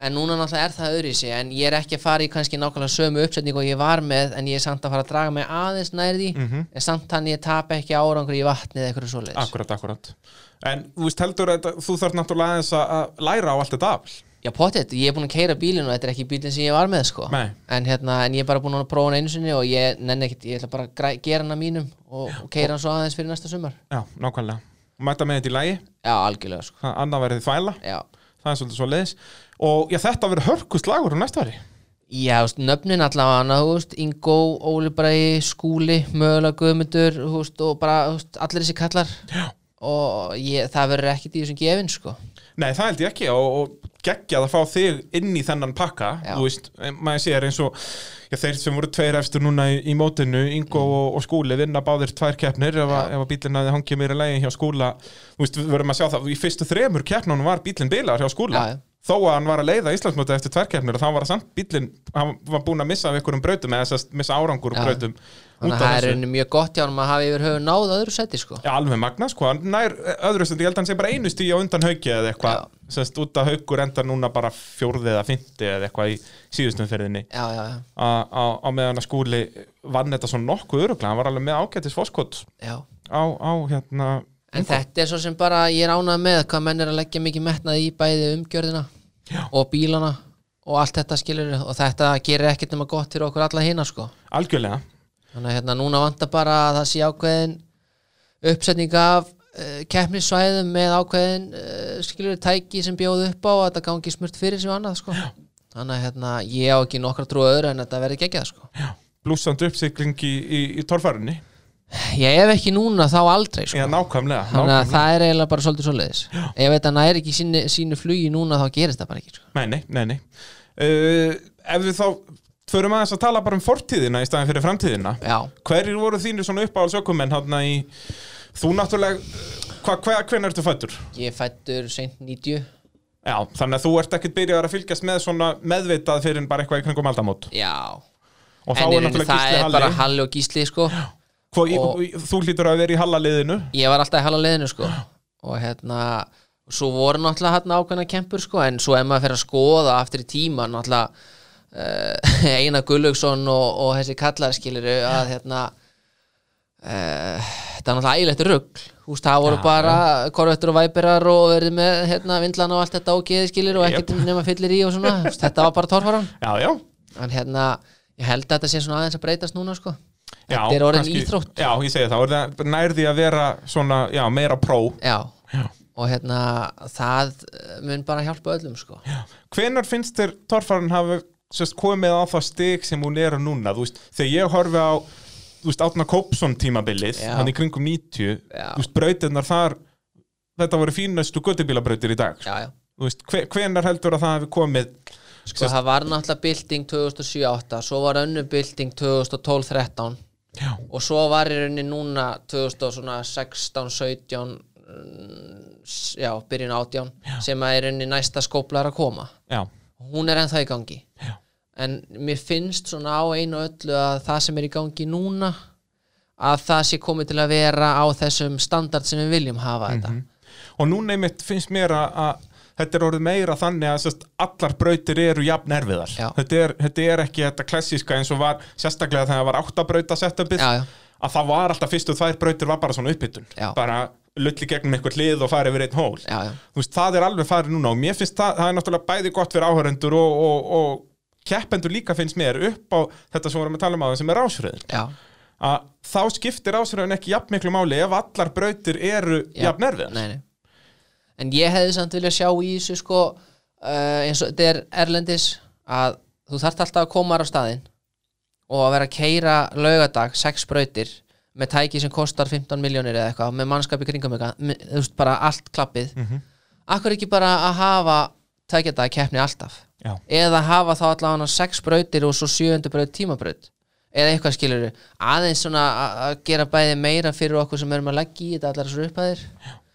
en núna náttúrulega er það öðru í sig en ég er ekki að fara í kannski nákvæmlega sömu uppsetningu og ég var með en ég er samt að fara að draga mig aðeins nærði mm -hmm. en samt þannig ég tapa ekki árangur í vatni eða eitthvað svoleiðis
Mhm. akkurat, akkurat En þú veist heldur að þetta- þú þarf náttúrulega aðeins að- að læra á allt þetta afl
Já, potið, ég er búin að keira bílinn og þetta er ekki bílinn sem ég var með sko.
Nei.
en, hérna, en ég er bara búin að prófa hann einu sinni og ég nenni ekkit, ég ætla bara að græ- gera hann að mínum og, og keira hann svo aðeins fyrir næsta sumar
Já, nákvæmlega, mæta með þetta í lægi
Já, algjörlega sko.
annað verið þvæla,
Já,
það er svolítið svo leiðis og já, þetta verður hörkust lagur um næsta ári
já þú veist, nöfnin allavega hana, þú veist, Ingo, Óli Bræði, Skúli mögulega Guðmundur, þú veist, og bara þú veist, allir þessi kallar já. og ég, það verður ekkit í þessum gefin sko.
Nei, það held ég ekki og, og geggjað að fá þig inn í þennan pakka
Já.
þú veist, eh, maður sér eins og já, þeir sem voru tveir efstur núna í, í mótinu Ingo
Mm.
og, og Skúli vinna báðir tvær keppnir ef, að- ef að bílinn hafði hangið meira lægi hjá Skúla þú veist, við verðum að sjá það, í fyrstu þremur keppnunum var bílinn bilar hjá Skúla
Já, já.
þó að hann var að leiða Íslandsmóti eftir tvær keppnir og þá var að samt bílinn, hann var búinn að missa af einhverjum brautum eða þess að missa árangur
Já.
og brautum út
þannig að
af
það er
þessu.
rauninni mjög gott hjá hann að hafa yfir höfu náð öðru seti sko.
Já, alveg magna, sko, hann nær öðru stundi, ég held að hann sé bara einu stíu á undan hauki eða eitthvað, semst út að haukur endar núna bara fjórði eða fymti eða eitthvað í síðustum ferðinni
Já, já, já,
á á- á meðan að skúli vann þetta svona nokkuð öruglega, hann var alveg með ágætis fórskot
já.
á, á hérna
En þetta er svo sem bara ég er ánað með hvað menn er að leggja mikið metnað í bæði umgjörðina
Já.
og bílana og allt þetta skilur og þetta gerir ekkert nema gott fyrir okkur alla hina sko.
algjörlega
þannig að hérna núna vantar bara að það sé ákveðin uppsetning af uh, keppnissvæðum með ákveðin uh, skilur tæki sem bjóð upp á að þetta gangi smurt fyrir sem annað sko. þannig að hérna ég á ekki nokkra trú á öðru en þetta verði geggjað sko.
blúsandi uppsikling í, í, í torfærinni
ég ef ekki núna þá aldrei sko.
Já, nákvæmlega,
þannig að
nákvæmlega.
það er eiginlega bara svolítið svoleiðis ef þetta næri ekki sínu, sínu flugi núna þá gerist það bara ekki sko.
Nei, nei, nei, nei. Uh, Ef við þá förum aðeins að tala bara um fortíðina í staðin fyrir framtíðina
já,
Hverjir voru þínir svona uppáhaldsökumenn hérna í Þú náttúrulega, uh, hva, hva, hvenær ertu fættur?
ég er fættur seint 90
Já, þannig að þú ert ekkert byrjaðar að fylgjast með svona meðvitað fyrir en bara eitthvað í kringum aldamót
já,
Og þá
en
er
er það
náttúrulega Gísli
er
Halli
bara Halli og Gísli sko.
Hvo, í,
og-
í- Þú hlýtur að vera í Hallaliðinu
ég var alltaf í Halla leiðinu sko. og hérna svo voru náttúrulega hérna ákveðna kempur sko, en svo ef maður fer að skoða aftur í tíma náttúrulega uh, Einar Gullaugsson og, og þessi kallar skiliru að hérna uh, þetta er náttúrulega ægilegt rugg Húst, það voru bara korvettur og væperar og verið með hérna, vindlan og allt þetta og geði skilir og
Jep.
ekkert nema fyllir í og svona Þú veist, þetta var bara torfaran
Já, já
en hérna, ég held að þetta sé svona aðeins að breytast núna sko.
Já,
þetta er orðin
kannski-
íþrótt
Já, ég segi það, orðin- nærði að vera svona, já, meira pró
já.
Já.
og hérna það eh, mun bara hjálpa öllum sko.
Hvenar finnst þér torfarinn hafi sérst, komið á það stig sem hún er á núna þú veist, þegar ég horfi á þú veist, Átna Kópsson tímabilið
Já.
hann í kringum 90,
Já.
þú veist, brautirnar þar þetta voru fínastu göttubílabrautir í dag sko.
já, já.
þú veist, hve- hvenar heldur að það hafi komið
Sko, það var náttúrulega bylting 2007-2008 svo var önnu bylting 2012-13
já,
og svo var í rauninni núna 2016-17 mm, já, byrjun 18 sem að í rauninni næsta skópla er að koma
já,
hún er ennþá í gangi
Já.
en mér finnst svona á einu og öllu að það sem er í gangi núna að það sé komið til að vera á þessum standard sem við viljum hafa þetta
Mhm. og núna einmitt finnst mér að, að þetta er orðið meira þannig að sérst, allar brautir eru jafn erfiðar
Já.
þetta er, þetta er ekki þetta klassíska eins og var sérstaklega þegar það var áttabrauta setupið
Já, já.
að það var alltaf fyrstu þær brautir var bara svona uppbytun
Já.
bara lulli gegnum eitthvað hlið og farið yfir einn hól
já, já,
Þú veist, það er alveg farið núna og mér finnst það, það er náttúrulega bæði gott fyrir áhörendur og, og, og keppendur líka finnst mér upp á þetta sem vorum að tala um á sem er rásröðin
já,
að þá skiptir rásröðin ekki jafn miklu máli ef allar brautir eru
já.
jafn erfiðar
nei, nei. en ég hefði samt vilja sjá í þessu sko uh, eins og þetta er erlendis að þú þarft alltaf að koma þar á staðinn og að vera að keira laugadag, sex brautir með tæki sem kostar 15 miljónir eða eitthvað með mannskapi kringum eitthvað með- þú veist bara allt klappið mm
Mhm.
-hmm. akkur ekki bara að hafa tækja dag keppni alltaf
Já.
eða hafa þá allavega sex brautir og svo sjöundu braut tímabraut eða eitthvað skilur aðeins svona að- að gera bæði meira fyrir okkur sem erum að leggja í þetta allar þessu upphæðir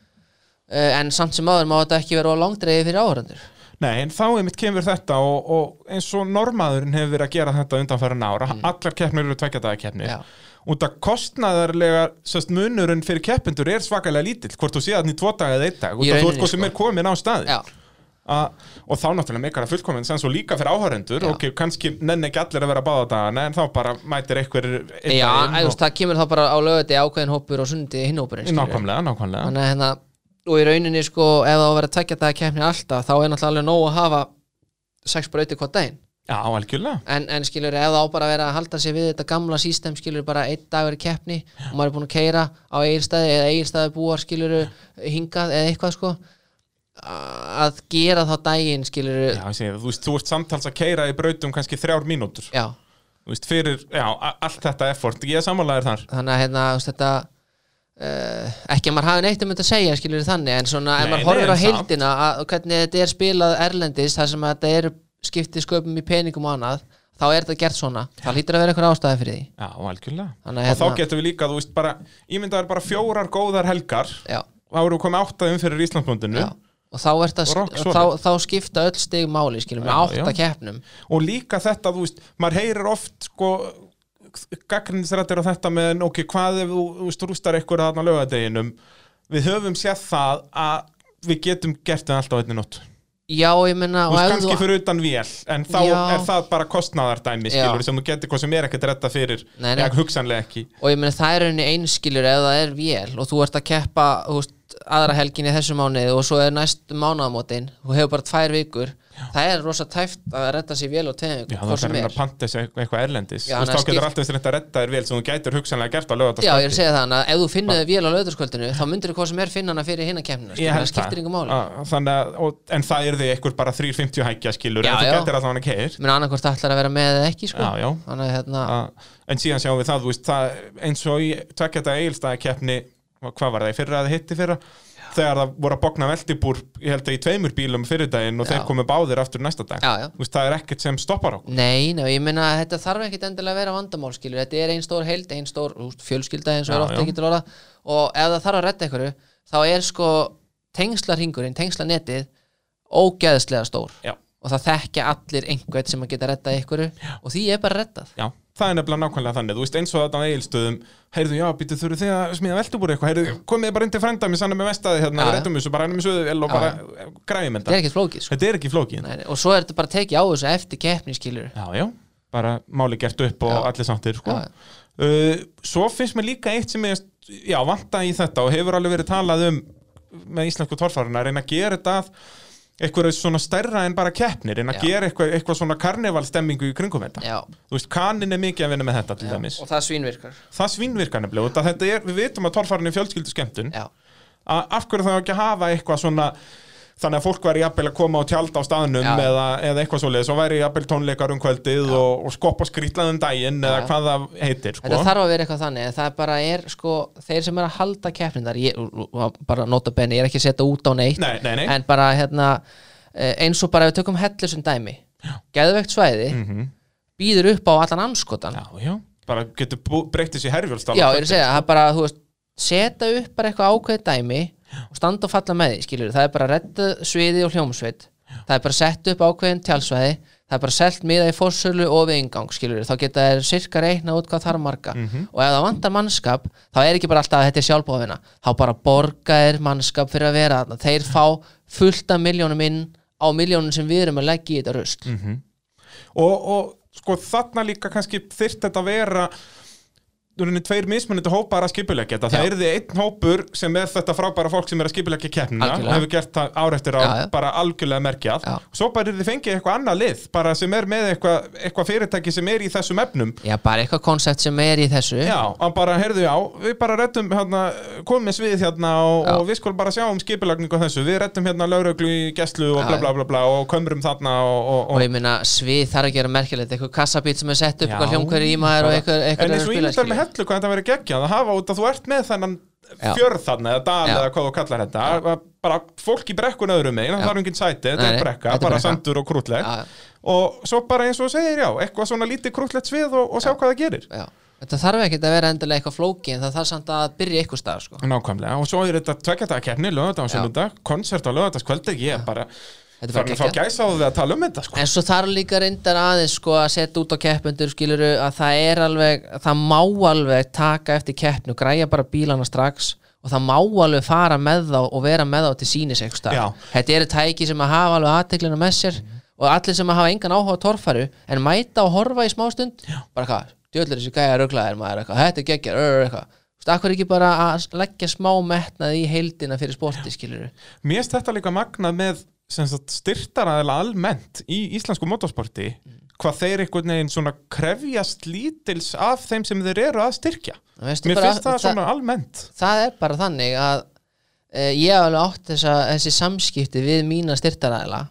uh, en samt sem áður má þetta ekki vera á langdreiði fyrir áhörandur
Nei, en þá einmitt kemur þetta og, og eins og normaðurinn hefur verið að gera þetta undanfæran ára, allar keppnir eru tveggjadagakeppnir
Mm. Já.
út að kostnaðarlega sérst, munurinn fyrir keppendur er svakalega lítill hvort þú sé þarna í tvo daga eða einn dag út
Í
að þú ert
rauninni,
hvað sem
sko.
er komin á staði
já,
A, og þá náttúrulega meikar að fullkomin sem svo líka fyrir áhörendur
Já.
ok, kannski nenni ekki allir að vera báða dagana en þá bara mætir einhver einn daginn
já en, þú
og,
veist, það kemur þá bara á lögati ákveðin hópur og sundi hinn hópurinn skilurðu.
nákvæmlega, nákvæmlega
Þannig að hérna, og í rauninni sko ef það á að vera tekja þetta að kemni alltaf þá er náttúrulega alveg nóg að hafa sex brautir hvað daginn
já, algjörlega
en, en skilur, ef það á bara að vera að halda sig við þetta gamla sístem, skilur, bara einn dagur í keppni og maður er búin að keira á eigirstaði eða eigirstaði búar, skilur, hingað eða eitthvað, sko a- að gera þá daginn, skilur
já, ég segi það, þú, veist, þú ert samtals að keira í brautum kannski þrjár mínútur
já,
Þú veist, fyrir, já, a- allt þetta effort ég samanlega er þar
þannig að hérna, þú veist, þetta uh, ekki að maður hafi neitt um þetta að segja, skilur þannig, en svona,
Nei,
ef maður
nei,
horfir
en
á
samt.
heildina að, og hvernig þetta er spilað erlendis, þar sem að þetta eru skiptið sköpum í peningum og annað þá er þetta gert svona, það lítur að vera eitthvað ástæði fyrir því
Já, algjörlega.
Þannig að
og þá
hérna-
getum við líka, þú veist, bara ímyndaður bara fjórar góðar helgar
já,
þá eru við komið áttaðum fyrir Íslandsbundinu
Já, og þá, ert að,
Og rock
og þá,
solid.
þá skipta öll stig máli skilum, með
Já,
átta
já.
keppnum
og líka þetta, þú veist, maður heyrir oft sko, gagnrinsrættir á þetta með, ok, hvað ef þú, þú veist, rústar eitthvað þarna á laugardeginum við höfum séð það að við getum gert það allt á einni nótt þú
já, ég menna og
veist,
ef
kannski
þú,
fyrir utan vél en þá
Já.
er það bara kostnaðardæmi
Já.
skilur, sem þú getur hvað sem er ekkert retta fyrir
Nei, nei.
eða hugsanlega ekki
og ég menna það er henni einskilur ef það er vél og þú ert að keppa þú veist, veist, aðra helgin í þessu mánuði og svo er næstu mánuðamótin þú hefur bara tvær vikur það er rosa tæft að redda sér vel og tveim
Já,
vikur,
það
hvort
er
sem
reyna
er
að panta þessu eitthvað erlendis
Já,
Þú veist,
hann
þá
er
getur
skipt-
alltaf reynt að redda þér vel sem þú gætir hugsanlega gert að lögða
Já, ég er að segja það, þannig að ef þú finnur þið vel á löðurskvöldinu þá myndir þið hvað sem er finna hana fyrir hinna kemna
Ég
það
held
skiptir yngur máli
Að- Þannig að, og, en það er því eitthvað bara 3.50 hækja skilur
Já,
en þú
já.
gætir að það hann ekki heyr
menn annarkvort ætlar að vera með eða ekki sko.
Já, já.
þannig að hérna,
Ah, En síðan sjáum við það, þú veist, það eins og í tvekkjata eigilstæðakeppni hvað var það, í fyrra eða hitti fyrra þegar það voru að bókna veltibúr ég held að í tveimur bílum fyrir daginn og
Já.
þeir komu báðir aftur næsta dag
já, já
Þú veist, það er ekkert sem stoppar okkur
Nei, nei, ég meina að þetta þarf ekkit endilega að vera vandamál skilur, þetta er einn stór heild, einn stór úst, fjölskylda eins og
Já,
er ofta
já.
ekki til orða og ef það þarf að redda einhverju þá er sko tengslarhingurinn, tengslanetið ógeðslega stór
Já.
og það þekkja allir einhvern sem að geta reddað einhverju og því er bara reddað
Já, það er nefnilega nákvæmlega þannig, þú veist, eins og þetta á eigilstöðum heyrðu, já, býtu, þurfu þið að smíða veltubúr eitthvað heyrðu, komið bara inn til frænda mér sannig með vestaði hérna,
Já, já.
réttum þessu, bara ennum þessu vel og
Já,
bara græfum
þetta
þetta
er ekkit flókið sko.
Þetta er ekki flókin
nei, nei, og svo er þetta bara tekið á þessu eftir keppni skilur
Já, já, bara máli gert upp og
Já.
allir sáttir, sko
Já.
Uh, svo finnst mér líka eitt sem ég já, vanta í þetta og hefur alveg verið talað um með íslensku torfarina, reyna að gera þetta að eitthvað svona stærra en bara keppnir reyna að
Já.
gera eitthvað, eitthvað svona karnevalstemmingu í kringum þetta,
Já.
þú veist, kanin er mikið að vinna með þetta til dæmis,
og það svínvirkar
það svínvirkar nefnilega út að þetta er, við vitum að torfarin er fjölskyldu skemmtun
Já.
af hverju það ekki að hafa eitthvað svona þannig að fólk væri jafnvel að koma á tjald á staðnum
Já.
eða, eða eitthvað svoleiðis og væri jafnvel tónleikar um kvöldið og, og skopp og skrýtlaðum daginn eða
Já.
hvað það heitir sko.
Þetta þarf að vera eitthvað þannig en það bara er sko, þeir sem er að halda keppnindar ég, bara nota benni, ég er ekki að setja út á neitt
Nei, nei, nei,
en bara hérna eh, eins og bara ef við tökum hellu sem dæmi geðveikt svæði,
Mhm.
býður upp á allan anskotan, já,
já, já bara getur bú- breytt þessi herfjölstala
ég er að segja það er bara, þú veist, setja upp bara eitthvað ákveðið dæmi og standa og falla með því skilur, það er bara redda sviði og hljómsveit það er bara sett upp ákveðin tjálsvæði það er bara selt miða í fórsölu og við ingang skilur, þá geta þær sirka reikna út hvað þarf marga og ef það vantar mannskap þá er ekki bara alltaf að þetta er sjálfbóðina þá bara borga er mannskap fyrir að vera þarna þeir fá fullt af miljónum inn á miljónum sem við erum að leggja í þetta rusl
og, og sko þarna líka kannski þyrft þetta að vera í rauninni tveir mismunandi hópar að skipulegja þetta það
Já.
er því einn hópur sem er þetta frábæra fólk sem er að skipulegja keppnina
Algjörlega.
og hefur gert það ár eftir á
Já, já.
bara algjörlega merkjað
Já.
svo bara er því fengið eitthvað annað lið bara sem er með eitthvað, eitthvað fyrirtæki sem er í þessum efnum
já, bara eitthvað konsept sem er í þessu
Já, hann bara, heyrðu, já, við bara reddum hérna, komum með svið hérna og,
Já.
og við skulum bara sjá um skipulagningu á þessu við reddum hérna lauröglu í gæslu og
Já,
bla
já.
bla bla bla og kömrum þarna og, og,
og ég meina svið þarf að gera merkilegt eitthvað kassabít sem er sett upp,
Já.
eitthvað hljómkværi í maður og eitthvað,
en
eitthvað
eins
er
og
að spila,
ímyndar með
skilur.
hellu hvað þetta verið geggjað að hafa út að þú ert með þennan
Já.
fjörð þarna eða dal
Já.
eða hvað þú kallar þetta að- að bara fólk í brekkun öðrum megin það
Já.
þarf enginn sæti, þetta
Nei,
er
nei,
brekka,
þetta er
bara
brekka.
sandur og krútlegt
Já, já.
og svo bara eins og þú segir já eitthvað svona lítið krútlegt svið og, og sjá hvað það gerir
Já. Þetta þarf ekki að vera endilega eitthvað flóki en það þarf samt að byrja eitthvað stað sko.
Nákvæmlega, og svo er þetta tveggjata keppni, lögðardag og
Já.
sunnudag, konsert á lögðardagskvöldi, ég er bara
Þetta er
farin að
bara
fá
geggjað.
gæsa á því að tala um þetta sko.
En svo þarf líka reyndar aðeins sko, að setja út á keppendur skiluru að það er alveg það má alveg taka eftir keppni og græja bara bílana strax og það má alveg fara með þá og vera með þá til sínis
Já.
eitthvað stað. Þetta eru tæki sem að hafa alveg aðteklina með sér og allir sem að hafa engan áhuga á torfaru en mæta og horfa í smástund Já. bara hvað, djöðlir þessi gæja ruglaðir maður eitthvað, þetta er geggjar, ör, eitthvað Þú veist, akkur ekki bara að leggja smá metnað í heildina fyrir sporti, skilur
Mér erst þetta líka magnað með sem sagt, styrtaraðilega almennt í íslensku motorsporti
Mm.
hvað þeir einhvern veginn svona krefjast lítils af þeim sem þeir eru að styrkja
Veistu
Mér
bara-
finnst það
það-
svona almennt
það er bara þannig að uh, ég hef alveg átt þessa, þessi samskipti við mína styrtaræðila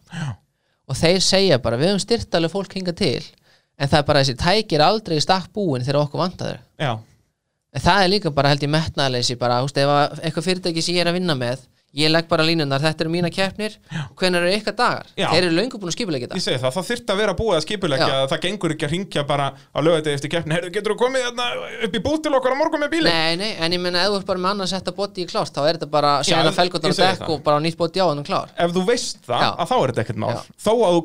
og þeir segja bara við höfum styrtaræðileg fólk hinga til en það er bara þessi tækir aldrei í stakk búin þegar okkur vantaður
Já,
en það er líka bara held ég metnaðleysi bara, húst, ef að eitthvað fyrirtæki sem ég er að vinna með ég legg bara línunar, þetta eru mína keppnir hvenær eru ykkar dagar,
Já.
þeir eru löngu búin að skipulegja
ég
þetta
segi það, það þyrfti að vera búið að skipulegja
Já.
að það gengur ekki að ringja bara á lögadegi eftir keppni Heyrðu, getur þú komið þarna upp í búð til okkar á morgun með bílinn?
Nei, nei, en ég meina ef þú ert bara með annars þetta bóti í klárt þá er þetta bara
Já,
sérna
ég- ég
felgundar og
segi
dekk
það.
og bara nýtt bóti á hann klár
Ef þú veist það,
Já.
að þá er þetta ekkert mál
Já.
Þó að þú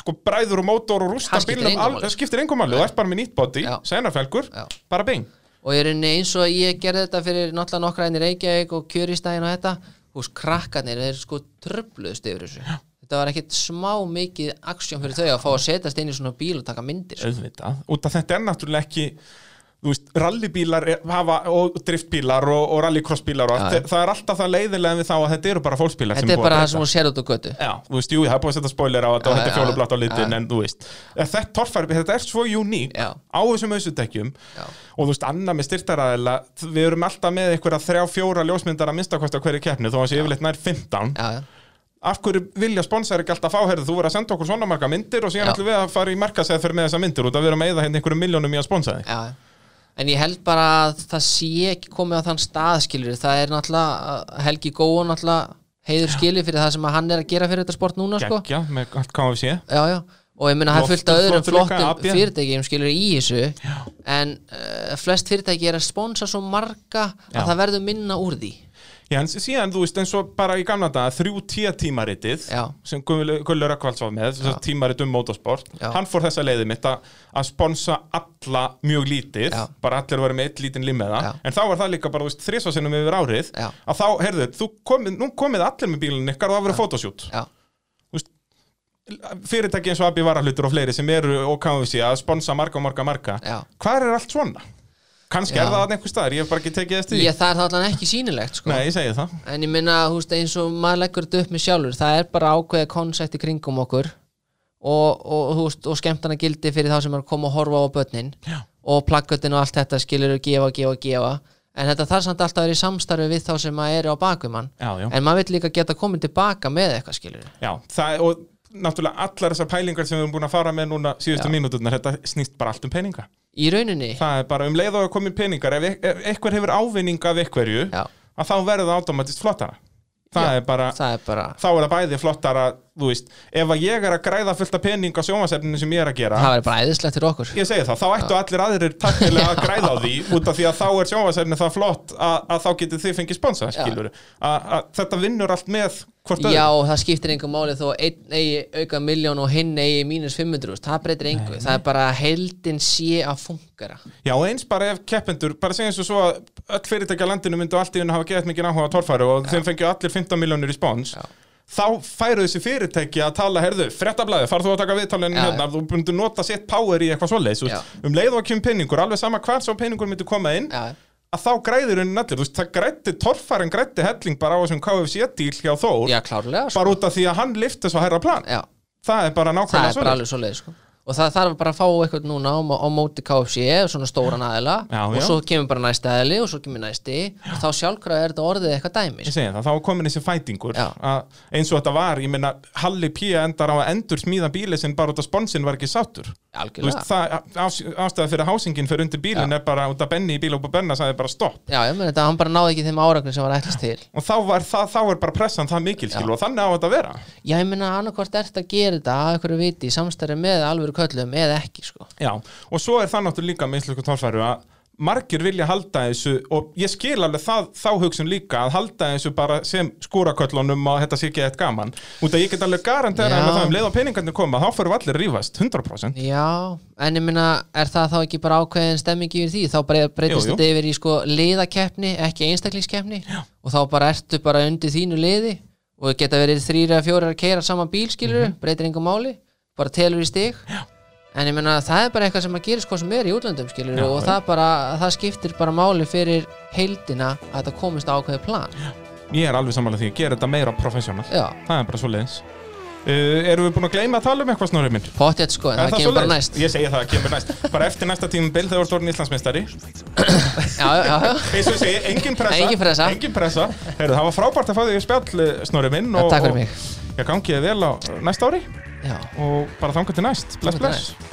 sko bræður og mótor og rústa
Það skiptir
bílnum
engu
al-
máli.
það skiptir engum máli, þú ert bara með nýtt body,
Já.
senarfelgur,
Já.
bara bing
og ég rauninni eins og ég gerði þetta fyrir náttúrulega nokkra enn í Reykjavík og kjöristæðin og þetta hús krakkarnir þeir sko tröfluðust yfir þessu þetta var ekkit smá mikið aksjón fyrir þau að fá að setjast inn í svona bíl og taka myndir sko.
auðvitað, út af þetta er náttúrulega ekki þú veist, rallybílar er- hafa, og driftbílar og, og rallycrossbílar og allt,
Já, já.
þa- það er alltaf það leiðilega við þá að þetta eru bara fólksbílar
Þetta er
búið að
bara það
breyta.
sem hún sér út á götu
Já, þú veist, jú, það er búið að setja spoiler á þetta og
Já,
þetta er
já,
fjólublátt á
já.
litin en þú veist, þetta torfæri, þetta er svo uník
Já.
á þessum ausutekjum
Já.
og þú veist, annað með styrtaræðila við erum alltaf með einhverja þrjá, fjóra ljósmyndar að minnstakosti á hverju keppni þó að sé yfirleitt nær 15
Já, já
af hverju vilja sponsor ekki alltaf fá herðu, þú verður að senda okkur svona marga myndir og síðan
Já.
ætlum við að fara í markasæð fyrir með þessa myndir og það verðum að eyða hérna einhverjum miljónum í að sponsa þig
Já, en ég held bara að það sé ekki komið á þann stað skilur það er náttúrulega, uh, Helgi Góa náttúrulega heiður skilið fyrir það sem að hann er að gera fyrir þetta sport núna sko.
Gekkja, með allt hvað við sé
já, já. og ég meina það er fullt af öðrum
Loftur flottur líka,
flottum
AB.
fyrirtækjum skilur í þessu en uh, flest fyrirtæki er að sponsa svo marga að
Já.
það verður minna úr því
Já, en síðan, þú veist, eins og bara í gamla daga þrjú tíða tímaritið
Já.
sem Gull- Gullur Rökkvalds var með, þess að tímarit um motorsport,
Já.
hann fór þessa leiði mitt að að sponsa alla mjög lítið,
Já.
bara allir voru með eitt lítinn limmeða,
Já.
en þá var það líka bara, þú veist, þrísvarsinnum yfir árið,
Já.
að þá, heyrðu, þú komið, nú komið allir með bílinn ykkar og það verið fotoshoot
já,
fyrirtæki eins og Abbi Varahlutur og fleiri sem eru og kannum við sé að sponsa marga, marga, marga
já
Hvar er allt svona? Kannski
Já.
er það einhver staðar, ég hef bara ekki tekið þess til
ég, það er það allan ekki sýnilegt sko.
Nei, ég segi það
en ég minna húst, eins og maður leggur þetta upp með sjálfur það er bara ákveðið konsept í kringum okkur og, og, húst, og skemmtana gildi fyrir þá sem er að koma og horfa á börnin
Já.
og plaggötin og allt þetta skilur og gefa, gefa, gefa en þetta þarf samt alltaf að vera í samstarfi við þá sem maður eru á bakvið mann
Já, já.
en maður vill líka geta komið tilbaka með eitthvað skilur
Já, það, og náttúrulega allar þessar pælingar sem við erum búin að fara með núna síðustu
Já.
mínúturnar, þetta snýst bara allt um peninga
í rauninni
Það er bara um leið og að komi peningar ef, e-, ef eitthvað hefur ávinning af eitthverju
Já,
að þá verður það automatist flottara Það
Já,
er bara,
það er bara
þá er það bæði flottara þú veist, ef að ég er að græða fullt af pening á sjómasefninu sem ég er að gera
það er bara æðislegt fyrir okkur
Ég segi það, þá ættu allir aðrir takkilega að græða á því út af því að þá er sjónvarsefni það flott að, að þá getið þið fengið sponsa, skilur Þetta vinnur allt með hvort
Já,
öðru
og það skiptir engum máli þó að einn eigi auka miljón og hinn eigi mínus 500, þúsund, það breytir engu það er bara að heldin sé að fungara
Já, og eins bara ef keppendur, bara segjum svo svo að öll fyrirtækja á landinu myndu allt í unna hafa geðt mikið áhuga á torfæru og þeim fengið allir 15 miljónir í spons
Já.
Þá færu þessi fyrirtæki að tala, herðu, frettablaði, far þú að taka viðtalinn
Já,
hérna, þú myndu nota sitt power í eitthvað svoleiðis, þú veist. um leið og að kemur peningur, alveg sama hvar svo peningur myndu koma inn,
Já,
að þá græðir henni allir, þú veist, það grætti, torfærin grætti helling bara á þessum KFC-díl hjá Þór,
já klárlega sko.
bara út af því að hann lifti svo hærra plan,
já,
það er bara
það
nákvæmlega
er bara
svona
alveg svo leið sko. og það þarf bara að fá eitthvað núna á, á móti KFC, svona stóran aðila
Já,
og
já.
svo kemur bara næsti aðili og svo kemur næsti og þá sjálfkrafa er þetta orðið eitthvað dæmi
Ég
sko.
segi það, þá er komin þessi fætingur
Já.
að eins og þetta var, ég meina Halli Pía endar á að endur smíða bíli sem bara út af sponsin var ekki sáttur Þú
algjörlega
veist, það ástæða fyrir hásingin fyrir undir bílinn er bara út af Benny í bíl og Benna sagði bara stopp
já, ég meni þetta, hann bara náði ekki þeim áragnir sem var ætlast til
og þá, var, það, þá er bara pressan það mikil skil og þannig á þetta að vera
já, ég meni annarkvort ert að gera þetta að einhverju viti í samstæri með alvöru köllum eða ekki sko.
Já, og svo er það náttúrulega líka með íslensku tólfæru að margir vilja halda þessu og ég skil alveg það, þá hugsun líka að halda þessu bara sem skúraköllunum og þetta sé ekki eitt gaman út að ég get alveg garantera
Já.
að það um leið og peningarnir koma þá fyrir allir að rífast, 100%
já, en ég meni er það þá ekki bara ákveðin stemming yfir því þá bara breytist
Jú, jú.
þetta yfir í sko liðakeppni ekki einstaklingskeppni og þá bara ertu bara undir þínu liði og það geta verið þrýra eða fjórir að keira saman bíl skilur,
Mhm.
breytir engum máli bara telur í stig já. en ég meina það er bara eitthvað sem að gera sko sem er í útlöndum skilur
Já,
og
já.
það, bara, það skiptir bara máli fyrir heildina að það komist á ákveði plan
Ég er alveg samanlega því, ég ger þetta meira professional
já,
það er bara svo leiðis uh, Erum við búin að gleyma að tala um eitthvað snorrið minn?
pottjætt sko en
Er
það, kemur bara
svoleiðis?
næst
Ég segi það, kemur næst Bara eftir næsta tímubil þegar þú ert orðin Íslandsmeistari
já, já, já,
eins og ég segi, engin pressa
Engin pressa.
engin pressa. Heyrðu, það var frábært að fá þig í spjall eh, snorri minn
Já, takk fyrir mig.
og, ég gangi þið vel á næsta ári
já.
og bara þangað til næst bless
Þangað til
bless